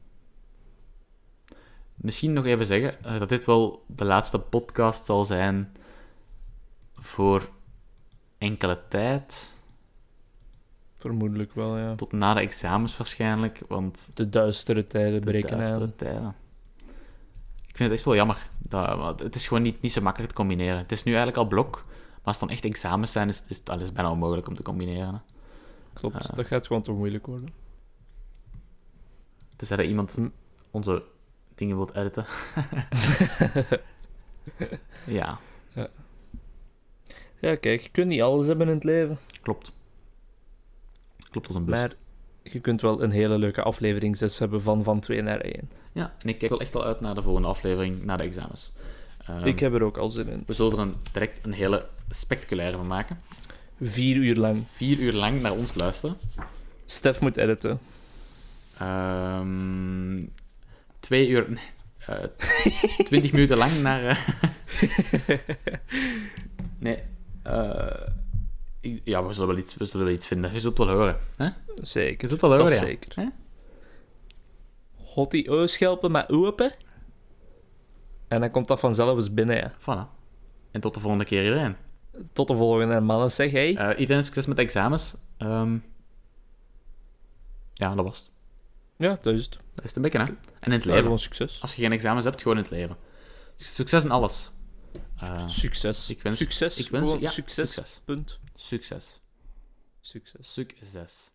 Misschien nog even zeggen eh, dat dit wel de laatste podcast zal zijn voor enkele tijd.
Vermoedelijk wel, ja.
Tot na de examens waarschijnlijk, want
De duistere tijden breken aan.
duistere tijden. Ik vind het echt wel jammer. Dat, want het is gewoon niet, niet zo makkelijk te combineren. Het is nu eigenlijk al blok, maar als het dan echt examens zijn, is, is het alles bijna onmogelijk om te combineren. hè.
Klopt,
Ah.
dat gaat gewoon te moeilijk worden.
Dus dat iemand
Hm.
onze dingen wilt editen. ja,
Ja, kijk, je kunt niet alles hebben in het leven.
klopt. Klopt als een bus.
Maar je kunt wel een hele leuke aflevering 6 hebben van van 2 naar 1.
Ja, en ik kijk wel echt al uit naar de volgende aflevering, na de examens. Ehm,
Ik heb er ook al zin in.
We zullen er een, direct een hele spectaculaire van maken.
Vier uur lang.
Vier uur lang naar ons luisteren.
Stef moet editen.
Ehm, twee uur... nee, eh, twintig minuten lang naar... eh, nee. eh, ik- ja, we zullen, wel iets, we zullen wel iets vinden. Je zult het wel horen. Hè? Je
Zeker.
zult het wel
Dat
horen, ja.
zeker.
Hè?
Hottie oeschelpen met oepen. En dan komt dat vanzelf eens binnen, ja.
Voilà. En tot de volgende keer iedereen.
Tot de volgende, mannen. Zeg, hey.
Eh, iedereen succes met de examens. Ehm, ja, dat was het.
Ja, dat is het.
Dat is het een beetje, hè? En in het
Ja,
leven.
gewoon succes.
Als je geen examens hebt, gewoon in het leven. Dus Succes in alles. Eh,
Succes.
ik wens-
succes.
ik wens
Gewoon
ja,
succes.
succes.
Punt.
Succes.
Succes.
Succes.